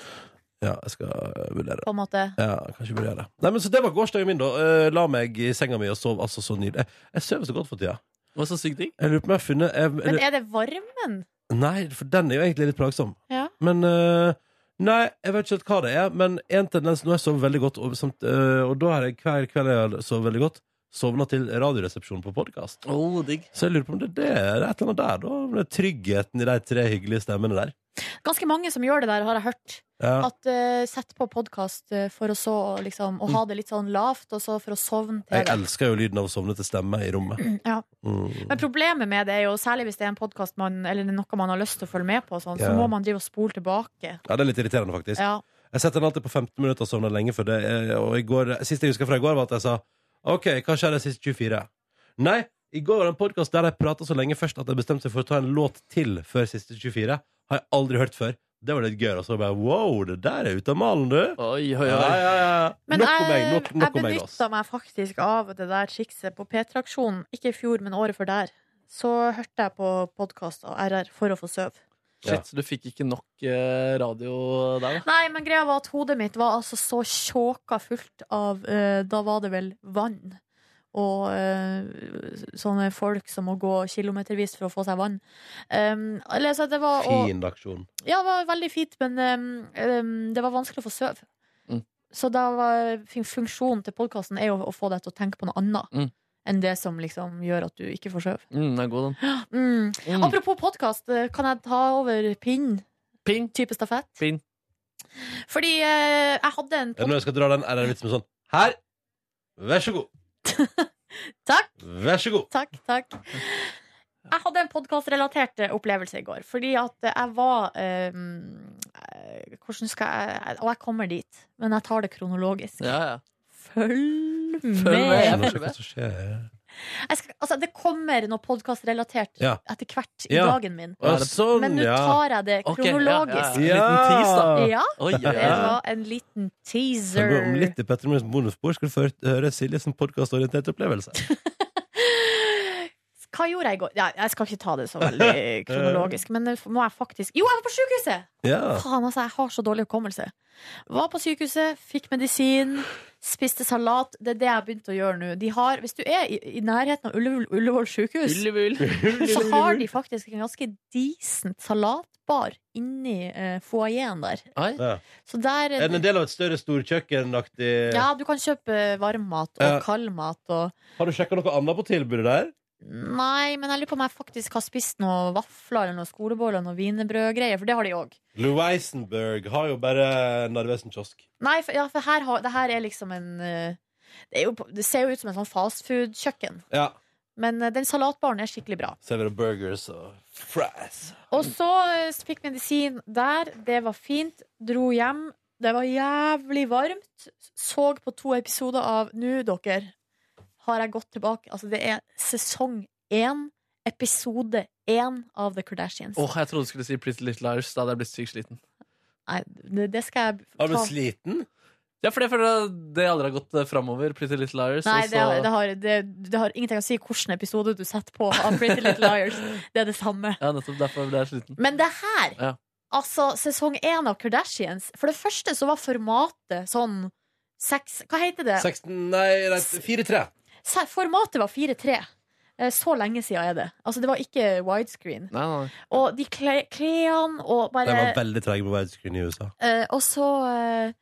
[SPEAKER 3] Ja, jeg skal eh, vurdere.
[SPEAKER 1] På en måte.
[SPEAKER 3] Ja, kanskje vurdere. Nei, men Så det var gårsdagen min, da. Eh, la meg i senga mi og sov altså så nydelig. Jeg, jeg sover så godt for tida.
[SPEAKER 2] Det var så sykt digg.
[SPEAKER 3] Jeg lurer på om jeg har funnet jeg,
[SPEAKER 1] Men er det varmen?
[SPEAKER 3] Nei, for den er jo egentlig litt plagsom.
[SPEAKER 1] Ja.
[SPEAKER 3] Men eh, Nei, jeg vet ikke helt hva det er, men en tendens Nå har jeg sovet veldig godt, og, samt, øh, og da har jeg hver kveld jeg har sovet veldig godt, sovna til Radioresepsjonen på podkast. Så jeg lurer på om det, det er et eller annet der, da. Om det er tryggheten i de tre hyggelige stemmene der.
[SPEAKER 1] Ganske mange som gjør det der, har jeg hørt.
[SPEAKER 3] Ja.
[SPEAKER 1] At eh, Sett på podkast for å så liksom, å ha det litt sånn lavt, og så for å sovne til
[SPEAKER 3] Mm. Jeg
[SPEAKER 1] det.
[SPEAKER 3] elsker jo lyden av å sovne til stemme i rommet.
[SPEAKER 1] [CLEARS THROAT] Ja.
[SPEAKER 3] Mm.
[SPEAKER 1] Men problemet med det er jo, særlig hvis det er en podkast eller noe man har lyst til å følge med på, og sånn,
[SPEAKER 3] Ja.
[SPEAKER 1] så må man drive og spole tilbake.
[SPEAKER 3] Ja, det er litt irriterende, faktisk.
[SPEAKER 1] Ja.
[SPEAKER 3] Jeg setter den alltid på 15 minutter og sovner lenge før det. eh, Og i går, siste jeg husker fra i går, var at jeg sa OK, hva skjer de siste 24? Nei, i går var det en podkast der de prata så lenge først at de bestemte seg for å ta en låt til før siste 24. Har jeg aldri hørt før. Det var litt gøy. Og så bare wow, det der er ute av malen, du.
[SPEAKER 2] Oi,
[SPEAKER 3] Ja, ja, ja.
[SPEAKER 1] Men
[SPEAKER 3] Nok om
[SPEAKER 1] jeg,
[SPEAKER 3] meg. Nok,
[SPEAKER 1] jeg
[SPEAKER 3] nok om meg, altså.
[SPEAKER 1] benytta meg faktisk av det der trikset på P-traksjonen. Ikke i fjor, men året før der. Så hørte jeg på podkast og RR for å få sove.
[SPEAKER 2] Shit, så du fikk ikke nok eh, radio der, da?
[SPEAKER 1] Nei, men greia var at hodet mitt var altså så tjåka fullt av eh, Da var det vel vann. Og eh, sånne folk som må gå kilometervis for å få seg vann. Um, eller, så det var, og,
[SPEAKER 3] Fin aksjon.
[SPEAKER 1] ja, det var veldig fint, men um, um, det var vanskelig å få sove.
[SPEAKER 2] Mm.
[SPEAKER 1] Så da var fun- funksjonen til podkasten er jo å få deg til å tenke på noe annet
[SPEAKER 2] Mm.
[SPEAKER 1] enn det som liksom gjør at du ikke får sove.
[SPEAKER 2] Mm, den er god, den.
[SPEAKER 1] Mm.
[SPEAKER 2] Mm.
[SPEAKER 1] Apropos podkast, kan jeg ta over pinn?
[SPEAKER 2] Pinn.
[SPEAKER 1] Type stafett?
[SPEAKER 2] Pinn.
[SPEAKER 1] Fordi eh, jeg hadde en
[SPEAKER 3] Er det Når jeg skal dra den RR-vitsen med sånn Her! Vær så god.
[SPEAKER 1] [LAUGHS] Takk.
[SPEAKER 3] Vær så god.
[SPEAKER 1] Takk, takk. Jeg hadde en podkastrelatert opplevelse i går. Fordi at eh, jeg var eh, eh, Hvordan skal jeg Og jeg kommer dit, men jeg tar det kronologisk.
[SPEAKER 2] Ja, ja.
[SPEAKER 1] Mm. Følg med.
[SPEAKER 2] Følg med, jeg
[SPEAKER 3] Nå
[SPEAKER 2] følger
[SPEAKER 3] skal jeg se hva
[SPEAKER 2] med.
[SPEAKER 3] som skjer.
[SPEAKER 1] Jeg skal, altså, det kommer noe podkastrelatert
[SPEAKER 3] Ja.
[SPEAKER 1] etter hvert i
[SPEAKER 3] Ja.
[SPEAKER 1] dagen min.
[SPEAKER 3] Å, sånn,
[SPEAKER 1] Men nå
[SPEAKER 3] ja.
[SPEAKER 1] tar jeg det
[SPEAKER 2] Ok, ja, ja, ja.
[SPEAKER 1] kronologisk.
[SPEAKER 2] En liten tease, da.
[SPEAKER 1] Ja,
[SPEAKER 2] Oi, oi,
[SPEAKER 1] det
[SPEAKER 2] oi.
[SPEAKER 1] var en liten
[SPEAKER 3] Kan
[SPEAKER 1] teaser.
[SPEAKER 3] du Om litt i Petter Morgens bonusbord skal du få høre Siljes podkastorienterte opplevelse.
[SPEAKER 1] Hva gjorde jeg i går? Ja, jeg skal ikke ta det så veldig kronologisk, men det må jeg faktisk Jo, jeg var på sjukehuset!
[SPEAKER 3] Ja.
[SPEAKER 1] Faen, altså, jeg har så dårlig hukommelse. Var på sykehuset, fikk medisin, spiste salat. Det er det jeg begynte å gjøre nå. De har, hvis du er i, i nærheten av Ullevål, Ullevål sjukehus,
[SPEAKER 2] Ullevål.
[SPEAKER 1] så har de faktisk en ganske decent salatbar inni eh, foajeen der.
[SPEAKER 2] Oi.
[SPEAKER 3] Ja.
[SPEAKER 1] Så der
[SPEAKER 3] Er den en del av et større storkjøkkenaktig
[SPEAKER 1] Ja, du kan kjøpe varmmat og
[SPEAKER 3] Ja.
[SPEAKER 1] kaldmat og
[SPEAKER 3] Har du sjekka noe annet på tilbudet der?
[SPEAKER 1] Nei, men jeg lurer på om jeg faktisk har spist noen vafler eller noen skoleboller og noen wienerbrødgreier, for det har de òg.
[SPEAKER 3] Louisenberg har jo bare Narvesen kiosk.
[SPEAKER 1] Nei, for, ja, for her har, det her er liksom en eh, det, er jo, på- det ser jo ut som en sånn fastfood-kjøkken,
[SPEAKER 3] Ja.
[SPEAKER 1] men eh, den salatbaren er skikkelig bra.
[SPEAKER 3] Serverer burgers og fries.
[SPEAKER 1] Og så eh, fikk medisin der, det var fint, dro hjem. Det var jævlig varmt. Så på to episoder av Nå, dere, har jeg gått tilbake. Altså, det er sesong én, episode én av The Kardashians.
[SPEAKER 2] Åh, jeg trodde du skulle si Pretty Little Liars. Da hadde jeg blitt sykt sliten.
[SPEAKER 1] Nei, det, det skal jeg ta.
[SPEAKER 3] Har du blitt sliten?
[SPEAKER 2] Ja, for jeg føler at det aldri har gått eh, framover. Pretty Little Liars.
[SPEAKER 1] Nei,
[SPEAKER 2] og
[SPEAKER 1] det,
[SPEAKER 2] så-
[SPEAKER 1] det, har, det, det har ingenting å si hvilken episode du setter på av Pretty Little Liars. Det er det samme.
[SPEAKER 2] Ja, nettopp derfor ble jeg sliten.
[SPEAKER 1] Men det her,
[SPEAKER 2] Ja.
[SPEAKER 1] altså sesong én av Kardashians For det første så var formatet sånn seks Hva heter det?
[SPEAKER 3] 16 Nei, nei 4-3.
[SPEAKER 1] Se- Formatet var 4-3. Eh, Så lenge siden er det. Altså, det var ikke widescreen.
[SPEAKER 2] Nei, nei.
[SPEAKER 1] Og de kle- klærne og
[SPEAKER 3] Den var
[SPEAKER 1] bare
[SPEAKER 3] veldig treg på verdenscreen i USA.
[SPEAKER 1] Eh, og så eh,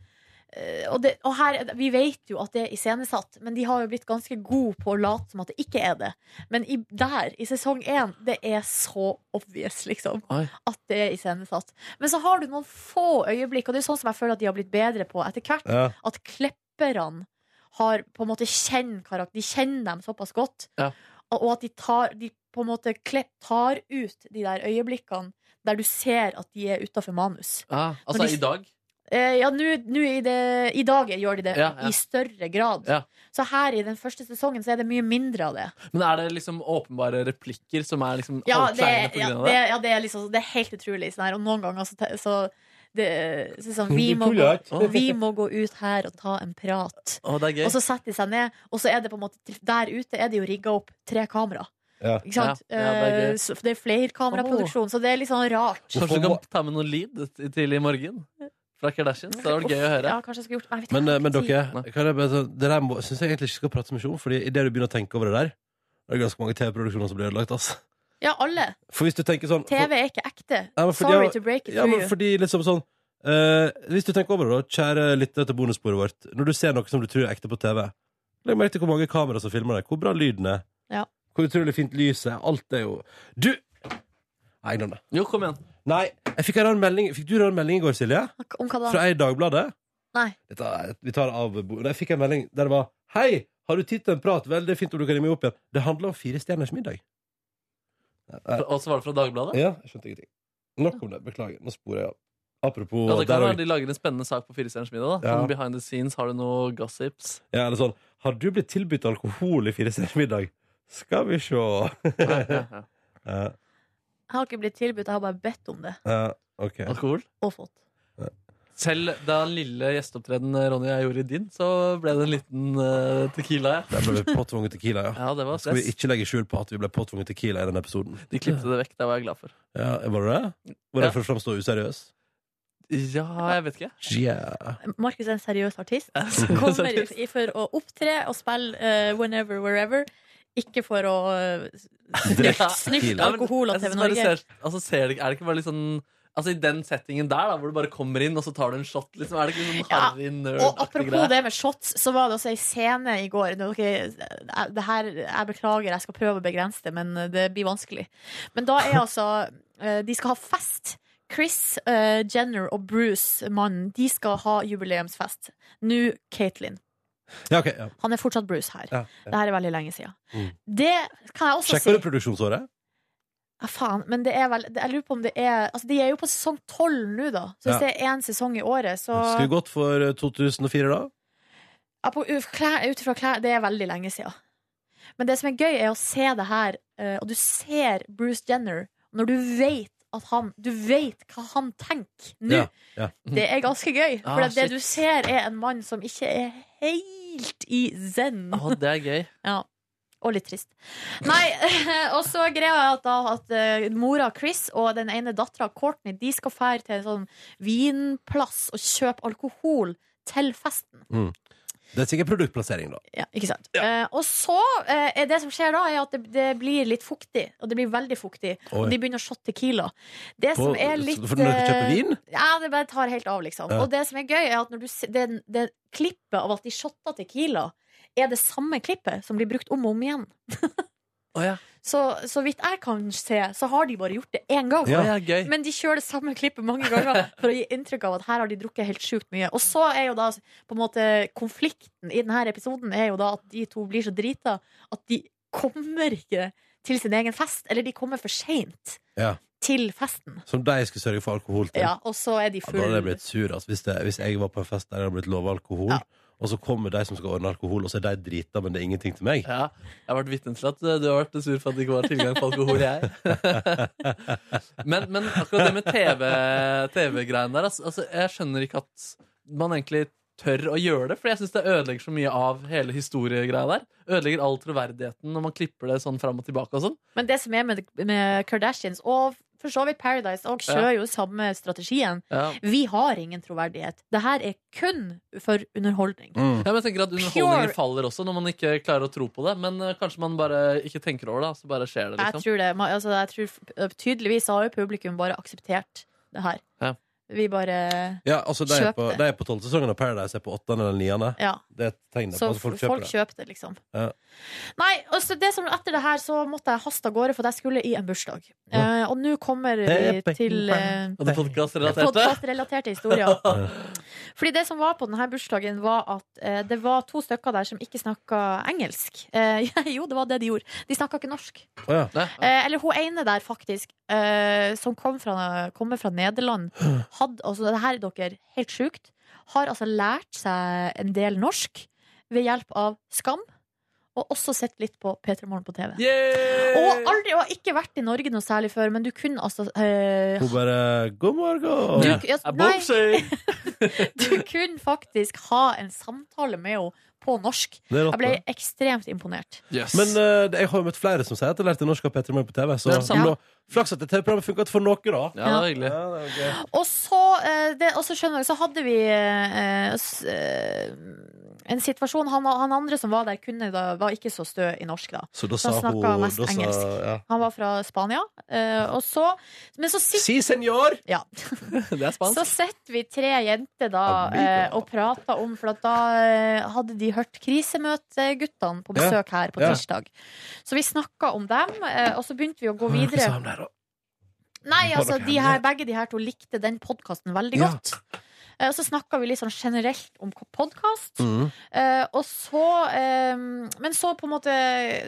[SPEAKER 1] eh, og, det, og her, vi vet jo at det er iscenesatt, men de har jo blitt ganske gode på å late som at det ikke er det. Men i, der, i sesong én, det er så obvious, liksom,
[SPEAKER 2] Oi.
[SPEAKER 1] at det er iscenesatt. Men så har du noen få øyeblikk, og det er sånn som jeg føler at de har blitt bedre på etter hvert,
[SPEAKER 3] Ja.
[SPEAKER 1] at klepperne har på en måte kjenner karakter, de kjenner dem såpass godt,
[SPEAKER 2] Ja.
[SPEAKER 1] og, og at de tar, de på en måte klepp, tar ut de der øyeblikkene der du ser at de er utafor manus.
[SPEAKER 2] Ah, altså,
[SPEAKER 1] Når de-
[SPEAKER 2] i dag
[SPEAKER 1] Eh, ja, nå nå i, det- i dag gjør de det
[SPEAKER 2] Ja, ja.
[SPEAKER 1] i større grad.
[SPEAKER 2] Ja.
[SPEAKER 1] Så her i den første sesongen så er det mye mindre av det.
[SPEAKER 2] Men er det liksom åpenbare replikker som er liksom
[SPEAKER 1] Ja, det,
[SPEAKER 2] halvkleine på
[SPEAKER 1] ja,
[SPEAKER 2] grunn av
[SPEAKER 1] det,
[SPEAKER 2] det?
[SPEAKER 1] ja, det, er, liksom, det er helt utrolig. Sånn her. Og noen ganger så, te- så det, så sånn, vi, må gå, vi må gå ut her og ta en prat.
[SPEAKER 2] Å, det er gøy.
[SPEAKER 1] Og så setter de seg ned, og så er det på en måte der ute er det jo rigga opp tre kamera.
[SPEAKER 3] Ja.
[SPEAKER 1] Ikke sant?
[SPEAKER 2] Ja, ja, det er gøy.
[SPEAKER 1] Eh, så- for det er flerkameraproduksjon, så det er litt sånn rart.
[SPEAKER 2] Kanskje du kan ta med noen lead t- til i morgen? Fra Kardashians? Det hadde vært gøy å høre.
[SPEAKER 1] Ja, kanskje jeg skulle gjort Nei, vet du
[SPEAKER 3] Men,
[SPEAKER 1] hva,
[SPEAKER 3] eh, men
[SPEAKER 1] jeg
[SPEAKER 3] dere,
[SPEAKER 1] har ikke
[SPEAKER 2] Nei.
[SPEAKER 3] kan jeg bare, så- det der må- syns jeg egentlig ikke skal prate så mye om, Fordi idet du begynner å tenke over det der, det er ganske mange TV-produksjoner som blir ødelagt. ass.
[SPEAKER 1] tid. Ja, alle.
[SPEAKER 3] For hvis du tenker sånn for-
[SPEAKER 1] TV er ikke ekte.
[SPEAKER 3] Ja, men fordi-
[SPEAKER 1] Sorry to break it
[SPEAKER 3] Ja,
[SPEAKER 1] to
[SPEAKER 3] men
[SPEAKER 1] you.
[SPEAKER 3] fordi liksom sånn Eh, hvis du tenker over det, da, kjære lytter til bonussporet vårt, når du ser noe som du tror er ekte på TV, legg merke til hvor mange kameraer som filmer deg, hvor bra lyden er,
[SPEAKER 1] Ja.
[SPEAKER 3] hvor utrolig fint lyset er. Alt er jo Du! Nei, glem det.
[SPEAKER 2] Jo, kom igjen.
[SPEAKER 3] Nei, jeg fikk en rar melding Fikk du en rar melding i går, Silje?
[SPEAKER 1] Om hva da?
[SPEAKER 3] Fra ei i Dagbladet?
[SPEAKER 1] Nei.
[SPEAKER 3] Dette er, vi tar det av bordet. Jeg fikk en melding der det var Hei, har du tid til en prat? Vel, det er fint om du kan ringe meg opp igjen. Det handler om fire stjerners middag.
[SPEAKER 2] Og så var det fra Dagbladet?
[SPEAKER 3] Ja, jeg skjønte ingenting. Nok om det. Beklager. Nå sporer jeg av. Apropos
[SPEAKER 2] Ja, det kan
[SPEAKER 3] der
[SPEAKER 2] være
[SPEAKER 3] og-
[SPEAKER 2] de lager en spennende sak på Fire stjerners middag. da
[SPEAKER 3] Ja.
[SPEAKER 2] Sånn behind the scenes, Har du noe
[SPEAKER 3] [LAUGHS]
[SPEAKER 2] gossips?
[SPEAKER 3] ja, eller sånn, Har du blitt tilbudt alkohol i fire stjerners middag? Skal vi sjå. Ja,
[SPEAKER 1] Jeg har ikke blitt tilbudt, jeg har bare bedt om det.
[SPEAKER 3] ja, OK.
[SPEAKER 2] Alkohol?
[SPEAKER 1] Og fått.
[SPEAKER 2] Selv da lille gjesteopptreden Ronny og jeg gjorde i din, så ble det en liten eh, tequila. Ja.
[SPEAKER 3] Der ble vi påtvunget tequila, ja.
[SPEAKER 2] Ja, det var
[SPEAKER 3] Skal vi
[SPEAKER 2] stress.
[SPEAKER 3] ikke legge skjul på at vi ble påtvunget tequila i denne episoden?
[SPEAKER 2] De klippet det vekk. Det var jeg glad for.
[SPEAKER 3] Ja, Var det det? Var det
[SPEAKER 2] Ja.
[SPEAKER 3] for å framstå useriøs?
[SPEAKER 2] Ja, jeg vet ikke.
[SPEAKER 3] Yeah.
[SPEAKER 1] Markus er en seriøs artist.
[SPEAKER 2] seriøs
[SPEAKER 1] Kommer
[SPEAKER 2] artist.
[SPEAKER 1] i- for å opptre og spille eh, whenever, wherever. Ikke for å
[SPEAKER 2] [LAUGHS]
[SPEAKER 3] Direkte
[SPEAKER 1] sniffe
[SPEAKER 3] tequila.
[SPEAKER 1] alkohol av
[SPEAKER 2] Jeg
[SPEAKER 1] TV
[SPEAKER 2] synes bare
[SPEAKER 1] Norge.
[SPEAKER 2] Ser, altså, ser det, ikke- er det ikke bare litt sånn Altså I den settingen der, da hvor du bare kommer inn og så tar du en shot, liksom. Er det ikke litt sånn
[SPEAKER 1] Ja,
[SPEAKER 2] harry
[SPEAKER 1] Og
[SPEAKER 2] nerd-aktig
[SPEAKER 1] apropos
[SPEAKER 2] greie?
[SPEAKER 1] det med shots, så var det også ei scene i går nå, ok, eh, det her, Jeg beklager, jeg skal prøve å begrense det, men eh, det blir vanskelig. Men da er altså [LAUGHS] eh, De skal ha fest. Chris eh, Jenner og Bruce, mannen, de skal ha jubileumsfest. Nå Caitlyn.
[SPEAKER 3] Ja, ok. Ja.
[SPEAKER 1] Han er fortsatt Bruce her.
[SPEAKER 3] Ja, ja.
[SPEAKER 1] Det her er veldig lenge siden.
[SPEAKER 3] Mm.
[SPEAKER 1] Det kan jeg også
[SPEAKER 3] Sjekker du
[SPEAKER 1] si.
[SPEAKER 3] produksjonsåret?
[SPEAKER 1] Ja, faen, men det er vel det- Jeg lurer på om det er Altså, de er jo på sesong tolv nå, da. Så hvis
[SPEAKER 3] Ja.
[SPEAKER 1] det er én sesong i året, så
[SPEAKER 3] Skulle vi gått for eh, 2004, da?
[SPEAKER 1] Ja, på- u- klær- Ut ifra klær Det er veldig lenge siden. Men det som er gøy, er å se det her, eh, og du ser Bruce Jenner når du vet at han Du vet hva han tenker nå.
[SPEAKER 3] Ja, ja. Mhm.
[SPEAKER 1] Det er ganske gøy. For
[SPEAKER 2] Ah,
[SPEAKER 1] det
[SPEAKER 2] shit.
[SPEAKER 1] du ser, er en mann som ikke er helt i zen.
[SPEAKER 2] Å, det er gøy.
[SPEAKER 1] Ja. Og litt trist. Nei, [LAUGHS] og så greia er at, da, at eh, mora Chris og den ene dattera Courtney de skal fære til en sånn vinplass og kjøpe alkohol til festen.
[SPEAKER 3] Det er sikkert produktplassering, da.
[SPEAKER 1] Ja, ikke sant? Eh, og så eh, er det som skjer da, er at det, det blir litt fuktig. Og det blir veldig fuktig.
[SPEAKER 3] Oi.
[SPEAKER 1] Og de begynner å shotte Tequila. Det
[SPEAKER 3] På-
[SPEAKER 1] som er litt
[SPEAKER 3] for når dere kjøper
[SPEAKER 1] eh,
[SPEAKER 3] vin?
[SPEAKER 1] Ja, det bare tar helt av, liksom.
[SPEAKER 3] Ja.
[SPEAKER 1] Og det som er gøy, er at når du se- det, det klippet av at de shotta Tequila, er det samme klippet som blir brukt om og om igjen.
[SPEAKER 2] Å ja.
[SPEAKER 1] Så, så vidt jeg kan se, så har de bare gjort det én gang.
[SPEAKER 2] Å, ja, gøy.
[SPEAKER 1] Men de kjører det samme klippet mange ganger for å gi inntrykk av at her har de drukket helt sjukt mye. Og så er jo da på en måte konflikten i denne episoden er jo da at de to blir så drita at de kommer ikke til sin egen fest. Eller de kommer for seint
[SPEAKER 3] Ja.
[SPEAKER 1] til festen.
[SPEAKER 3] Som de skulle sørge for alkohol til.
[SPEAKER 1] Ja, og så er de
[SPEAKER 3] Ja, da
[SPEAKER 1] full.
[SPEAKER 3] hadde jeg blitt sur altså, hvis, det, hvis jeg var på en fest der jeg hadde blitt lova alkohol,
[SPEAKER 1] Ja.
[SPEAKER 3] og så kommer de som skal ordne alkohol, og så er de drita, men det er ingenting til meg.
[SPEAKER 2] Ja, jeg har vært vitne til at eh, du har vært sur for at det ikke var tilgang på alkohol, jeg. [LAUGHS] men, men akkurat det med TV TV-greiene der, altså, altså, jeg skjønner ikke at man egentlig tør å gjøre det, for jeg syns det ødelegger så mye av hele historiegreia der. Ødelegger all troverdigheten når man klipper det sånn fram og tilbake og sånn.
[SPEAKER 1] Men det som er med, med Kardashians, og for så vidt Paradise, og kjører jo samme strategien.
[SPEAKER 2] Ja.
[SPEAKER 1] Vi har ingen troverdighet. Det her er kun for underholdning.
[SPEAKER 3] Mm.
[SPEAKER 2] men jeg tenker at Underholdningen
[SPEAKER 1] Pure-
[SPEAKER 2] faller også når man ikke klarer å tro på det. Men eh, kanskje man bare ikke tenker over det, så bare skjer
[SPEAKER 1] Jeg
[SPEAKER 2] det. liksom
[SPEAKER 1] tror det. Ma- Altså, jeg tror, tydeligvis har jo publikum bare akseptert det her.
[SPEAKER 2] Ja.
[SPEAKER 1] Vi bare
[SPEAKER 3] Ja, altså, de er
[SPEAKER 1] Kjøp
[SPEAKER 3] på,
[SPEAKER 1] det.
[SPEAKER 3] de er på tolvte sesongen av Paradise, er på åttende eller niende.
[SPEAKER 1] Ja.
[SPEAKER 3] Det er et tegn på
[SPEAKER 1] Så
[SPEAKER 3] at folk kjøper det.
[SPEAKER 1] det, liksom.
[SPEAKER 3] Ja.
[SPEAKER 1] Nei, altså det som etter det her så måtte jeg haste av gårde, for jeg skulle i en bursdag. Eh, og nå kommer vi
[SPEAKER 3] Happy
[SPEAKER 1] til eh,
[SPEAKER 2] Og det podkastrelaterte. [LAUGHS]
[SPEAKER 1] podkastrelaterte historier. Fordi det som var på denne bursdagen, var at eh, det var to stykker der som ikke snakka engelsk. Eh, [LAUGHS] jo, det var det de gjorde. De snakka ikke norsk.
[SPEAKER 3] Å, ja.
[SPEAKER 1] Eh, eller hun ene der, faktisk, eh, som kom fra, kommer fra Nederland, hadde altså, Det her, dere, helt sjukt. Har altså lært seg en del norsk ved hjelp av Skam, og også sett litt på P3 Morgen på TV. Og
[SPEAKER 2] Yeah!
[SPEAKER 1] aldri, og har ikke vært i Norge noe særlig før, men du kunne altså eh,
[SPEAKER 3] Hun bare 'God morgen'.
[SPEAKER 1] du,
[SPEAKER 2] Ja.
[SPEAKER 1] ja,
[SPEAKER 2] Jeg
[SPEAKER 1] nei,
[SPEAKER 2] bokser!
[SPEAKER 1] du kunne faktisk ha en samtale med henne på norsk.
[SPEAKER 3] Det er rått.
[SPEAKER 1] Jeg ble
[SPEAKER 3] det.
[SPEAKER 1] ekstremt imponert.
[SPEAKER 2] Yes.
[SPEAKER 3] Men eh, det- jeg har jo møtt flere som sier at de lærte norsk av Petter Morgen på TV. Så
[SPEAKER 2] Det er sant.
[SPEAKER 3] nå- flaks at det TV-programmet funka for noe, da.
[SPEAKER 2] ja, det var hyggelig. [LAUGHS]
[SPEAKER 3] Ja, det er jo gøy.
[SPEAKER 1] Og så, eh, det, og så skjønner dere, så hadde vi eh, s- eh, en situasjon han, han andre som var der, kunne da, var ikke så stø i norsk, da.
[SPEAKER 3] Så da
[SPEAKER 1] Så
[SPEAKER 3] sa
[SPEAKER 1] han
[SPEAKER 3] hun
[SPEAKER 1] snakket mest
[SPEAKER 3] da sa,
[SPEAKER 1] engelsk.
[SPEAKER 3] ja.
[SPEAKER 1] Han var fra Spania. eh, og så Men så sitter
[SPEAKER 3] Si senor!
[SPEAKER 1] Ja.
[SPEAKER 3] Det er
[SPEAKER 1] Så
[SPEAKER 3] spansk.
[SPEAKER 1] sitter vi tre jenter da eh, og prater om For at da eh, hadde de hørt krisemøteguttene på
[SPEAKER 3] Ja.
[SPEAKER 1] besøk her på
[SPEAKER 3] Ja.
[SPEAKER 1] tirsdag. Så vi snakka om dem, eh, og så begynte vi å gå
[SPEAKER 3] Hva [LAUGHS] sa
[SPEAKER 1] videre.
[SPEAKER 3] han der, da?
[SPEAKER 1] Nei,
[SPEAKER 3] Var
[SPEAKER 1] altså,
[SPEAKER 3] dere
[SPEAKER 1] de
[SPEAKER 3] hemmelig?
[SPEAKER 1] her, Begge de her to likte den podkasten veldig
[SPEAKER 3] Ja.
[SPEAKER 1] godt. Eh, Og så snakka vi litt sånn generelt om podkast.
[SPEAKER 3] Mhm.
[SPEAKER 1] Eh, og så eh, Men så på en måte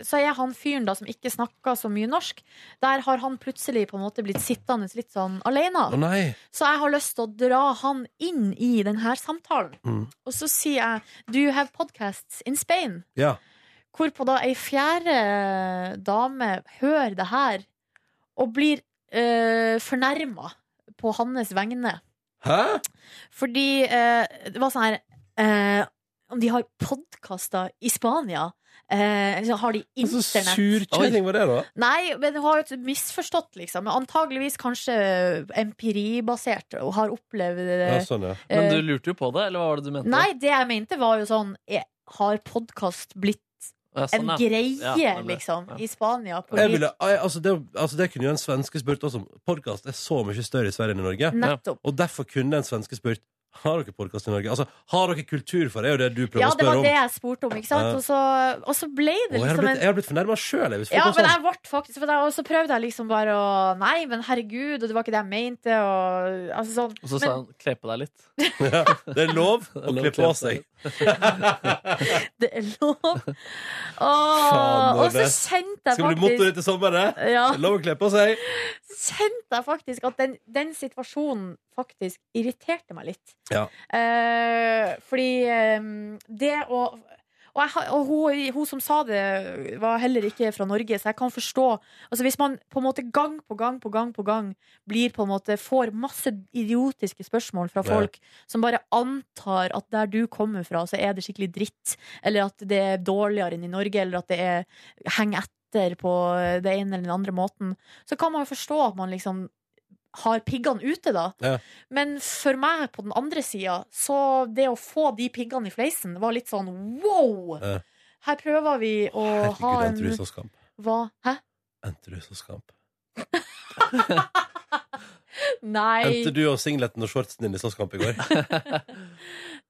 [SPEAKER 1] Så er han fyren da som ikke snakker så mye norsk. Der har han plutselig på en måte blitt sittende litt sånn alene.
[SPEAKER 3] Å nei.
[SPEAKER 1] Så jeg har lyst til å dra han inn i denne samtalen.
[SPEAKER 3] Mm.
[SPEAKER 1] Og så sier jeg 'Do you have podcasts in Spain?'
[SPEAKER 3] Ja.
[SPEAKER 1] Hvorpå da ei fjerde eh, dame hører det her og blir uh, fornærma på hans vegne.
[SPEAKER 3] Hæ?
[SPEAKER 1] Fordi eh, det var sånn her eh, Om de har podkaster i Spania? Eh, eller så har de
[SPEAKER 3] Så
[SPEAKER 1] internett?
[SPEAKER 3] surkjøring Altså, var det, da?
[SPEAKER 1] Nei, men hun har jo misforstått, liksom. Antageligvis kanskje empiribasert og har opplevd det.
[SPEAKER 3] Ja, sånn, ja.
[SPEAKER 2] Men
[SPEAKER 1] Eh,
[SPEAKER 2] du lurte jo på det, eller hva var det du mente?
[SPEAKER 1] Nei, det jeg mente var jo sånn eh, Har podkast blitt
[SPEAKER 2] Ja, sånn,
[SPEAKER 1] en
[SPEAKER 2] ja.
[SPEAKER 1] greie,
[SPEAKER 2] Ja, nemlig.
[SPEAKER 1] liksom,
[SPEAKER 2] Ja.
[SPEAKER 1] i Spania? På
[SPEAKER 3] Jeg
[SPEAKER 1] lik-
[SPEAKER 3] ville, jeg, altså, det, altså, det kunne jo en svenske spurt oss om. Podkast er så mye større i Sverige enn i Norge.
[SPEAKER 1] Nettopp.
[SPEAKER 3] Og derfor kunne en svenske spurt Har dere podkast i Norge. Altså, har dere kultur for det? Det er jo det du prøver
[SPEAKER 1] Ja,
[SPEAKER 3] å
[SPEAKER 1] det
[SPEAKER 3] spørre
[SPEAKER 1] var
[SPEAKER 3] om.
[SPEAKER 1] det jeg spurte om, ikke sant?
[SPEAKER 3] Ja.
[SPEAKER 1] Og så, og så ble
[SPEAKER 3] Å,
[SPEAKER 1] det
[SPEAKER 3] jeg har
[SPEAKER 1] liksom
[SPEAKER 3] blitt,
[SPEAKER 1] en
[SPEAKER 3] jeg har blitt fornærma sjøl.
[SPEAKER 1] ja, men
[SPEAKER 3] [LAUGHS]
[SPEAKER 1] jeg ble faktisk for da- Og så prøvde jeg liksom bare å Nei, men herregud, og det var ikke det jeg mente, og altså sånn.
[SPEAKER 2] Og
[SPEAKER 1] Men-
[SPEAKER 2] så sa han 'kle på deg litt'.
[SPEAKER 3] Det er
[SPEAKER 1] [LAUGHS]
[SPEAKER 3] lov
[SPEAKER 2] er
[SPEAKER 3] å
[SPEAKER 2] lov
[SPEAKER 3] kle
[SPEAKER 2] å
[SPEAKER 3] på
[SPEAKER 2] kle
[SPEAKER 3] seg.
[SPEAKER 1] Det er lov.
[SPEAKER 3] Faen,
[SPEAKER 1] Åh, og så
[SPEAKER 3] Nordnes.
[SPEAKER 1] kjente jeg
[SPEAKER 3] Skal bli motto
[SPEAKER 1] faktisk
[SPEAKER 3] ditt i sommer, det?
[SPEAKER 1] ja,
[SPEAKER 3] Det er Lov å kle på seg.
[SPEAKER 1] kjente jeg faktisk at den, den situasjonen faktisk irriterte meg litt.
[SPEAKER 3] Ja.
[SPEAKER 1] Eh, fordi eh, det å og, jeg, har- og hun, hun som sa det, var heller ikke fra Norge, så jeg kan forstå Altså Hvis man på en måte gang på gang på gang på gang blir på en måte får masse idiotiske spørsmål fra
[SPEAKER 3] Ja.
[SPEAKER 1] folk som bare antar at der du kommer fra, så er det skikkelig dritt, eller at det er dårligere enn i Norge, eller at det er henger etter på det ene eller den andre måten, så kan man jo forstå at man liksom har piggene ute, da.
[SPEAKER 3] Ja.
[SPEAKER 1] Men for meg, på den andre sida, så det å få de piggene i fleisen var litt sånn wow!
[SPEAKER 3] Ja.
[SPEAKER 1] Her prøver vi å ha
[SPEAKER 3] Herregud, sånn.
[SPEAKER 1] en
[SPEAKER 3] endte du i så skam?
[SPEAKER 1] Hva? Hæ?
[SPEAKER 3] Endte du i så skam?
[SPEAKER 1] Nei.
[SPEAKER 3] Endte du og singleten og shortsen din i slåsskamp i går?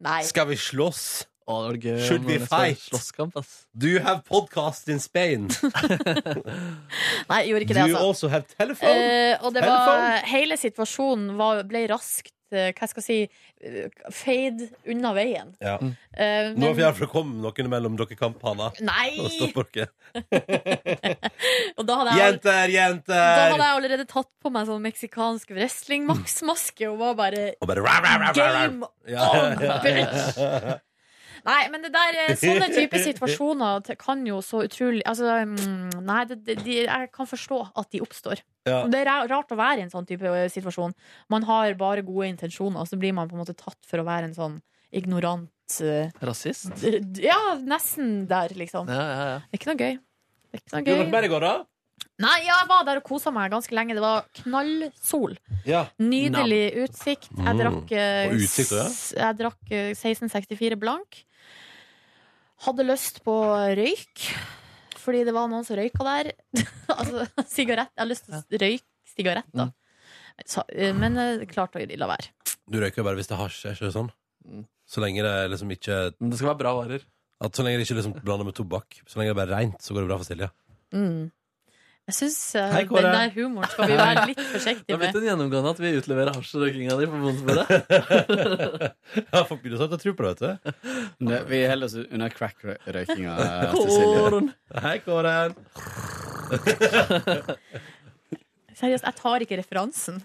[SPEAKER 1] Nei.
[SPEAKER 3] Skal vi slåss?
[SPEAKER 2] Å, det var gøy.
[SPEAKER 3] Should
[SPEAKER 2] om
[SPEAKER 3] we
[SPEAKER 2] det var
[SPEAKER 3] fight?
[SPEAKER 2] Slåsskamp, ass.
[SPEAKER 3] Do you have podcast in Spain?
[SPEAKER 1] Nei, jeg gjorde
[SPEAKER 3] Do
[SPEAKER 1] ikke det,
[SPEAKER 3] you
[SPEAKER 1] altså.
[SPEAKER 3] also have telephone?
[SPEAKER 1] Eh, og det var
[SPEAKER 3] Telephone.
[SPEAKER 1] Hele situasjonen var, ble raskt eh, hva skal jeg si eh, Fade unna veien.
[SPEAKER 3] Ja.
[SPEAKER 1] Eh,
[SPEAKER 3] Nå er
[SPEAKER 1] men,
[SPEAKER 3] vi her for å komme noen mellom dere kamphaner. Og
[SPEAKER 1] nei!
[SPEAKER 3] stoppe dere.
[SPEAKER 1] Og da hadde jeg
[SPEAKER 3] Jenter,
[SPEAKER 1] Da hadde
[SPEAKER 3] jenter!
[SPEAKER 1] jeg allerede tatt på meg sånn meksikansk wrestlingmaksmaske og var bare
[SPEAKER 3] Og bare rau, rau, rau, rau, rau.
[SPEAKER 1] Game
[SPEAKER 3] Ja, [LAUGHS]
[SPEAKER 1] on,
[SPEAKER 3] ja,
[SPEAKER 1] bitch! Nei, men det der, eh, sånne type situasjoner t- kan jo så utrolig Altså, mm, nei, det, det, de, jeg kan forstå at de oppstår.
[SPEAKER 3] Ja.
[SPEAKER 1] Det er ra- rart å være i en sånn type eh, situasjon. Man har bare gode intensjoner, og så blir man på en måte tatt for å være en sånn ignorant eh,
[SPEAKER 2] Rasist?
[SPEAKER 1] d- d- Ja, nesten der, liksom.
[SPEAKER 2] Ja, ja, ja.
[SPEAKER 1] Det er ikke noe gøy. Det er ikke noe
[SPEAKER 3] Gjorde
[SPEAKER 1] gøy.
[SPEAKER 3] dere mer i går, da?
[SPEAKER 1] Nei, jeg var der og kosa meg ganske lenge. Det var knallsol.
[SPEAKER 3] Ja.
[SPEAKER 1] Nydelig utsikt. Jeg
[SPEAKER 3] Mm.
[SPEAKER 1] drakk, eh,
[SPEAKER 3] Og utsikt, ja.
[SPEAKER 1] s- jeg drakk eh, 1664 blank. Hadde lyst på røyk, fordi det var noen som røyka der. [LAUGHS] altså sigarett. Jeg har lyst til å s- røyke sigaretter.
[SPEAKER 3] Mm.
[SPEAKER 1] Så, eh, men eh, klart å la være.
[SPEAKER 3] Du røyker jo bare hvis det er hasj, er ikke det sånn?
[SPEAKER 2] Mm.
[SPEAKER 3] Så lenge det liksom ikke
[SPEAKER 2] Men det skal være bra varer.
[SPEAKER 3] at Så lenge det ikke liksom blander med tobakk, så lenge det bare er rent, så går det bra for Silje.
[SPEAKER 1] Mm.
[SPEAKER 3] [LAUGHS]
[SPEAKER 1] Jeg syns
[SPEAKER 3] Hei,
[SPEAKER 1] den
[SPEAKER 3] Kåre.
[SPEAKER 1] der humoren skal vi være litt
[SPEAKER 2] Det
[SPEAKER 1] forsiktige
[SPEAKER 2] har blitt
[SPEAKER 1] med.
[SPEAKER 2] en gjennomgående at vi utleverer hasjrøykinga di på [LAUGHS] Bondesporet.
[SPEAKER 3] Ja, folk begynner sånn å tro på det, vet du.
[SPEAKER 11] Det- Vi holder oss under crack-røykinga til Silje.
[SPEAKER 2] Kåren.
[SPEAKER 3] Hei, Kåren.
[SPEAKER 1] Seriøst, jeg tar ikke referansen.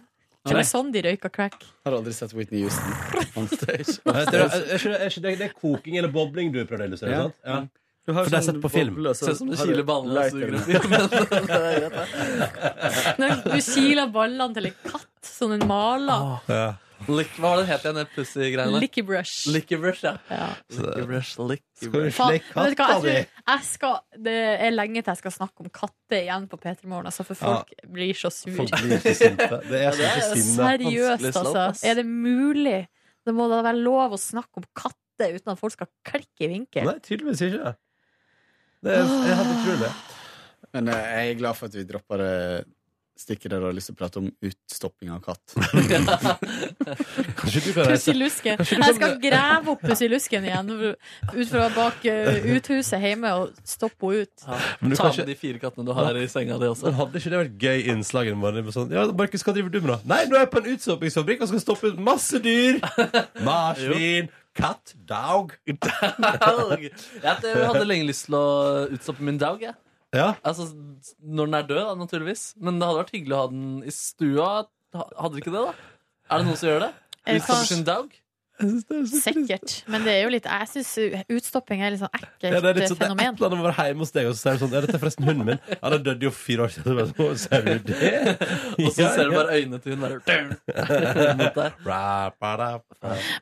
[SPEAKER 1] Det
[SPEAKER 11] Nei.
[SPEAKER 1] var sånn de røyka crack.
[SPEAKER 11] Har aldri sett Whitney Houston on stage.
[SPEAKER 3] Er ikke det, er ikke det, er ikke det, det er koking eller bobling du prøver å illustrere, sant? Ja. sånn
[SPEAKER 11] Du har
[SPEAKER 3] For det er sett på film.
[SPEAKER 11] boble, og så
[SPEAKER 2] Ser ut som det
[SPEAKER 11] har du
[SPEAKER 2] kiler ballene. og suger
[SPEAKER 11] lighteren.
[SPEAKER 2] ut i- men- [LAUGHS]
[SPEAKER 1] Når du kiler ballene til en katt, sånn en maler.
[SPEAKER 3] Ja.
[SPEAKER 2] Lick, hva var det het igjen, det pussy-greiene?
[SPEAKER 1] Licky brush.
[SPEAKER 2] Licky brush, ja.
[SPEAKER 1] Ja.
[SPEAKER 2] Licky brush, licky
[SPEAKER 3] Skal du
[SPEAKER 2] brush.
[SPEAKER 1] Faen,
[SPEAKER 3] slikke
[SPEAKER 1] vet du hva,
[SPEAKER 3] katta di?
[SPEAKER 1] jeg tror, jeg skal, det er lenge til jeg skal snakke om katter igjen på P3 Morgen, altså, for folk blir så sur.
[SPEAKER 3] Folk blir så sinte. Det er så mye sinne.
[SPEAKER 1] Seriøst,
[SPEAKER 2] vanskelig slått,
[SPEAKER 1] altså.
[SPEAKER 2] ass.
[SPEAKER 1] Er det mulig? Det må da være lov å snakke om katter sitte uten at folk skal klikke i vinkel.
[SPEAKER 3] Nei, tydeligvis ikke. Det er, jeg hadde trodd det.
[SPEAKER 11] Men eh, jeg er glad for at vi dropper det stikket der du har lyst til å prate om utstopping av
[SPEAKER 3] [LAUGHS]
[SPEAKER 11] katt.
[SPEAKER 3] Kanskje du kan
[SPEAKER 1] Pussillusken.
[SPEAKER 3] liksom
[SPEAKER 1] Jeg skal grave opp pussillusken igjen ut fra bak eh, uthuset hjemme og stoppe henne ut.
[SPEAKER 3] Men du
[SPEAKER 2] Ta
[SPEAKER 3] kan
[SPEAKER 2] med de fire kattene du har i senga di
[SPEAKER 3] [LAUGHS]
[SPEAKER 2] også. [LAUGHS]
[SPEAKER 3] Men hadde ikke det vært gøy innslag i morgen? Bare Sånn, ja, Markus, hva driver du med da? Nei, nå er jeg på en utstoppingsfabrikk og skal stoppe ut masse
[SPEAKER 11] [LAUGHS]
[SPEAKER 3] dyr! Marsvin, katt, dog.
[SPEAKER 2] Dog. Jeg t- hadde lenge lyst til å utstoppe min dog. Jeg.
[SPEAKER 3] [LAUGHS] Ja.
[SPEAKER 2] Altså, når den er død, da, naturligvis. Men det hadde vært hyggelig å ha den i stua. Ha- Hadde ikke det, da? Er det noen som gjør det?
[SPEAKER 1] Eh,
[SPEAKER 2] Utstopper
[SPEAKER 1] kanskje-
[SPEAKER 2] sin dog?
[SPEAKER 1] Sikkert. Men det er jo litt, jeg syns utstopping er litt sånn ekkelt
[SPEAKER 3] Ja, det er litt sånn, det er et
[SPEAKER 1] fenomen.
[SPEAKER 3] eller annet med å være hjemme hos deg, og så sier du sånn Ja, dette er forresten hunden min. Ja, den døde jo for fire år siden. Så bare, «Å, Ser du
[SPEAKER 11] [LAUGHS]
[SPEAKER 3] det?
[SPEAKER 2] Og så ser du bare øynene til hun bare mot deg.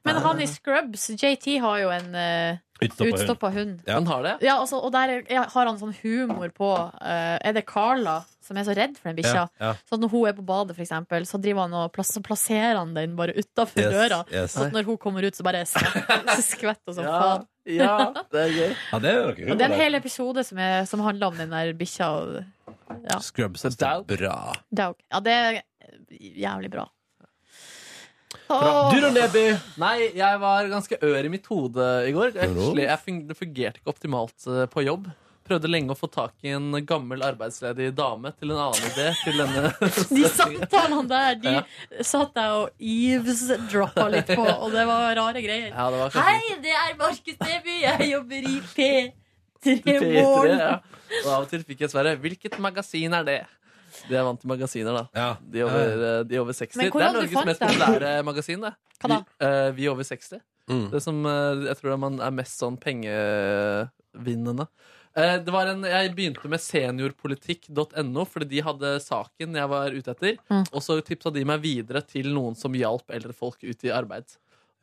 [SPEAKER 1] Men han i Scrubs, JT, har jo en uh,
[SPEAKER 3] Utstoppa hund.
[SPEAKER 1] utstoppa hund.
[SPEAKER 3] Ja. Han
[SPEAKER 2] har det?
[SPEAKER 1] Ja, altså, og der er- har han sånn humor på eh, Er det Carla som er så redd for den bikkja?
[SPEAKER 3] Ja, ja.
[SPEAKER 1] Så når hun er på badet, for eksempel, så driver han og plass, så plasserer han den bare utafor
[SPEAKER 3] Yes,
[SPEAKER 1] døra.
[SPEAKER 3] yes.
[SPEAKER 1] Så at når hun kommer ut, så bare skvetter [LAUGHS] så skvetter hun som
[SPEAKER 2] Ja,
[SPEAKER 1] faen.
[SPEAKER 2] ja, det er
[SPEAKER 1] [LAUGHS]
[SPEAKER 2] gøy.
[SPEAKER 3] Ja, det er noe
[SPEAKER 1] Og det er en hel episode som, er, som handler om den der bikkja. og- Ja,
[SPEAKER 3] Scrubs er bra.
[SPEAKER 1] Dog. ja, det er jævlig bra.
[SPEAKER 2] Bra.
[SPEAKER 1] Åh.
[SPEAKER 2] Du da, Neby? Nei, jeg var ganske ør i mitt hode i går. Jeg, jeg fung det fungerte ikke optimalt eh, på jobb. Prøvde lenge å få tak i en gammel arbeidsledig dame til en annen idé. Til denne
[SPEAKER 1] [LAUGHS] De samtalene der, de
[SPEAKER 2] Ja.
[SPEAKER 1] satt jeg og eavesdroppa litt på, og det var rare greier.
[SPEAKER 2] [LAUGHS] Ja, det var kanskje-
[SPEAKER 1] Hei, det er Markus Neby, jeg jobber i P3
[SPEAKER 2] P3,
[SPEAKER 1] Morgen.
[SPEAKER 2] ja. Og av og til fikk jeg svaret 'Hvilket magasin er det?' De er vant til magasiner, da. De, over, eh, de over 60.
[SPEAKER 1] Men
[SPEAKER 2] Det
[SPEAKER 1] hvor
[SPEAKER 2] er
[SPEAKER 1] hadde du
[SPEAKER 2] Norges
[SPEAKER 1] fant
[SPEAKER 2] mest
[SPEAKER 1] dem?
[SPEAKER 2] populære magasin, det.
[SPEAKER 1] Hva da?
[SPEAKER 2] Vi, eh, vi over 60. Det som eh, jeg tror er man er mest sånn pengevinnende. Eh, det var en, jeg begynte med seniorpolitikk.no, fordi de hadde saken jeg var ute etter.
[SPEAKER 1] Mm.
[SPEAKER 2] Og så tipsa de meg videre til noen som hjalp eldre folk ut i arbeid.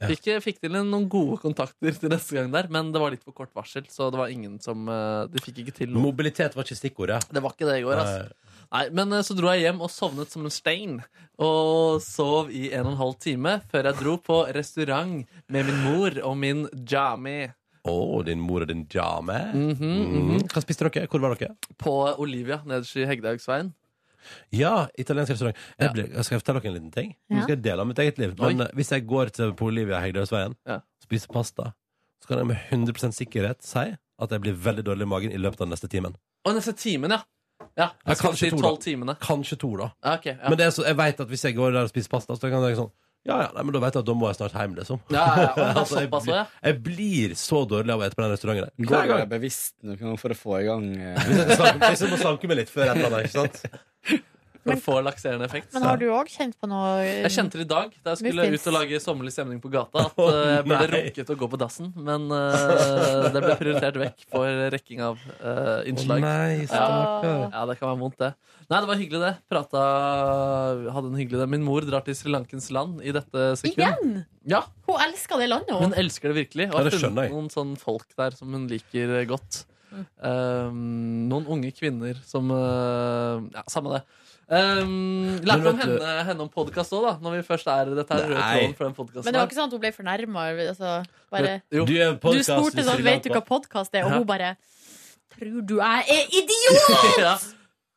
[SPEAKER 2] Fikk, fikk til en- noen gode kontakter til neste gang der, men det var litt for kort varsel. Så det var ingen som eh, De fikk ikke til noe.
[SPEAKER 3] Mobilitet var ikke stikkordet.
[SPEAKER 2] Det var ikke det i går, altså. Nei, men eh, så dro jeg hjem og sovnet som en stein. Og sov i en og en halv time før jeg dro på restaurant med min mor og min jami.
[SPEAKER 3] Å, din mor og din dame. Mm.
[SPEAKER 2] mhm.
[SPEAKER 3] Hva spiste dere? Hvor var dere?
[SPEAKER 2] På Olivia nederst i Hegdehaugsveien.
[SPEAKER 3] Ja, italiensk restaurant. Jeg ble, skal jeg fortelle dere en liten ting? Nå skal jeg dele av mitt eget liv. Men
[SPEAKER 2] Oi.
[SPEAKER 3] eh, hvis jeg går til på Olivia Hegdehaugsveien
[SPEAKER 2] Ja.
[SPEAKER 3] og spiser pasta, så kan jeg med 100 sikkerhet si at jeg blir veldig dårlig i magen i løpet av den neste timen.
[SPEAKER 2] Og neste timen, ja. ja
[SPEAKER 3] Ja,
[SPEAKER 2] jeg skal
[SPEAKER 3] kanskje
[SPEAKER 2] si
[SPEAKER 3] to, da.
[SPEAKER 2] tolv timene.
[SPEAKER 3] Kanskje to, da.
[SPEAKER 2] Ja, ok, ja.
[SPEAKER 3] Men det er så, jeg vet at hvis jeg går der og spiser pasta, så kan jeg sånn Ja, ja, nei, men da vet jeg at da må jeg snart hjem, liksom.
[SPEAKER 2] Ja, ja,
[SPEAKER 3] [LAUGHS]
[SPEAKER 2] ja. Og det er
[SPEAKER 3] jeg,
[SPEAKER 2] såpass også,
[SPEAKER 3] blir,
[SPEAKER 2] ja.
[SPEAKER 3] jeg blir så dårlig av å ete på den restauranten der.
[SPEAKER 11] Går
[SPEAKER 3] Hver
[SPEAKER 11] det
[SPEAKER 3] gang.
[SPEAKER 11] bevisst noen gang for å få i gang eh,
[SPEAKER 3] Hvis jeg, skal sanke, hvis jeg må sanke meg litt før et eller annet, ikke sant?
[SPEAKER 2] For å få lakserende effekt.
[SPEAKER 1] Men har du òg kjent på noe
[SPEAKER 2] Jeg kjente det i dag da jeg skulle
[SPEAKER 1] Muffins.
[SPEAKER 2] ut og lage sommerlig stemning på gata.
[SPEAKER 3] [LAUGHS]
[SPEAKER 2] At eh, jeg burde
[SPEAKER 3] nei.
[SPEAKER 2] rukket å gå på dassen, men eh, det ble prioritert vekk for rekking av eh, innslag.
[SPEAKER 3] Å nei,
[SPEAKER 2] ja.
[SPEAKER 3] stakkar.
[SPEAKER 2] ja, det kan være vondt, det. Nei, det var hyggelig, det. Prata Hadde en hyggelig det. Min mor drar til Sri Lankens land i dette sekund.
[SPEAKER 1] Igjen!
[SPEAKER 2] Ja,
[SPEAKER 1] Hun elsker det landet,
[SPEAKER 2] hun
[SPEAKER 1] hun.
[SPEAKER 2] elsker det virkelig. Og
[SPEAKER 3] Ja,
[SPEAKER 2] har
[SPEAKER 3] det skjønner
[SPEAKER 2] funnet
[SPEAKER 3] jeg.
[SPEAKER 2] noen sånn folk der som hun liker eh, godt.
[SPEAKER 1] Mm.
[SPEAKER 2] Um, noen unge kvinner som eh, Ja, samme det. Um,
[SPEAKER 3] Men
[SPEAKER 2] lærte om
[SPEAKER 3] vet du-
[SPEAKER 2] henne, henne om podkast òg, da. Når vi først er Dette er den røde
[SPEAKER 3] Nei.
[SPEAKER 2] tråden for den podkasten.
[SPEAKER 1] Men det var ikke sånn at hun ble fornærma. Altså, bare
[SPEAKER 2] Jo. [LAUGHS]
[SPEAKER 3] Du, er
[SPEAKER 1] Du
[SPEAKER 3] podcast,
[SPEAKER 1] spurte
[SPEAKER 3] hvis
[SPEAKER 1] sånn,
[SPEAKER 3] vil
[SPEAKER 1] vet du
[SPEAKER 3] ha
[SPEAKER 1] hva
[SPEAKER 3] på-
[SPEAKER 1] podkast er? Og
[SPEAKER 2] Ja.
[SPEAKER 1] hun bare Tror du jeg er idiot?!
[SPEAKER 2] ja.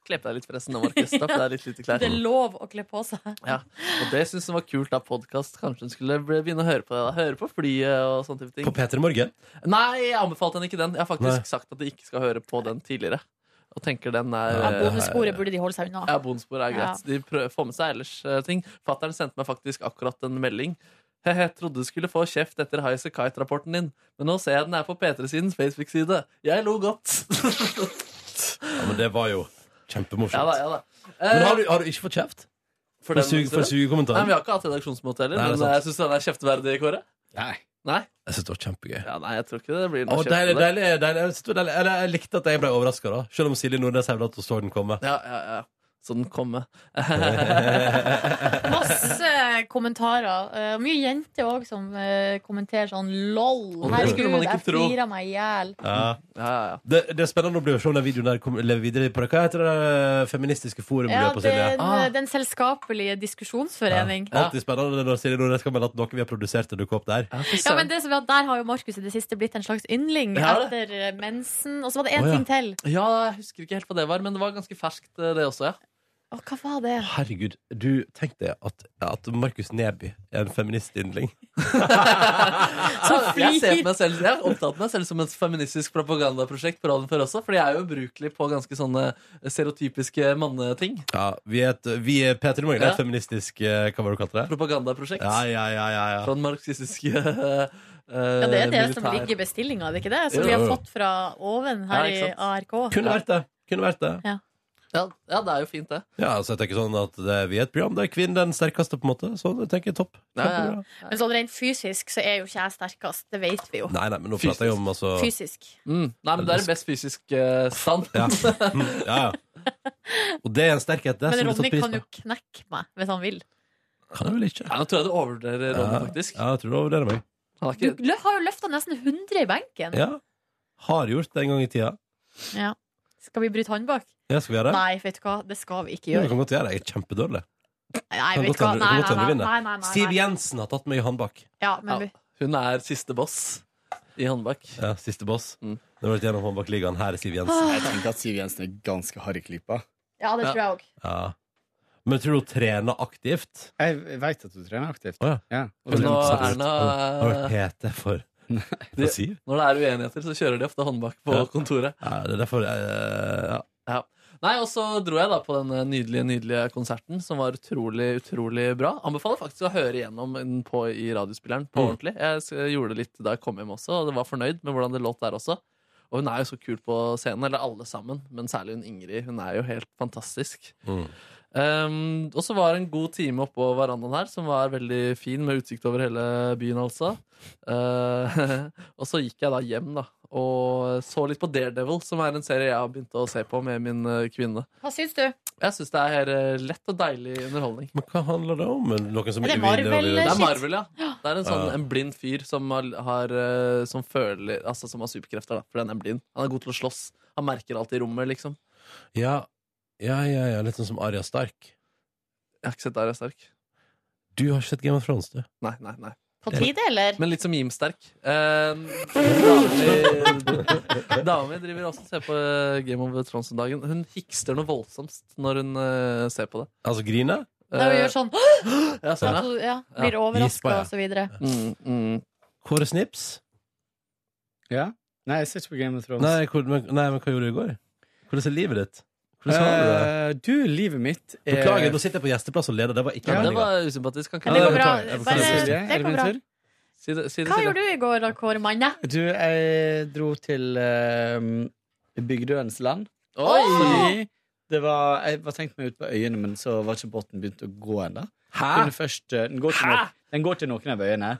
[SPEAKER 2] Klepp deg litt, forresten, nå, Markus. Da, for det er litt lite klær.
[SPEAKER 1] Det er lov å kle på seg.
[SPEAKER 2] Ja, og det syns hun var kult da, podkast. Kanskje hun skulle be- begynne å høre på det. da Høre på flyet og sånne type ting.
[SPEAKER 3] På P3 Morgen?
[SPEAKER 2] Nei, jeg anbefalte henne ikke den. Jeg har faktisk
[SPEAKER 3] Nei.
[SPEAKER 2] sagt at de ikke skal høre på den tidligere. Og tenker den er
[SPEAKER 1] Ja, Bondesporet burde de holde seg unna.
[SPEAKER 2] Ja, bonusspor er greit. De prøver, får med seg ellers eh, ting. Fattern sendte meg faktisk akkurat en melding. Hehe, trodde du skulle få kjeft etter Highasakite-rapporten din, men nå ser jeg den er på P3-sidens Facebook-side. Jeg lo godt. [LAUGHS]
[SPEAKER 3] Ja, men det var jo kjempemorsomt.
[SPEAKER 2] ja da, ja da. Eh,
[SPEAKER 3] Men har du, har du ikke fått kjeft?
[SPEAKER 2] for
[SPEAKER 3] For
[SPEAKER 2] den-
[SPEAKER 3] sug- for
[SPEAKER 2] Nei,
[SPEAKER 3] sugekommentar?
[SPEAKER 2] men Vi har ikke hatt redaksjonsmøte heller,
[SPEAKER 3] Nei, det
[SPEAKER 2] men eh,
[SPEAKER 3] er sant.
[SPEAKER 2] jeg syns den er kjeftverdig, Kåre.
[SPEAKER 11] Nei.
[SPEAKER 2] Nei?
[SPEAKER 3] Jeg synes det var kjempegøy.
[SPEAKER 2] Ja, nei, jeg tror ikke det blir
[SPEAKER 3] Å,
[SPEAKER 2] noe kjeft.
[SPEAKER 3] deilig,
[SPEAKER 2] av det.
[SPEAKER 3] deilig, deilig. Jeg synes det var deilig. Eller, Jeg likte at jeg ble overraska, da. Selv om Silje Nordnes hevda at hun så den komme.
[SPEAKER 2] Ja, ja, ja. så den komme.
[SPEAKER 1] Masse kommentarer. eh, mye jenter òg som eh, kommenterer sånn lol.
[SPEAKER 3] Og det skulle
[SPEAKER 1] Herregud,
[SPEAKER 3] man
[SPEAKER 1] jeg
[SPEAKER 3] ikke tro.
[SPEAKER 1] flirer meg i hjel.
[SPEAKER 3] Ja. Det, det er spennende å bli- se om den videoen der kommer- lever videre. På det. Hva heter det feministiske forum?
[SPEAKER 1] Ja,
[SPEAKER 3] lurer jeg på, Silje? Ah.
[SPEAKER 1] den, eh, den selskapelige diskusjonsforening. Ja.
[SPEAKER 3] Alltid spennende når Silje Nordnes kan melde at noe vi har produsert, dukker opp der.
[SPEAKER 1] men det som er at Der har jo Markus i det siste blitt en slags yndling
[SPEAKER 2] Ja.
[SPEAKER 1] etter eh, mensen. Og så var det én
[SPEAKER 2] Å, ja.
[SPEAKER 1] ting til.
[SPEAKER 2] Ja, jeg husker ikke helt hva det var, men det var ganske ferskt, eh, det også, ja.
[SPEAKER 1] Å, hva var det?
[SPEAKER 3] Herregud, du tenk deg at, at Markus Neby er en feministyndling.
[SPEAKER 2] Jeg ser på meg selv, jeg har omtalt meg selv som et feministisk propagandaprosjekt på radioen før også, fordi jeg er jo ubrukelig på ganske sånne stereotypiske manneting.
[SPEAKER 3] Ja, vi er, et, vi er Peter i Morgen, det
[SPEAKER 2] Ja.
[SPEAKER 3] er et feministisk eh, Hva var det du kalte det?
[SPEAKER 2] Propagandaprosjekt.
[SPEAKER 3] Ja, ja, ja, ja, ja.
[SPEAKER 2] Fra den marxistiske eh,
[SPEAKER 1] Ja, det er
[SPEAKER 3] eh,
[SPEAKER 1] det som
[SPEAKER 2] militær-
[SPEAKER 1] ligger i bestillinga, det er ikke det? Som
[SPEAKER 2] Jo,
[SPEAKER 1] vi har
[SPEAKER 2] jo, jo.
[SPEAKER 1] fått fra oven her
[SPEAKER 2] Ja,
[SPEAKER 1] i
[SPEAKER 2] ikke sant.
[SPEAKER 1] ARK.
[SPEAKER 3] Kunne vært det. Kunne vært det.
[SPEAKER 1] Ja.
[SPEAKER 2] Ja, ja, det er jo fint, det.
[SPEAKER 3] Ja, så jeg tenker sånn at det, Vi er et program der kvinnen er den sterkeste, på en måte. Så det tenker jeg topp. Kjempebra.
[SPEAKER 1] Men sånn rent fysisk så er jo ikke jeg sterkest, det vet vi jo.
[SPEAKER 3] Nei, nei, men nå prater jeg om altså
[SPEAKER 1] Fysisk.
[SPEAKER 2] Mm. Nei, men det er i best fysisk eh, stand.
[SPEAKER 3] Ja. Mm, ja, ja. Og det er en sterkhet. Det
[SPEAKER 1] Men
[SPEAKER 3] som blir
[SPEAKER 1] Ronny
[SPEAKER 3] tatt pris
[SPEAKER 1] kan
[SPEAKER 3] på.
[SPEAKER 1] jo knekke meg hvis han vil.
[SPEAKER 3] Kan jeg vel ikke.
[SPEAKER 2] Ja, nå tror jeg du overvurderer Ronny, faktisk.
[SPEAKER 3] Ja, jeg tror du overvurderer meg.
[SPEAKER 1] Du lø- har jo løfta nesten 100 i benken.
[SPEAKER 3] Ja. Har gjort det en gang i tida.
[SPEAKER 1] Ja. Skal vi bryte han bak?
[SPEAKER 3] Ja, skal vi gjøre det?
[SPEAKER 1] Nei, vet du hva, det skal vi ikke
[SPEAKER 3] Jo, det
[SPEAKER 1] gjøre.
[SPEAKER 3] kan godt gjøre. Jeg er kjempedårlig.
[SPEAKER 1] Nei,
[SPEAKER 3] Kan
[SPEAKER 1] vet
[SPEAKER 3] godt
[SPEAKER 1] du hva.
[SPEAKER 3] hende-
[SPEAKER 1] Nei,
[SPEAKER 3] kan godt
[SPEAKER 1] nei,
[SPEAKER 3] hende
[SPEAKER 1] nei,
[SPEAKER 3] vinne.
[SPEAKER 1] nei, nei, nei.
[SPEAKER 3] Siv Jensen har tatt meg i håndbak.
[SPEAKER 1] Ja, men vi-
[SPEAKER 2] Hun er siste boss i håndbak.
[SPEAKER 3] Ja, siste boss.
[SPEAKER 2] Mm.
[SPEAKER 3] Det har vært gjennom håndbakligaen. Her er Siv Jensen.
[SPEAKER 1] Ah. Jeg
[SPEAKER 3] tenker at Siv Jensen er ganske hard i klypa.
[SPEAKER 1] Ja, det tror jeg òg.
[SPEAKER 3] Ja. Men tror du hun trener aktivt?
[SPEAKER 11] Jeg veit at du trener aktivt.
[SPEAKER 3] Å, ja.
[SPEAKER 11] Og
[SPEAKER 2] nå
[SPEAKER 11] så-
[SPEAKER 2] er Erna-
[SPEAKER 3] sånn, Har du PT for
[SPEAKER 2] De,
[SPEAKER 3] for Siv?
[SPEAKER 2] når det er uenigheter, så kjører de ofte håndbak på
[SPEAKER 3] Ja.
[SPEAKER 2] kontoret.
[SPEAKER 3] Ja, det er derfor eh, ja.
[SPEAKER 2] Ja. Nei, Og så dro jeg da på den eh, nydelige nydelige konserten, som var utrolig utrolig bra. Anbefaler faktisk å høre igjennom den på, i radiospilleren på
[SPEAKER 3] Mm.
[SPEAKER 2] ordentlig. Jeg s- gjorde det litt da jeg kom hjem også, og var fornøyd med hvordan det låt der også. Og hun er jo så kul på scenen, eller alle sammen, men særlig hun Ingrid. Hun er jo helt fantastisk.
[SPEAKER 3] Mm.
[SPEAKER 2] Um, og så var det en god time oppå verandaen her, som var veldig fin, med utsikt over hele byen, altså. Eh, [LAUGHS] og så gikk jeg da hjem, da, og så litt på Daredevil, som er en serie jeg har begynt å se på med min eh, kvinne.
[SPEAKER 1] Hva syns du?
[SPEAKER 2] Jeg syns det er eh, lett og deilig underholdning.
[SPEAKER 3] Men hva handler det om? Noen som
[SPEAKER 2] Er det
[SPEAKER 3] ikke vil-
[SPEAKER 2] Marvel,
[SPEAKER 3] vil-
[SPEAKER 2] Det er Marvel, ja. Det er en sånn
[SPEAKER 3] Ja.
[SPEAKER 2] en blind fyr som har, har, eh, som føler Altså som har superkrefter, da, fordi han er blind. Han er god til å slåss. Han merker alt i rommet, liksom.
[SPEAKER 3] Ja. Ja, ja, ja. Litt sånn som Aria Stark.
[SPEAKER 2] Jeg har ikke sett Aria Stark.
[SPEAKER 3] Du har ikke sett Game of Thrones, du?
[SPEAKER 2] Nei, nei, nei.
[SPEAKER 1] På tide, eller?
[SPEAKER 2] Men litt som Jim-sterk. Eh, Dama dama mi driver også og ser på eh, Game of Thrones om dagen. Hun hikster noe voldsomt når hun eh, ser på det.
[SPEAKER 3] Altså grine?
[SPEAKER 1] Nei, hun gjør sånn
[SPEAKER 2] Eh, Ja,
[SPEAKER 1] At
[SPEAKER 2] sånn, ja.
[SPEAKER 1] hun, [GASPS] ja, Blir
[SPEAKER 2] Ja.
[SPEAKER 11] Gispa,
[SPEAKER 1] overraska
[SPEAKER 11] ja.
[SPEAKER 1] og så videre.
[SPEAKER 2] Mm, mm.
[SPEAKER 3] Kåre Snips?
[SPEAKER 11] Ja? Nei, jeg ser ikke på Game of Thrones.
[SPEAKER 3] Nei, hvor, men, nei, men hva gjorde du i går? Hvordan er livet ditt? Hvordan har du det?
[SPEAKER 11] Eh, du, livet mitt er
[SPEAKER 3] Beklager, nå sitter jeg på gjesteplass og leder. Det var ikke
[SPEAKER 11] Ja, det
[SPEAKER 3] meningen.
[SPEAKER 2] var usympatisk. Kan ikke
[SPEAKER 11] Ja, det
[SPEAKER 2] du-
[SPEAKER 11] går bra.
[SPEAKER 2] Beklager, jeg beklager.
[SPEAKER 1] eh,
[SPEAKER 11] Bare- Silje, det går bra. er det min tur?
[SPEAKER 2] Si det, si det,
[SPEAKER 1] Hva
[SPEAKER 2] si det.
[SPEAKER 1] gjorde du i går, da, Kåre Manne?
[SPEAKER 11] Du, jeg dro til eh, Bygdøens land.
[SPEAKER 2] Oi!
[SPEAKER 11] Fordi det var, jeg var tenkt meg ut på øyene, men så var ikke båten begynt å gå ennå.
[SPEAKER 2] Hæ?
[SPEAKER 11] Den, først, eh, den, går til noen, den går til noen av øyene,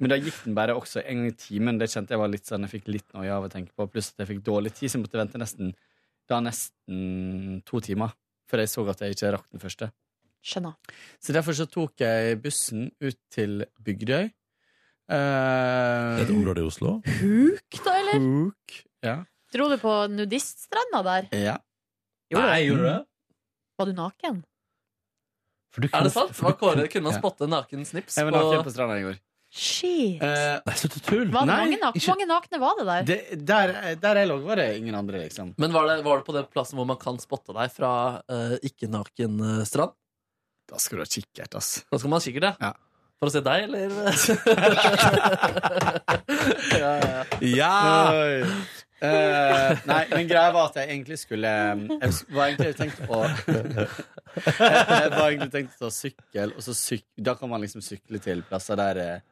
[SPEAKER 11] men da gikk den bare også en gang i timen. Det kjente jeg var litt sånn, jeg fikk litt noia av å tenke på, pluss at jeg fikk dårlig tid, så jeg måtte vente nesten, da nesten to timer, før jeg så at jeg ikke rakk den første.
[SPEAKER 1] Skjønner.
[SPEAKER 11] Så derfor så tok jeg bussen ut til Bygdøy. Eh,
[SPEAKER 3] Et område i Oslo?
[SPEAKER 1] Huk, da, eller?
[SPEAKER 11] Huk, ja.
[SPEAKER 1] Dro du på nudiststranda der?
[SPEAKER 11] Ja.
[SPEAKER 1] Gjorde du det?
[SPEAKER 3] Nei, gjorde du det?
[SPEAKER 1] Var du naken?
[SPEAKER 2] Er det sant? Var Kåre, kunne han
[SPEAKER 11] Ja.
[SPEAKER 2] spotte naken snips?
[SPEAKER 11] Jeg var naken på stranda i går.
[SPEAKER 1] Shit.
[SPEAKER 11] Eh, Nei,
[SPEAKER 3] slutt å tulle!
[SPEAKER 1] Var det mange, nak mange nakne var det der?
[SPEAKER 11] Det, der, der jeg lå, var det ingen andre, liksom.
[SPEAKER 2] Men var det, var det på den plassen hvor man kan spotte deg fra eh, ikke-naken eh, strand?
[SPEAKER 11] Da skal du ha kikkert, ass.
[SPEAKER 2] Da skal man ha kikkert, ja. For å se deg, eller?
[SPEAKER 3] Ah.
[SPEAKER 11] Ja! Eh, nei, men greia var at jeg egentlig skulle Jeg var egentlig tenkt å Jeg var egentlig tenkt å ta sykkel, og så syk, da kan man liksom sykle til plasser der eh,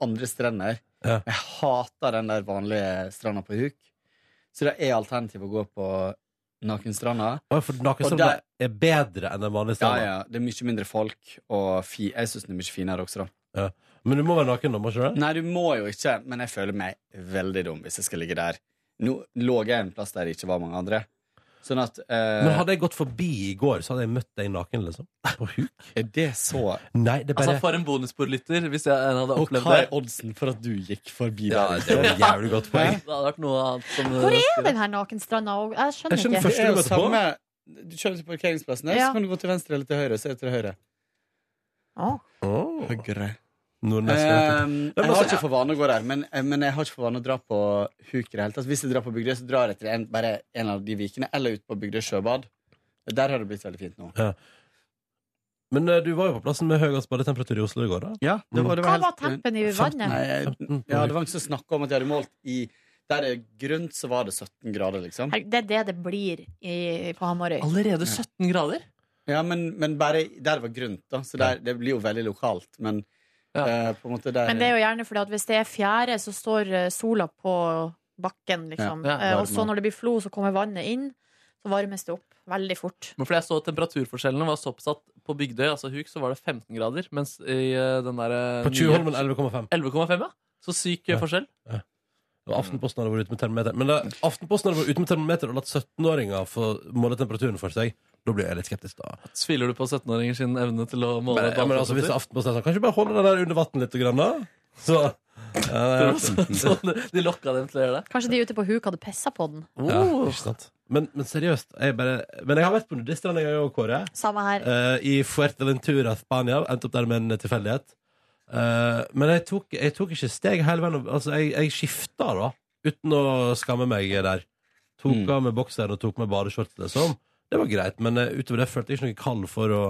[SPEAKER 11] andre strender.
[SPEAKER 3] Ja.
[SPEAKER 11] Jeg hater den der vanlige stranda på huk. Så det er alternativet å gå på nakenstranda.
[SPEAKER 3] Å, For
[SPEAKER 11] Og
[SPEAKER 3] nakenstranda
[SPEAKER 11] der-
[SPEAKER 3] er bedre enn den vanlige
[SPEAKER 11] Ja,
[SPEAKER 3] stranda?
[SPEAKER 11] ja, det er mye mindre folk, og fi, jeg syns den er mye finere også, da.
[SPEAKER 3] Ja. Men du må være naken, da? må ikke du det?
[SPEAKER 11] Nei, du må jo ikke, men jeg føler meg veldig dum hvis jeg skal ligge der. Nå lå jeg en plass der det ikke var mange andre. Sånn at
[SPEAKER 3] Men hadde jeg gått forbi i går, så hadde jeg møtt deg naken, liksom. På huk.
[SPEAKER 11] Er det så
[SPEAKER 3] Nei, det er bare
[SPEAKER 2] Altså For en bonusbordlytter, hvis jeg en hadde
[SPEAKER 11] Og
[SPEAKER 2] opplevd
[SPEAKER 11] hva
[SPEAKER 2] det.
[SPEAKER 11] er oddsen for at du gikk forbi
[SPEAKER 2] Ja,
[SPEAKER 11] der? [LAUGHS]
[SPEAKER 2] det var jævlig godt poeng.
[SPEAKER 11] Det hadde vært noe annet som
[SPEAKER 12] Hvor er den her nakenstranda? Og- Jeg skjønner, ikke.
[SPEAKER 11] Du kjører til parkeringsplassen der,
[SPEAKER 12] Ja.
[SPEAKER 11] så kan du gå til venstre eller til høyre. Så er det til høyre.
[SPEAKER 12] Å.
[SPEAKER 11] Høyre.
[SPEAKER 3] Nordnes,
[SPEAKER 11] Ehm,
[SPEAKER 3] vet du.
[SPEAKER 11] jeg har ikke for vane å gå der, men, eh, men jeg har ikke for vane å dra på huk i det hele tatt. Hvis jeg drar på Bygdøy, så drar jeg til en, bare en av de vikene, eller ut på Bygdøy sjøbad. Der har det blitt veldig fint nå.
[SPEAKER 3] Ja. Men eh, du var jo på plassen med høyest badetemperatur i Oslo i går, da.
[SPEAKER 11] Ja, det var- det var Hva helt- var tempen i vannet?
[SPEAKER 3] 15.
[SPEAKER 11] Nei, jeg-
[SPEAKER 3] 15.
[SPEAKER 11] Ja, det var ikke så snakk om at jeg hadde målt i Der det er grunt, så var det 17 grader, liksom.
[SPEAKER 12] Her- Det er det det blir i, på Hamarøy.
[SPEAKER 11] Allerede
[SPEAKER 2] 17 grader?
[SPEAKER 11] Ja, men, men bare der det var grunt, da. Så der, det blir jo veldig lokalt, men eh, på en måte der
[SPEAKER 12] Men det er jo gjerne fordi at hvis det er fjære, så står eh, sola på bakken, liksom.
[SPEAKER 2] Ja, ja,
[SPEAKER 12] Eh,
[SPEAKER 2] varmer.
[SPEAKER 12] Og så når det blir flo, så kommer vannet inn. Så varmes det opp veldig fort.
[SPEAKER 2] Men fordi jeg så at Temperaturforskjellene var såpass at på Bygdøy altså huk, så var det 15 grader, mens i eh, den der eh,
[SPEAKER 3] På
[SPEAKER 2] nye-
[SPEAKER 3] Tjuvholmen 11,5.
[SPEAKER 2] 11,5, ja. Så syk eh, forskjell.
[SPEAKER 3] Og Aftenposten hadde vært ute med termometer. Men da, Aftenposten hadde vært ute med termometer og latt 17-åringer få måle temperaturen for seg. Da blir jeg litt skeptisk, da.
[SPEAKER 2] Tviler du på 17-åringer sin evne til å måle
[SPEAKER 3] Men, ja, men altså, hvis Aftenposten er sånn, kan ikke bare holde den der under vann litt, grann, da? Så
[SPEAKER 2] [LAUGHS]
[SPEAKER 3] ja,
[SPEAKER 2] Så- så de lokka dem til å gjøre det? Oh.
[SPEAKER 12] Kanskje de ute på huk hadde pissa på den.
[SPEAKER 3] Ja, ikke sant. Men, men seriøst, jeg bare, men jeg har vært på nudiststrand, jeg òg, Kåre.
[SPEAKER 12] Samme her.
[SPEAKER 3] Eh, I Fuerteventura, Spania. Endte opp der med en tilfeldighet. Eh, men jeg tok, jeg tok ikke steg hele veien. opp. Altså, jeg, jeg skifta, da. Uten å skamme meg der. Tok
[SPEAKER 11] Mm.
[SPEAKER 3] av meg bokseren og tok med badeskjorte, liksom. Det var greit, men eh, utover det følte jeg ikke noe kall for å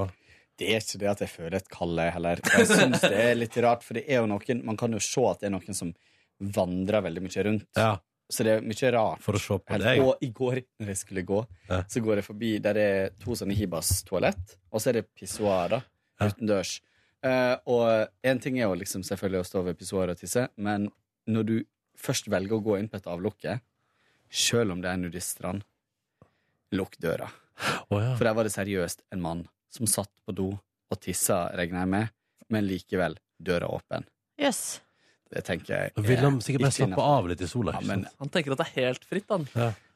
[SPEAKER 11] Det er ikke det at jeg føler et kall, jeg heller. Jeg syns det er litt rart, for det er jo noen Man kan jo se at det er noen som vandrer veldig mye rundt. Så det er mye rart.
[SPEAKER 3] For å se på
[SPEAKER 11] Helt-
[SPEAKER 3] deg.
[SPEAKER 11] Og i går, når jeg skulle gå, så går jeg forbi der det er to sånne hibas-toalett, og så er det pissoarer utendørs. Eh, og én ting er jo liksom selvfølgelig å stå ved pissoaret og tisse, men når du først velger å gå inn på et avlukke, sjøl om det er nudiststrand, lukk døra. For der var det seriøst en mann som satt på do og tissa, regner jeg med, men likevel døra åpen.
[SPEAKER 12] Jøss.
[SPEAKER 11] Det tenker jeg
[SPEAKER 3] Da vil
[SPEAKER 11] er
[SPEAKER 3] han sikkert bare
[SPEAKER 11] ikke
[SPEAKER 3] slappe
[SPEAKER 11] innenfor.
[SPEAKER 3] av liksom. litt i sola.
[SPEAKER 11] Ja, men-
[SPEAKER 2] Han tenker at det er helt fritt, han.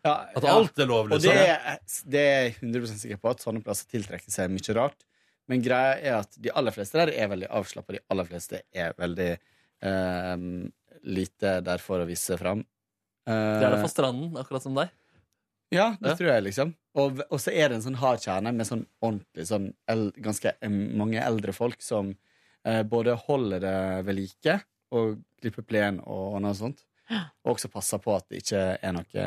[SPEAKER 11] Ja,
[SPEAKER 2] At
[SPEAKER 11] ja.
[SPEAKER 2] alt er lovlig,
[SPEAKER 11] Og det
[SPEAKER 2] sånn, ja.
[SPEAKER 11] er, det er jeg 100 sikker på, at sånne plasser tiltrekker seg mye rart. Men greia er at de aller fleste der er veldig avslappa. De aller fleste er veldig ehm, lite der for å vise fram.
[SPEAKER 2] De er der på stranden, akkurat som deg.
[SPEAKER 11] Ja, det tror jeg, liksom. Og, og så er det en sånn hard kjerne med sånn ordentlig sånn el, ganske eh, mange eldre folk som eh, både holder det ved like og klipper plen og, og noe sånt, og også passer på at det ikke er noe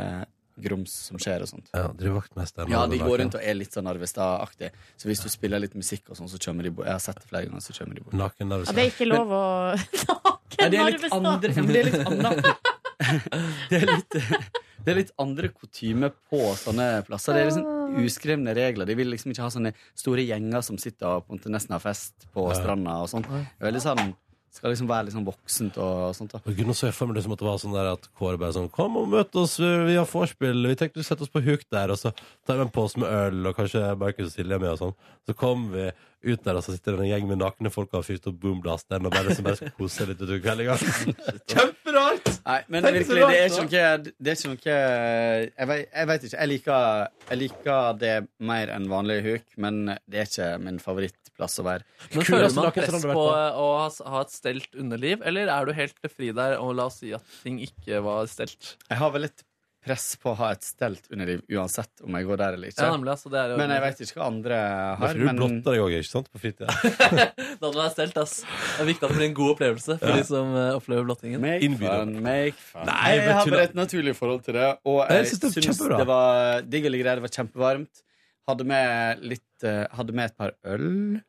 [SPEAKER 11] grums som skjer og sånt.
[SPEAKER 3] Ja, driver vaktmesteren
[SPEAKER 11] Ja,
[SPEAKER 3] og
[SPEAKER 11] de
[SPEAKER 3] den
[SPEAKER 11] går
[SPEAKER 3] naken.
[SPEAKER 11] rundt og er litt sånn Narvestad-aktig. Så hvis du spiller litt musikk og sånn, så kommer de bort. Jeg har sett det flere ganger, så kommer de bort.
[SPEAKER 3] Naken
[SPEAKER 12] Ja, det er ikke lov å [LAUGHS]
[SPEAKER 11] Nei, det er litt
[SPEAKER 12] Narvestad. [LAUGHS]
[SPEAKER 11] andre ja, men Det er litt
[SPEAKER 2] [LAUGHS]
[SPEAKER 11] andre Det er litt, det er litt andre kutyme på sånne plasser. Det er liksom uskrevne regler. De vil liksom ikke ha sånne store gjenger som sitter og på en måte nesten har fest på
[SPEAKER 3] Ja.
[SPEAKER 11] stranda og sånn. Det er Veldig sånn skal liksom være litt sånn voksent og sånt. da
[SPEAKER 3] Og Gud, nå så jeg for meg det som at det var sånn der at Kåre bare sånn Kom og møt oss, vi har vorspiel. Vi tenkte vi setter oss på huk der, og så tar vi en pose med øl, og kanskje Markus og Silje er med, og sånn. Så kom vi ut der, og så sitter det en gjeng med nakne folk og har fyrt opp boomblaster, og bare som bare skal kose seg litt utover kvelden. Kjemperart!
[SPEAKER 11] Nei, men
[SPEAKER 3] Tenk så
[SPEAKER 11] virkelig, det er
[SPEAKER 3] rart,
[SPEAKER 11] ikke noe, det er ikke noe jeg, vet, jeg vet ikke. Jeg liker, jeg liker det mer enn vanlig huk, men det er ikke min favorittplass å være.
[SPEAKER 2] Men
[SPEAKER 11] Kuleste
[SPEAKER 2] Føler man
[SPEAKER 11] nakenstrand
[SPEAKER 2] press
[SPEAKER 11] du sånn, har vært
[SPEAKER 2] på å ha- ha et stelt underliv, eller er du helt fri der og la oss si at ting ikke var stelt?
[SPEAKER 11] Jeg har vel litt press på å ha et stelt underliv uansett om jeg går der eller ikke.
[SPEAKER 2] Ja, nemlig, altså, det er jo-
[SPEAKER 11] men jeg vet ikke hva andre
[SPEAKER 3] Da
[SPEAKER 11] har.
[SPEAKER 3] får du
[SPEAKER 11] Men
[SPEAKER 3] blotta deg òg, ikke sant? På fritida.
[SPEAKER 2] Da hadde jeg stelt, ass. Det er viktig at det blir en god opplevelse for
[SPEAKER 3] Ja.
[SPEAKER 2] de som eh, opplever blottingen.
[SPEAKER 11] fun, make fun. Nei,
[SPEAKER 2] Nei,
[SPEAKER 11] jeg
[SPEAKER 2] men
[SPEAKER 11] har
[SPEAKER 2] tulla.
[SPEAKER 11] bare et naturlig forhold til det. Og
[SPEAKER 2] Jeg
[SPEAKER 11] jeg
[SPEAKER 2] synes
[SPEAKER 11] syns
[SPEAKER 2] det er
[SPEAKER 11] det,
[SPEAKER 2] kjempebra.
[SPEAKER 11] var digg å ligge der. Det var kjempevarmt. Hadde med litt eh, Hadde med et par øl.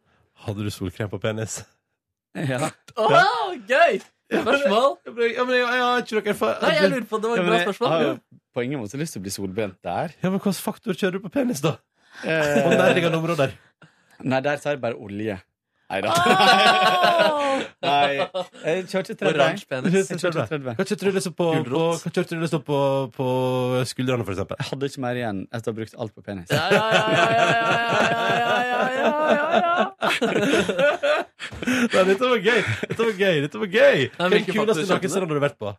[SPEAKER 3] Hadde du solkrem på penis?
[SPEAKER 11] [LAUGHS] Ja.
[SPEAKER 2] Åh, gøy! Spørsmål?
[SPEAKER 3] Ja, men jeg, jeg har ikke noe erfaring
[SPEAKER 2] Nei, jeg lurer på, det var et
[SPEAKER 11] Ja, men
[SPEAKER 2] bra
[SPEAKER 11] jeg
[SPEAKER 2] spørsmål.
[SPEAKER 11] har jo på ingen måte lyst til å bli solbrent
[SPEAKER 3] [LAUGHS]
[SPEAKER 11] der.
[SPEAKER 3] Ja, men hvilken faktor kjører du på penis, da?
[SPEAKER 11] Eh,
[SPEAKER 3] På nærliggende områder?
[SPEAKER 11] Nei, der tar jeg bare olje. Nei da. [LAUGHS] Nei. Jeg kjørte 30.
[SPEAKER 3] Oransje penis.
[SPEAKER 11] Jeg kjørte 30.
[SPEAKER 3] Hva kjørte du liksom på, på, hva kjørte du liksom på, på skuldrene, for eksempel?
[SPEAKER 11] Jeg hadde ikke mer igjen etter å ha brukt alt på penis.
[SPEAKER 3] Nei, dette var gøy! Dette var gøy! Dette var gøy. Hva er den
[SPEAKER 11] hvilken
[SPEAKER 3] kuleste
[SPEAKER 11] faktor kjørte du?
[SPEAKER 3] nakenstranda du har vært på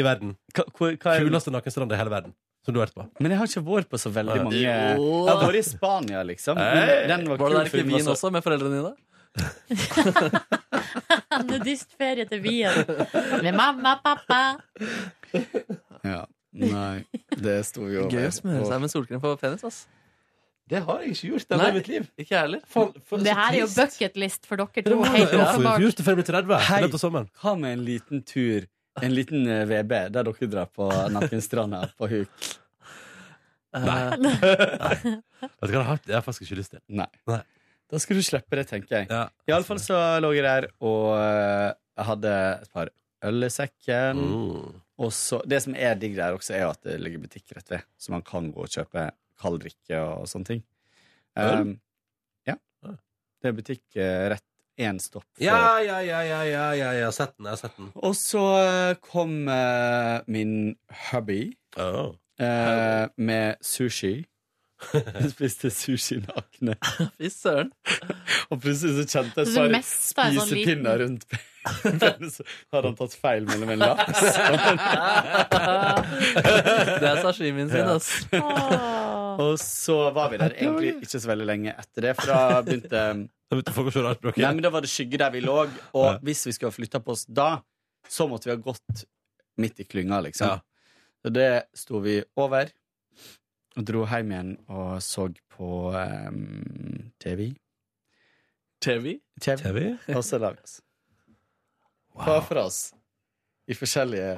[SPEAKER 3] i verden?
[SPEAKER 11] Hva,
[SPEAKER 3] kuleste nakenstranda i hele verden? Som du har vært på?
[SPEAKER 11] Men jeg har ikke vært på så veldig
[SPEAKER 3] Nei.
[SPEAKER 11] mange
[SPEAKER 3] Jo.
[SPEAKER 11] Jeg har vært i Spania, liksom. Men
[SPEAKER 2] Hey.
[SPEAKER 11] Den var,
[SPEAKER 2] Var det der
[SPEAKER 11] kul, for
[SPEAKER 2] ikke
[SPEAKER 11] den var
[SPEAKER 2] Wien
[SPEAKER 11] så-
[SPEAKER 2] også, med foreldrene dine?
[SPEAKER 1] Nudistferie til Wien. Med mamma, pappa.
[SPEAKER 11] Ja. Nei, det sto vi over.
[SPEAKER 2] Gøy å smøre seg med solkrem på penis, ass.
[SPEAKER 3] Det har jeg ikke gjort.
[SPEAKER 2] Det er mitt liv. Ikke jeg heller.
[SPEAKER 12] Det her er jo
[SPEAKER 2] [LAUGHS]
[SPEAKER 12] bucketlist for dere to.
[SPEAKER 11] må jeg
[SPEAKER 12] Helt
[SPEAKER 11] jo få
[SPEAKER 12] åpenbart.
[SPEAKER 3] Gjort det før jeg blir 30.
[SPEAKER 11] Hei,
[SPEAKER 3] Løpet av sommeren.
[SPEAKER 11] hva med en liten tur? En liten eh, VB der dere drar på Nattvinstranda på huk?
[SPEAKER 3] Nei. Vet du hva det er hardt? Det har jeg faktisk ikke lyst til.
[SPEAKER 11] Nei. Da skal du slippe det, tenker jeg. I alle fall så lå jeg der og eh, jeg hadde et par øl i sekken.
[SPEAKER 3] Mm.
[SPEAKER 11] Og så, det som er digg der også, er jo at det ligger butikk rett ved, så man kan gå og kjøpe kald drikke og sånne ting.
[SPEAKER 3] Øl?
[SPEAKER 11] Um, ja. Det er butikk eh, rett én stopp fra
[SPEAKER 3] Ja, ja, ja, ja, ja, ja, jeg har sett den. Jeg har sett den.
[SPEAKER 11] og så eh, kom eh, min hubby
[SPEAKER 3] Oh.
[SPEAKER 11] eh, med sushi. [LAUGHS] Jeg spiste sushi nakne.
[SPEAKER 2] Fy søren.
[SPEAKER 11] Og plutselig så kjente
[SPEAKER 12] Så
[SPEAKER 11] jeg
[SPEAKER 12] du
[SPEAKER 11] et par
[SPEAKER 12] mestet en sånn liten-
[SPEAKER 11] spisepinner rundt pennen, [LAUGHS] Så hadde han tatt feil mellom en laps Det
[SPEAKER 2] er sashimien sin, ass.
[SPEAKER 11] [LAUGHS] Og så var vi der egentlig ikke så veldig lenge etter det, for da begynte [LAUGHS]
[SPEAKER 3] Da begynte folk å se rart på
[SPEAKER 11] Nei, men da var det skygge der vi lå, og hvis vi skulle ha flytta på oss da, så måtte vi ha gått midt i klynga, liksom. Så det sto vi over, og dro hjem igjen og så på ehm, em, TV.
[SPEAKER 2] TV?
[SPEAKER 11] TV. Og så la vi oss. Hver for oss. I forskjellige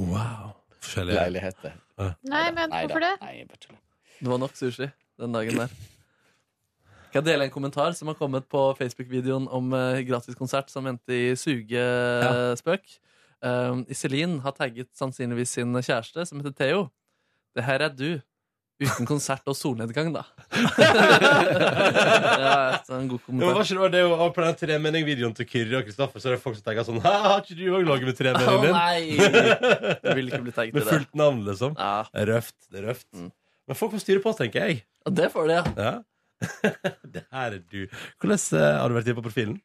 [SPEAKER 3] Wow. Forskjellige
[SPEAKER 11] leiligheter.
[SPEAKER 12] Nei, men
[SPEAKER 11] Nei da.
[SPEAKER 12] hvorfor det?
[SPEAKER 2] Det var nok sushi den dagen der. Skal jeg dele en kommentar som har kommet på Facebook-videoen om eh, gratiskonsert som endte i sugespøk? Um, Iselin har tagget sannsynligvis sin kjæreste, som heter Theo. Det her er du. Uten konsert og solnedgang, da. [LAUGHS] ja, så en god
[SPEAKER 3] Men var
[SPEAKER 2] kommentar.
[SPEAKER 3] ikke det- det er jo og på den tremenning-videoen til Kyrre og Kristoffer, så er det folk som tenker sånn [LAUGHS] «Hæ, Har ikke du òg laget med tremenningen din?
[SPEAKER 2] Å, nei. Jeg vil ikke bli tagget i
[SPEAKER 3] Med
[SPEAKER 2] det.
[SPEAKER 3] fullt navn, liksom. Det er røft. Det er røft. Men folk får styre på, tenker jeg.
[SPEAKER 2] Og det får de, ja.
[SPEAKER 3] [LAUGHS] det her er du. Hvordan eh, har du vært inne på profilen?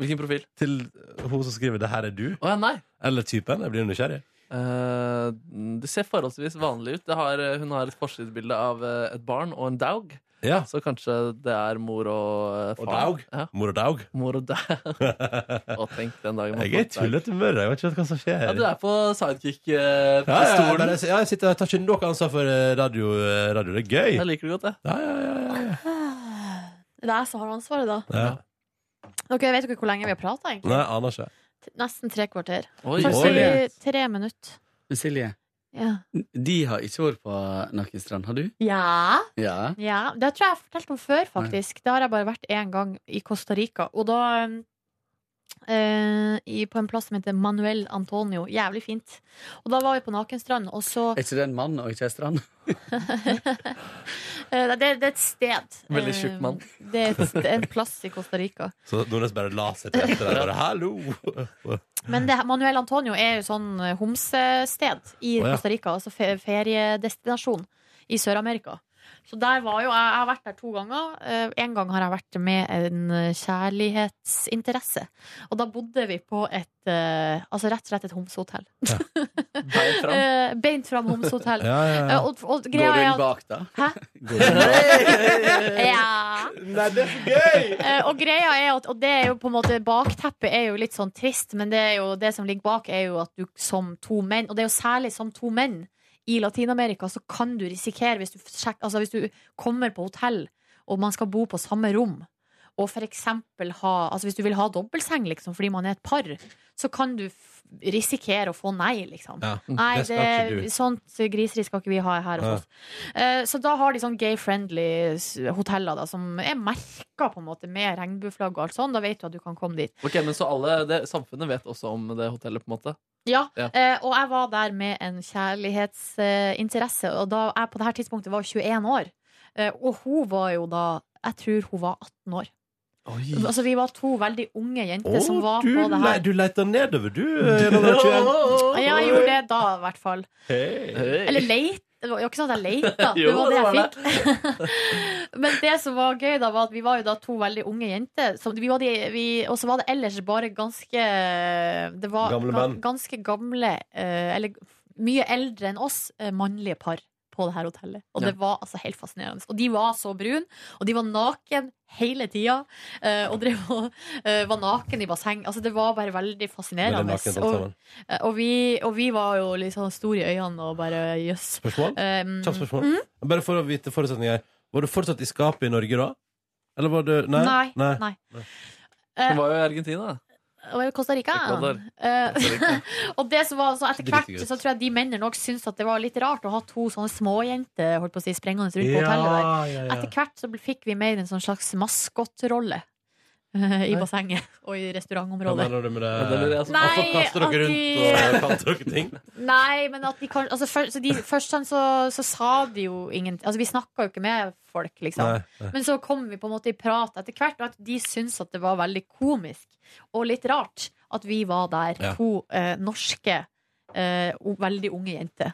[SPEAKER 2] Hvilken profil?
[SPEAKER 3] Til eh, hun som skriver 'Det her er du'?
[SPEAKER 2] Å ja, nei.
[SPEAKER 3] Eller typen? Jeg blir nysgjerrig.
[SPEAKER 2] Eh, det ser forholdsvis vanlig ut. Det har, eh, hun har et forsidebilde av eh, et barn og en daug. Så kanskje det er mor og eh,
[SPEAKER 3] Og
[SPEAKER 2] far.
[SPEAKER 3] daug.
[SPEAKER 2] Ja.
[SPEAKER 3] Mor og daug.
[SPEAKER 2] Mor og
[SPEAKER 3] [LAUGHS]
[SPEAKER 2] daug. og tenk den dagen man
[SPEAKER 3] Jeg er i
[SPEAKER 2] får daug.
[SPEAKER 3] tullete humør. Jeg vet ikke hva som skjer.
[SPEAKER 2] Ja, du er på eh,
[SPEAKER 3] Ja, ja, jeg,
[SPEAKER 2] sidekick-pistolen.
[SPEAKER 3] bare, ja, jeg, sitter, jeg tar ikke noe ansvar for eh, radio. eh, radio. Det er gøy.
[SPEAKER 2] jeg liker det godt, jeg.
[SPEAKER 3] Ja, ja, ja, ja, ja.
[SPEAKER 1] Det er jeg som har ansvaret, da.
[SPEAKER 3] Ja.
[SPEAKER 1] Dere vet dere hvor lenge vi har prata, egentlig?
[SPEAKER 3] Nei, aner ikke.
[SPEAKER 1] Nesten tre kvarter.
[SPEAKER 11] Oi.
[SPEAKER 1] Kanskje
[SPEAKER 11] Oi.
[SPEAKER 1] tre minutter.
[SPEAKER 11] Men Silje,
[SPEAKER 1] Ja.
[SPEAKER 11] de har ikke vært på Nakkenstrand, har du?
[SPEAKER 1] ja.
[SPEAKER 11] Ja.
[SPEAKER 1] Ja, Det tror jeg jeg har fortalt om før, faktisk. Det har jeg bare vært én gang, i Costa Rica. Og da eh, i, På en plass som heter Manuel Antonio. Jævlig fint. Og da var vi på Nakenstrand, og så
[SPEAKER 11] Er ikke det en mann og ikke en strand?
[SPEAKER 1] eh, det, det er et sted.
[SPEAKER 3] Veldig tjukk mann.
[SPEAKER 1] Eh, Det er et, st- en plass i Costa Rica.
[SPEAKER 3] Så Nordnes bare la seg til etter der. Bare, Hallo!
[SPEAKER 1] Men det, Manuel Antonio er jo sånn eh, homsested i
[SPEAKER 3] Å, ja.
[SPEAKER 1] Costa Rica, altså fe- feriedestinasjon i Sør-Amerika. Så der var jo, jeg, jeg har vært der to ganger. Eh, En gang har jeg vært med en eh, kjærlighetsinteresse. Og da bodde vi på et eh, Altså rett og slett et homsehotell.
[SPEAKER 2] Bein fram.
[SPEAKER 1] Eh, Beint fram homsehotell.
[SPEAKER 2] Ja, ja, ja.
[SPEAKER 1] Eh, Og, og greia er at
[SPEAKER 11] da?
[SPEAKER 1] Hæ? Ja.
[SPEAKER 11] Nei, det er for gøy!
[SPEAKER 1] Eh, og greia er at, og det er jo på en måte Bakteppet er jo litt sånn trist, men det, er jo, det som ligger bak, er jo at du som to menn Og det er jo særlig som to menn i Latin-Amerika, så kan du risikere, hvis du, sjek, altså hvis du kommer på hotell og man skal bo på samme rom og for eksempel ha Altså hvis du vil ha dobbeltseng, liksom, fordi man er et par, så kan du f risikere å få nei, liksom.
[SPEAKER 13] Ja,
[SPEAKER 1] nei,
[SPEAKER 13] det skal ikke du.
[SPEAKER 1] det, sånt griseri skal ikke vi ha her hos oss. Eh, Så da har de sånn gay-friendly s- hoteller da, som er merka på en måte med regnbueflagg og alt sånn. Da vet du at du kan komme dit.
[SPEAKER 2] [LAUGHS] Ok, men Så alle det, samfunnet vet også om det hotellet, på en måte?
[SPEAKER 1] Ja,
[SPEAKER 2] Ja.
[SPEAKER 1] eh, og jeg var der med en kjærlighetsinteresse, og da jeg på det her tidspunktet var 21 år. Eh, Og hun var jo da Jeg tror hun var 18 år. Altså Vi var to veldig unge jenter som var
[SPEAKER 3] du,
[SPEAKER 1] på det
[SPEAKER 3] le-
[SPEAKER 1] her.
[SPEAKER 3] du leter nedover, du.
[SPEAKER 2] [LAUGHS]
[SPEAKER 3] eh, gjennom den kjøen.
[SPEAKER 1] Ja, jeg gjorde det da, i hvert fall.
[SPEAKER 3] Hei.
[SPEAKER 1] Eller leit. Det var jo ikke sånn at jeg leita. Det
[SPEAKER 3] Jo,
[SPEAKER 1] var det
[SPEAKER 3] det
[SPEAKER 1] jeg
[SPEAKER 3] var
[SPEAKER 1] fikk. [LAUGHS] Men det som var gøy, da var at vi var jo da to veldig unge jenter. som- vi var de- vi- Og så var det ellers bare ganske det var,
[SPEAKER 3] Gamle
[SPEAKER 1] ga-
[SPEAKER 3] menn.
[SPEAKER 1] Ganske gamle eh, Eller mye eldre enn oss eh, mannlige par på det her hotellet. Og
[SPEAKER 14] Ja.
[SPEAKER 1] det var altså helt fascinerende. Og de var så brune, og de var naken hele tida. eh, Og drev og eh, var naken i basseng. Altså, det var bare veldig fascinerende.
[SPEAKER 3] Veldig nakent alt
[SPEAKER 1] og,
[SPEAKER 3] sammen.
[SPEAKER 1] eh, og, vi, og vi var jo liksom store i øynene og bare jøss.
[SPEAKER 3] Spørsmål?
[SPEAKER 1] Um,
[SPEAKER 3] Kjapt spørsmål.
[SPEAKER 1] mm.
[SPEAKER 3] Bare for å vite forutsetninger. Var du fortsatt i skapet i Norge da? Eller var du Nei.
[SPEAKER 1] mm, Nei, nei.
[SPEAKER 2] Hun var jo i Argentina.
[SPEAKER 1] Og Costa Rica.
[SPEAKER 2] Ecuador.
[SPEAKER 1] Eh, [LAUGHS] og det som var så etter hvert
[SPEAKER 2] Dritgøy.
[SPEAKER 1] Så tror jeg de mennene også syntes at det var litt rart å ha to sånne småjenter holdt på å si, sprengende rundt på
[SPEAKER 14] Ja,
[SPEAKER 1] hotellet. der
[SPEAKER 14] ja, ja.
[SPEAKER 1] Etter hvert så fikk vi mer en sånn slags maskottrolle [LAUGHS] eh, i
[SPEAKER 14] Nei.
[SPEAKER 1] bassenget og i
[SPEAKER 3] Hva
[SPEAKER 1] restaurantområdet.
[SPEAKER 3] mener du med det?
[SPEAKER 2] Ja, det lurer jeg også på.
[SPEAKER 1] Nei,
[SPEAKER 3] Eh. Hvorfor kaster
[SPEAKER 1] at
[SPEAKER 3] dere rundt
[SPEAKER 1] de-
[SPEAKER 3] og kaster
[SPEAKER 1] [LAUGHS]
[SPEAKER 3] dere ting?
[SPEAKER 1] Nei, men at de kan altså, først, så de, Først sånn så, så sa de jo ingen Altså vi snakka jo ikke med folk, liksom.
[SPEAKER 14] Nei, nei.
[SPEAKER 1] Men så kom vi på en måte i prat etter hvert, og at de syntes at det var veldig komisk og litt rart at vi var der,
[SPEAKER 14] Ja.
[SPEAKER 1] to eh, norske eh, o- veldig unge jenter.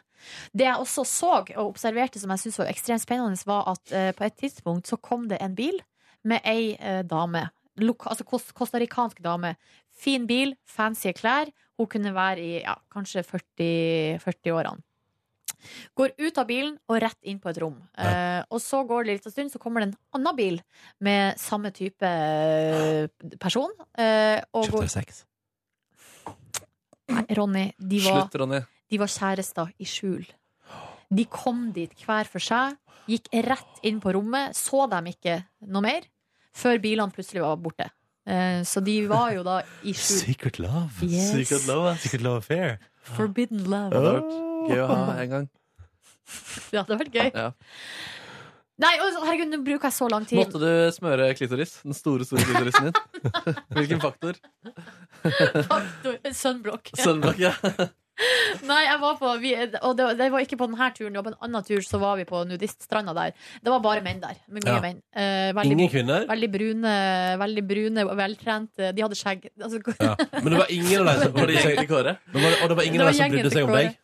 [SPEAKER 1] Det jeg også så og observerte som jeg syntes var ekstremt spennende, var at eh, på et tidspunkt så kom det en bil med ei eh, dame. Loka, altså kos- costaricansk dame. Fin bil, fancy klær. Hun kunne være i ja, kanskje 40 40-årene. Går ut av bilen og rett inn på et rom. Eh, og så går det litt en stund, så kommer det en annen bil med samme type eh, person. Eh, og går-
[SPEAKER 3] sex?
[SPEAKER 1] Nei, Ronny, de var,
[SPEAKER 2] Slutt, Ronny.
[SPEAKER 1] de var kjærester i skjul. De kom dit hver for seg, gikk rett inn på rommet, så dem ikke noe mer, før bilene plutselig var borte. Eh, Så de var jo da
[SPEAKER 3] [LAUGHS]
[SPEAKER 1] i skjul.
[SPEAKER 3] Secret love.
[SPEAKER 1] Yes. Secret
[SPEAKER 3] love, Secret love affair.
[SPEAKER 1] Forbidden love.
[SPEAKER 2] Det hadde vært gøy å ha en gang.
[SPEAKER 1] [LAUGHS] Ja, det hadde vært gøy.
[SPEAKER 2] Ja.
[SPEAKER 1] Nei, å, herregud, nå bruker jeg så lang tid. [LAUGHS]
[SPEAKER 2] Måtte du smøre klitoris? Den store, store klitorisen din? Hvilken faktor?
[SPEAKER 1] Sunblock.
[SPEAKER 2] Sunblock, ja.
[SPEAKER 1] [LAUGHS] Nei, jeg var på vi, Og det, var- det var ikke på denne turen, det var på en annen tur, så var vi på nudiststranda der. Det var bare menn der. Med mye
[SPEAKER 3] Ja.
[SPEAKER 1] menn. Eh,
[SPEAKER 3] Ingen kvinner?
[SPEAKER 1] Veldig brune, veldig brune, veltrente. De hadde skjegg. Altså,
[SPEAKER 3] Ja. Men det var ingen av deg som
[SPEAKER 2] Var [LAUGHS] det gjengen til
[SPEAKER 3] Kåre? Og det var ingen
[SPEAKER 1] Det var
[SPEAKER 3] av deg som
[SPEAKER 1] gjengen
[SPEAKER 3] brydde
[SPEAKER 1] til
[SPEAKER 3] seg om
[SPEAKER 1] Kåre.
[SPEAKER 3] deg?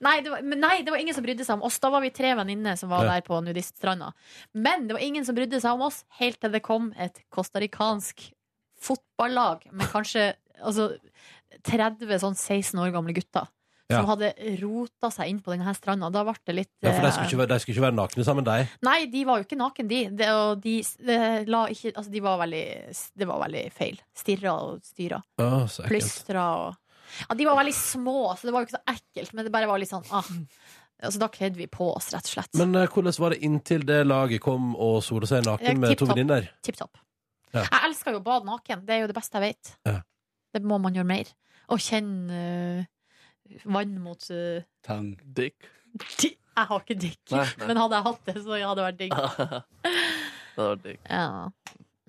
[SPEAKER 1] Nei det, var, men nei, det var ingen som brydde seg om oss. Da var vi tre venninner som var
[SPEAKER 3] Ja.
[SPEAKER 1] der på nudiststranda. Men det var ingen som brydde seg om oss helt til det kom et costaricansk fotballag med kanskje altså, 30 sånn 16 år gamle gutter.
[SPEAKER 3] Ja.
[SPEAKER 1] Som hadde rota seg inn på denne stranda. Da ble det litt
[SPEAKER 3] Ja, for de
[SPEAKER 1] eh,
[SPEAKER 3] skulle ikke være, de skulle ikke være nakne sammen, de.
[SPEAKER 1] Nei, de var jo ikke naken, de. Det, og de, det la ikke, altså, de var veldig, det var veldig feil. Stirra og styra.
[SPEAKER 3] Å, så ekkelt.
[SPEAKER 1] Plystra og Ja, de var veldig små, så det var jo ikke så ekkelt, men det bare var litt sånn ah. Altså, da kledde vi på oss, rett og slett.
[SPEAKER 3] Men eh, hvordan var det inntil det laget kom og sola seg naken med to
[SPEAKER 1] Tipp-topp.
[SPEAKER 3] venninner?
[SPEAKER 1] Tipp-topp.
[SPEAKER 3] Ja.
[SPEAKER 1] Jeg elsker jo å bade naken. Det er jo det beste jeg vet.
[SPEAKER 3] Ja.
[SPEAKER 1] Det må man gjøre mer. Å kjenne eh, vann mot eh,
[SPEAKER 11] Tang.
[SPEAKER 2] Dick.
[SPEAKER 1] di- Jeg har ikke dick,
[SPEAKER 2] Nei, nei.
[SPEAKER 1] men hadde jeg hatt det, så hadde det vært digg.
[SPEAKER 2] det hadde vært digg.
[SPEAKER 1] Ja.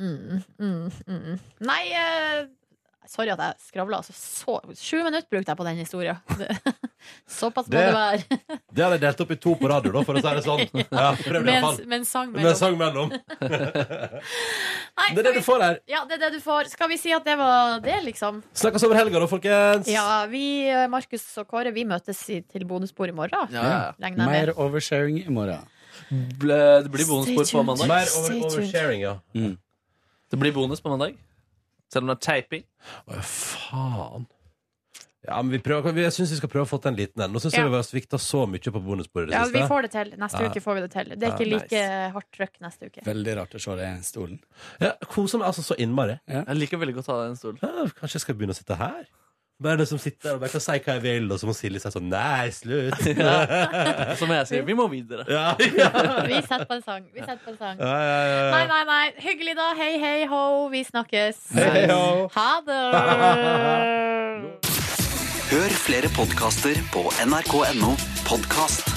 [SPEAKER 1] Mm, mm, mm. Nei, eh, sorry at jeg skravla. Altså, så, sju minutter brukte jeg på den historien. [LAUGHS] Det- Såpass må det,
[SPEAKER 3] Det-
[SPEAKER 1] være.
[SPEAKER 3] Det har de delt opp i to på radio, da, for å si det
[SPEAKER 1] [LAUGHS]
[SPEAKER 3] sånn. Ja, prøv det,
[SPEAKER 1] Med en-
[SPEAKER 3] faen.
[SPEAKER 1] med en sang
[SPEAKER 3] Med en sang
[SPEAKER 1] [LAUGHS]
[SPEAKER 3] mellom.
[SPEAKER 1] Nei,
[SPEAKER 3] Det er det du får her.
[SPEAKER 1] Ja, det er det du får. Skal vi si at det var det, liksom?
[SPEAKER 3] Snakkes over helga, da, folkens.
[SPEAKER 1] Ja, vi, eh, Markus og Kåre, vi møtes i, til bonusbord i morgen. Regner jeg med.
[SPEAKER 11] Mer oversharing i morgen.
[SPEAKER 2] Ble- Det blir bonusbord
[SPEAKER 1] Stay
[SPEAKER 2] på
[SPEAKER 1] tuned.
[SPEAKER 2] mandag.
[SPEAKER 1] Mer over- Stay tuned. oversharing,
[SPEAKER 3] ja.
[SPEAKER 2] Det blir bonus på mandag. Selv om det er taping.
[SPEAKER 3] Faen. Ja, men vi prøver, jeg syns vi skal prøve å få til en liten en. Nå syns
[SPEAKER 1] Ja.
[SPEAKER 3] jeg vi har svikta så mye på bonusbordet i det
[SPEAKER 1] Ja,
[SPEAKER 3] siste.
[SPEAKER 1] vi får det til. Neste
[SPEAKER 3] Ja.
[SPEAKER 1] uke får vi det til. Det er
[SPEAKER 3] Ja,
[SPEAKER 1] ikke
[SPEAKER 3] nice.
[SPEAKER 1] like hardt trøkk neste
[SPEAKER 11] [LAUGHS]
[SPEAKER 1] uke.
[SPEAKER 11] Veldig rart å se deg i stolen.
[SPEAKER 3] Ja, Koser meg altså så innmari.
[SPEAKER 2] Jeg liker veldig godt å ha deg i en stol.
[SPEAKER 3] Ja, kanskje jeg skal begynne å sitte her? Bare den som sitter her og bare kan si hva jeg vil, og så må Silje si sånn Nei, slutt! [LAUGHS]
[SPEAKER 2] Ja. Som jeg sier, vi må videre.
[SPEAKER 3] Ja, ja.
[SPEAKER 1] Vi setter på en sang. Vi setter på en sang.
[SPEAKER 3] Ja, ja, ja, ja.
[SPEAKER 1] Nei, nei, nei. Hyggelig, da. Hei, hei, ho. Vi snakkes.
[SPEAKER 15] Hei, hei, ho.
[SPEAKER 1] Ha det.
[SPEAKER 15] Hør flere podkaster på nrk.no podkast.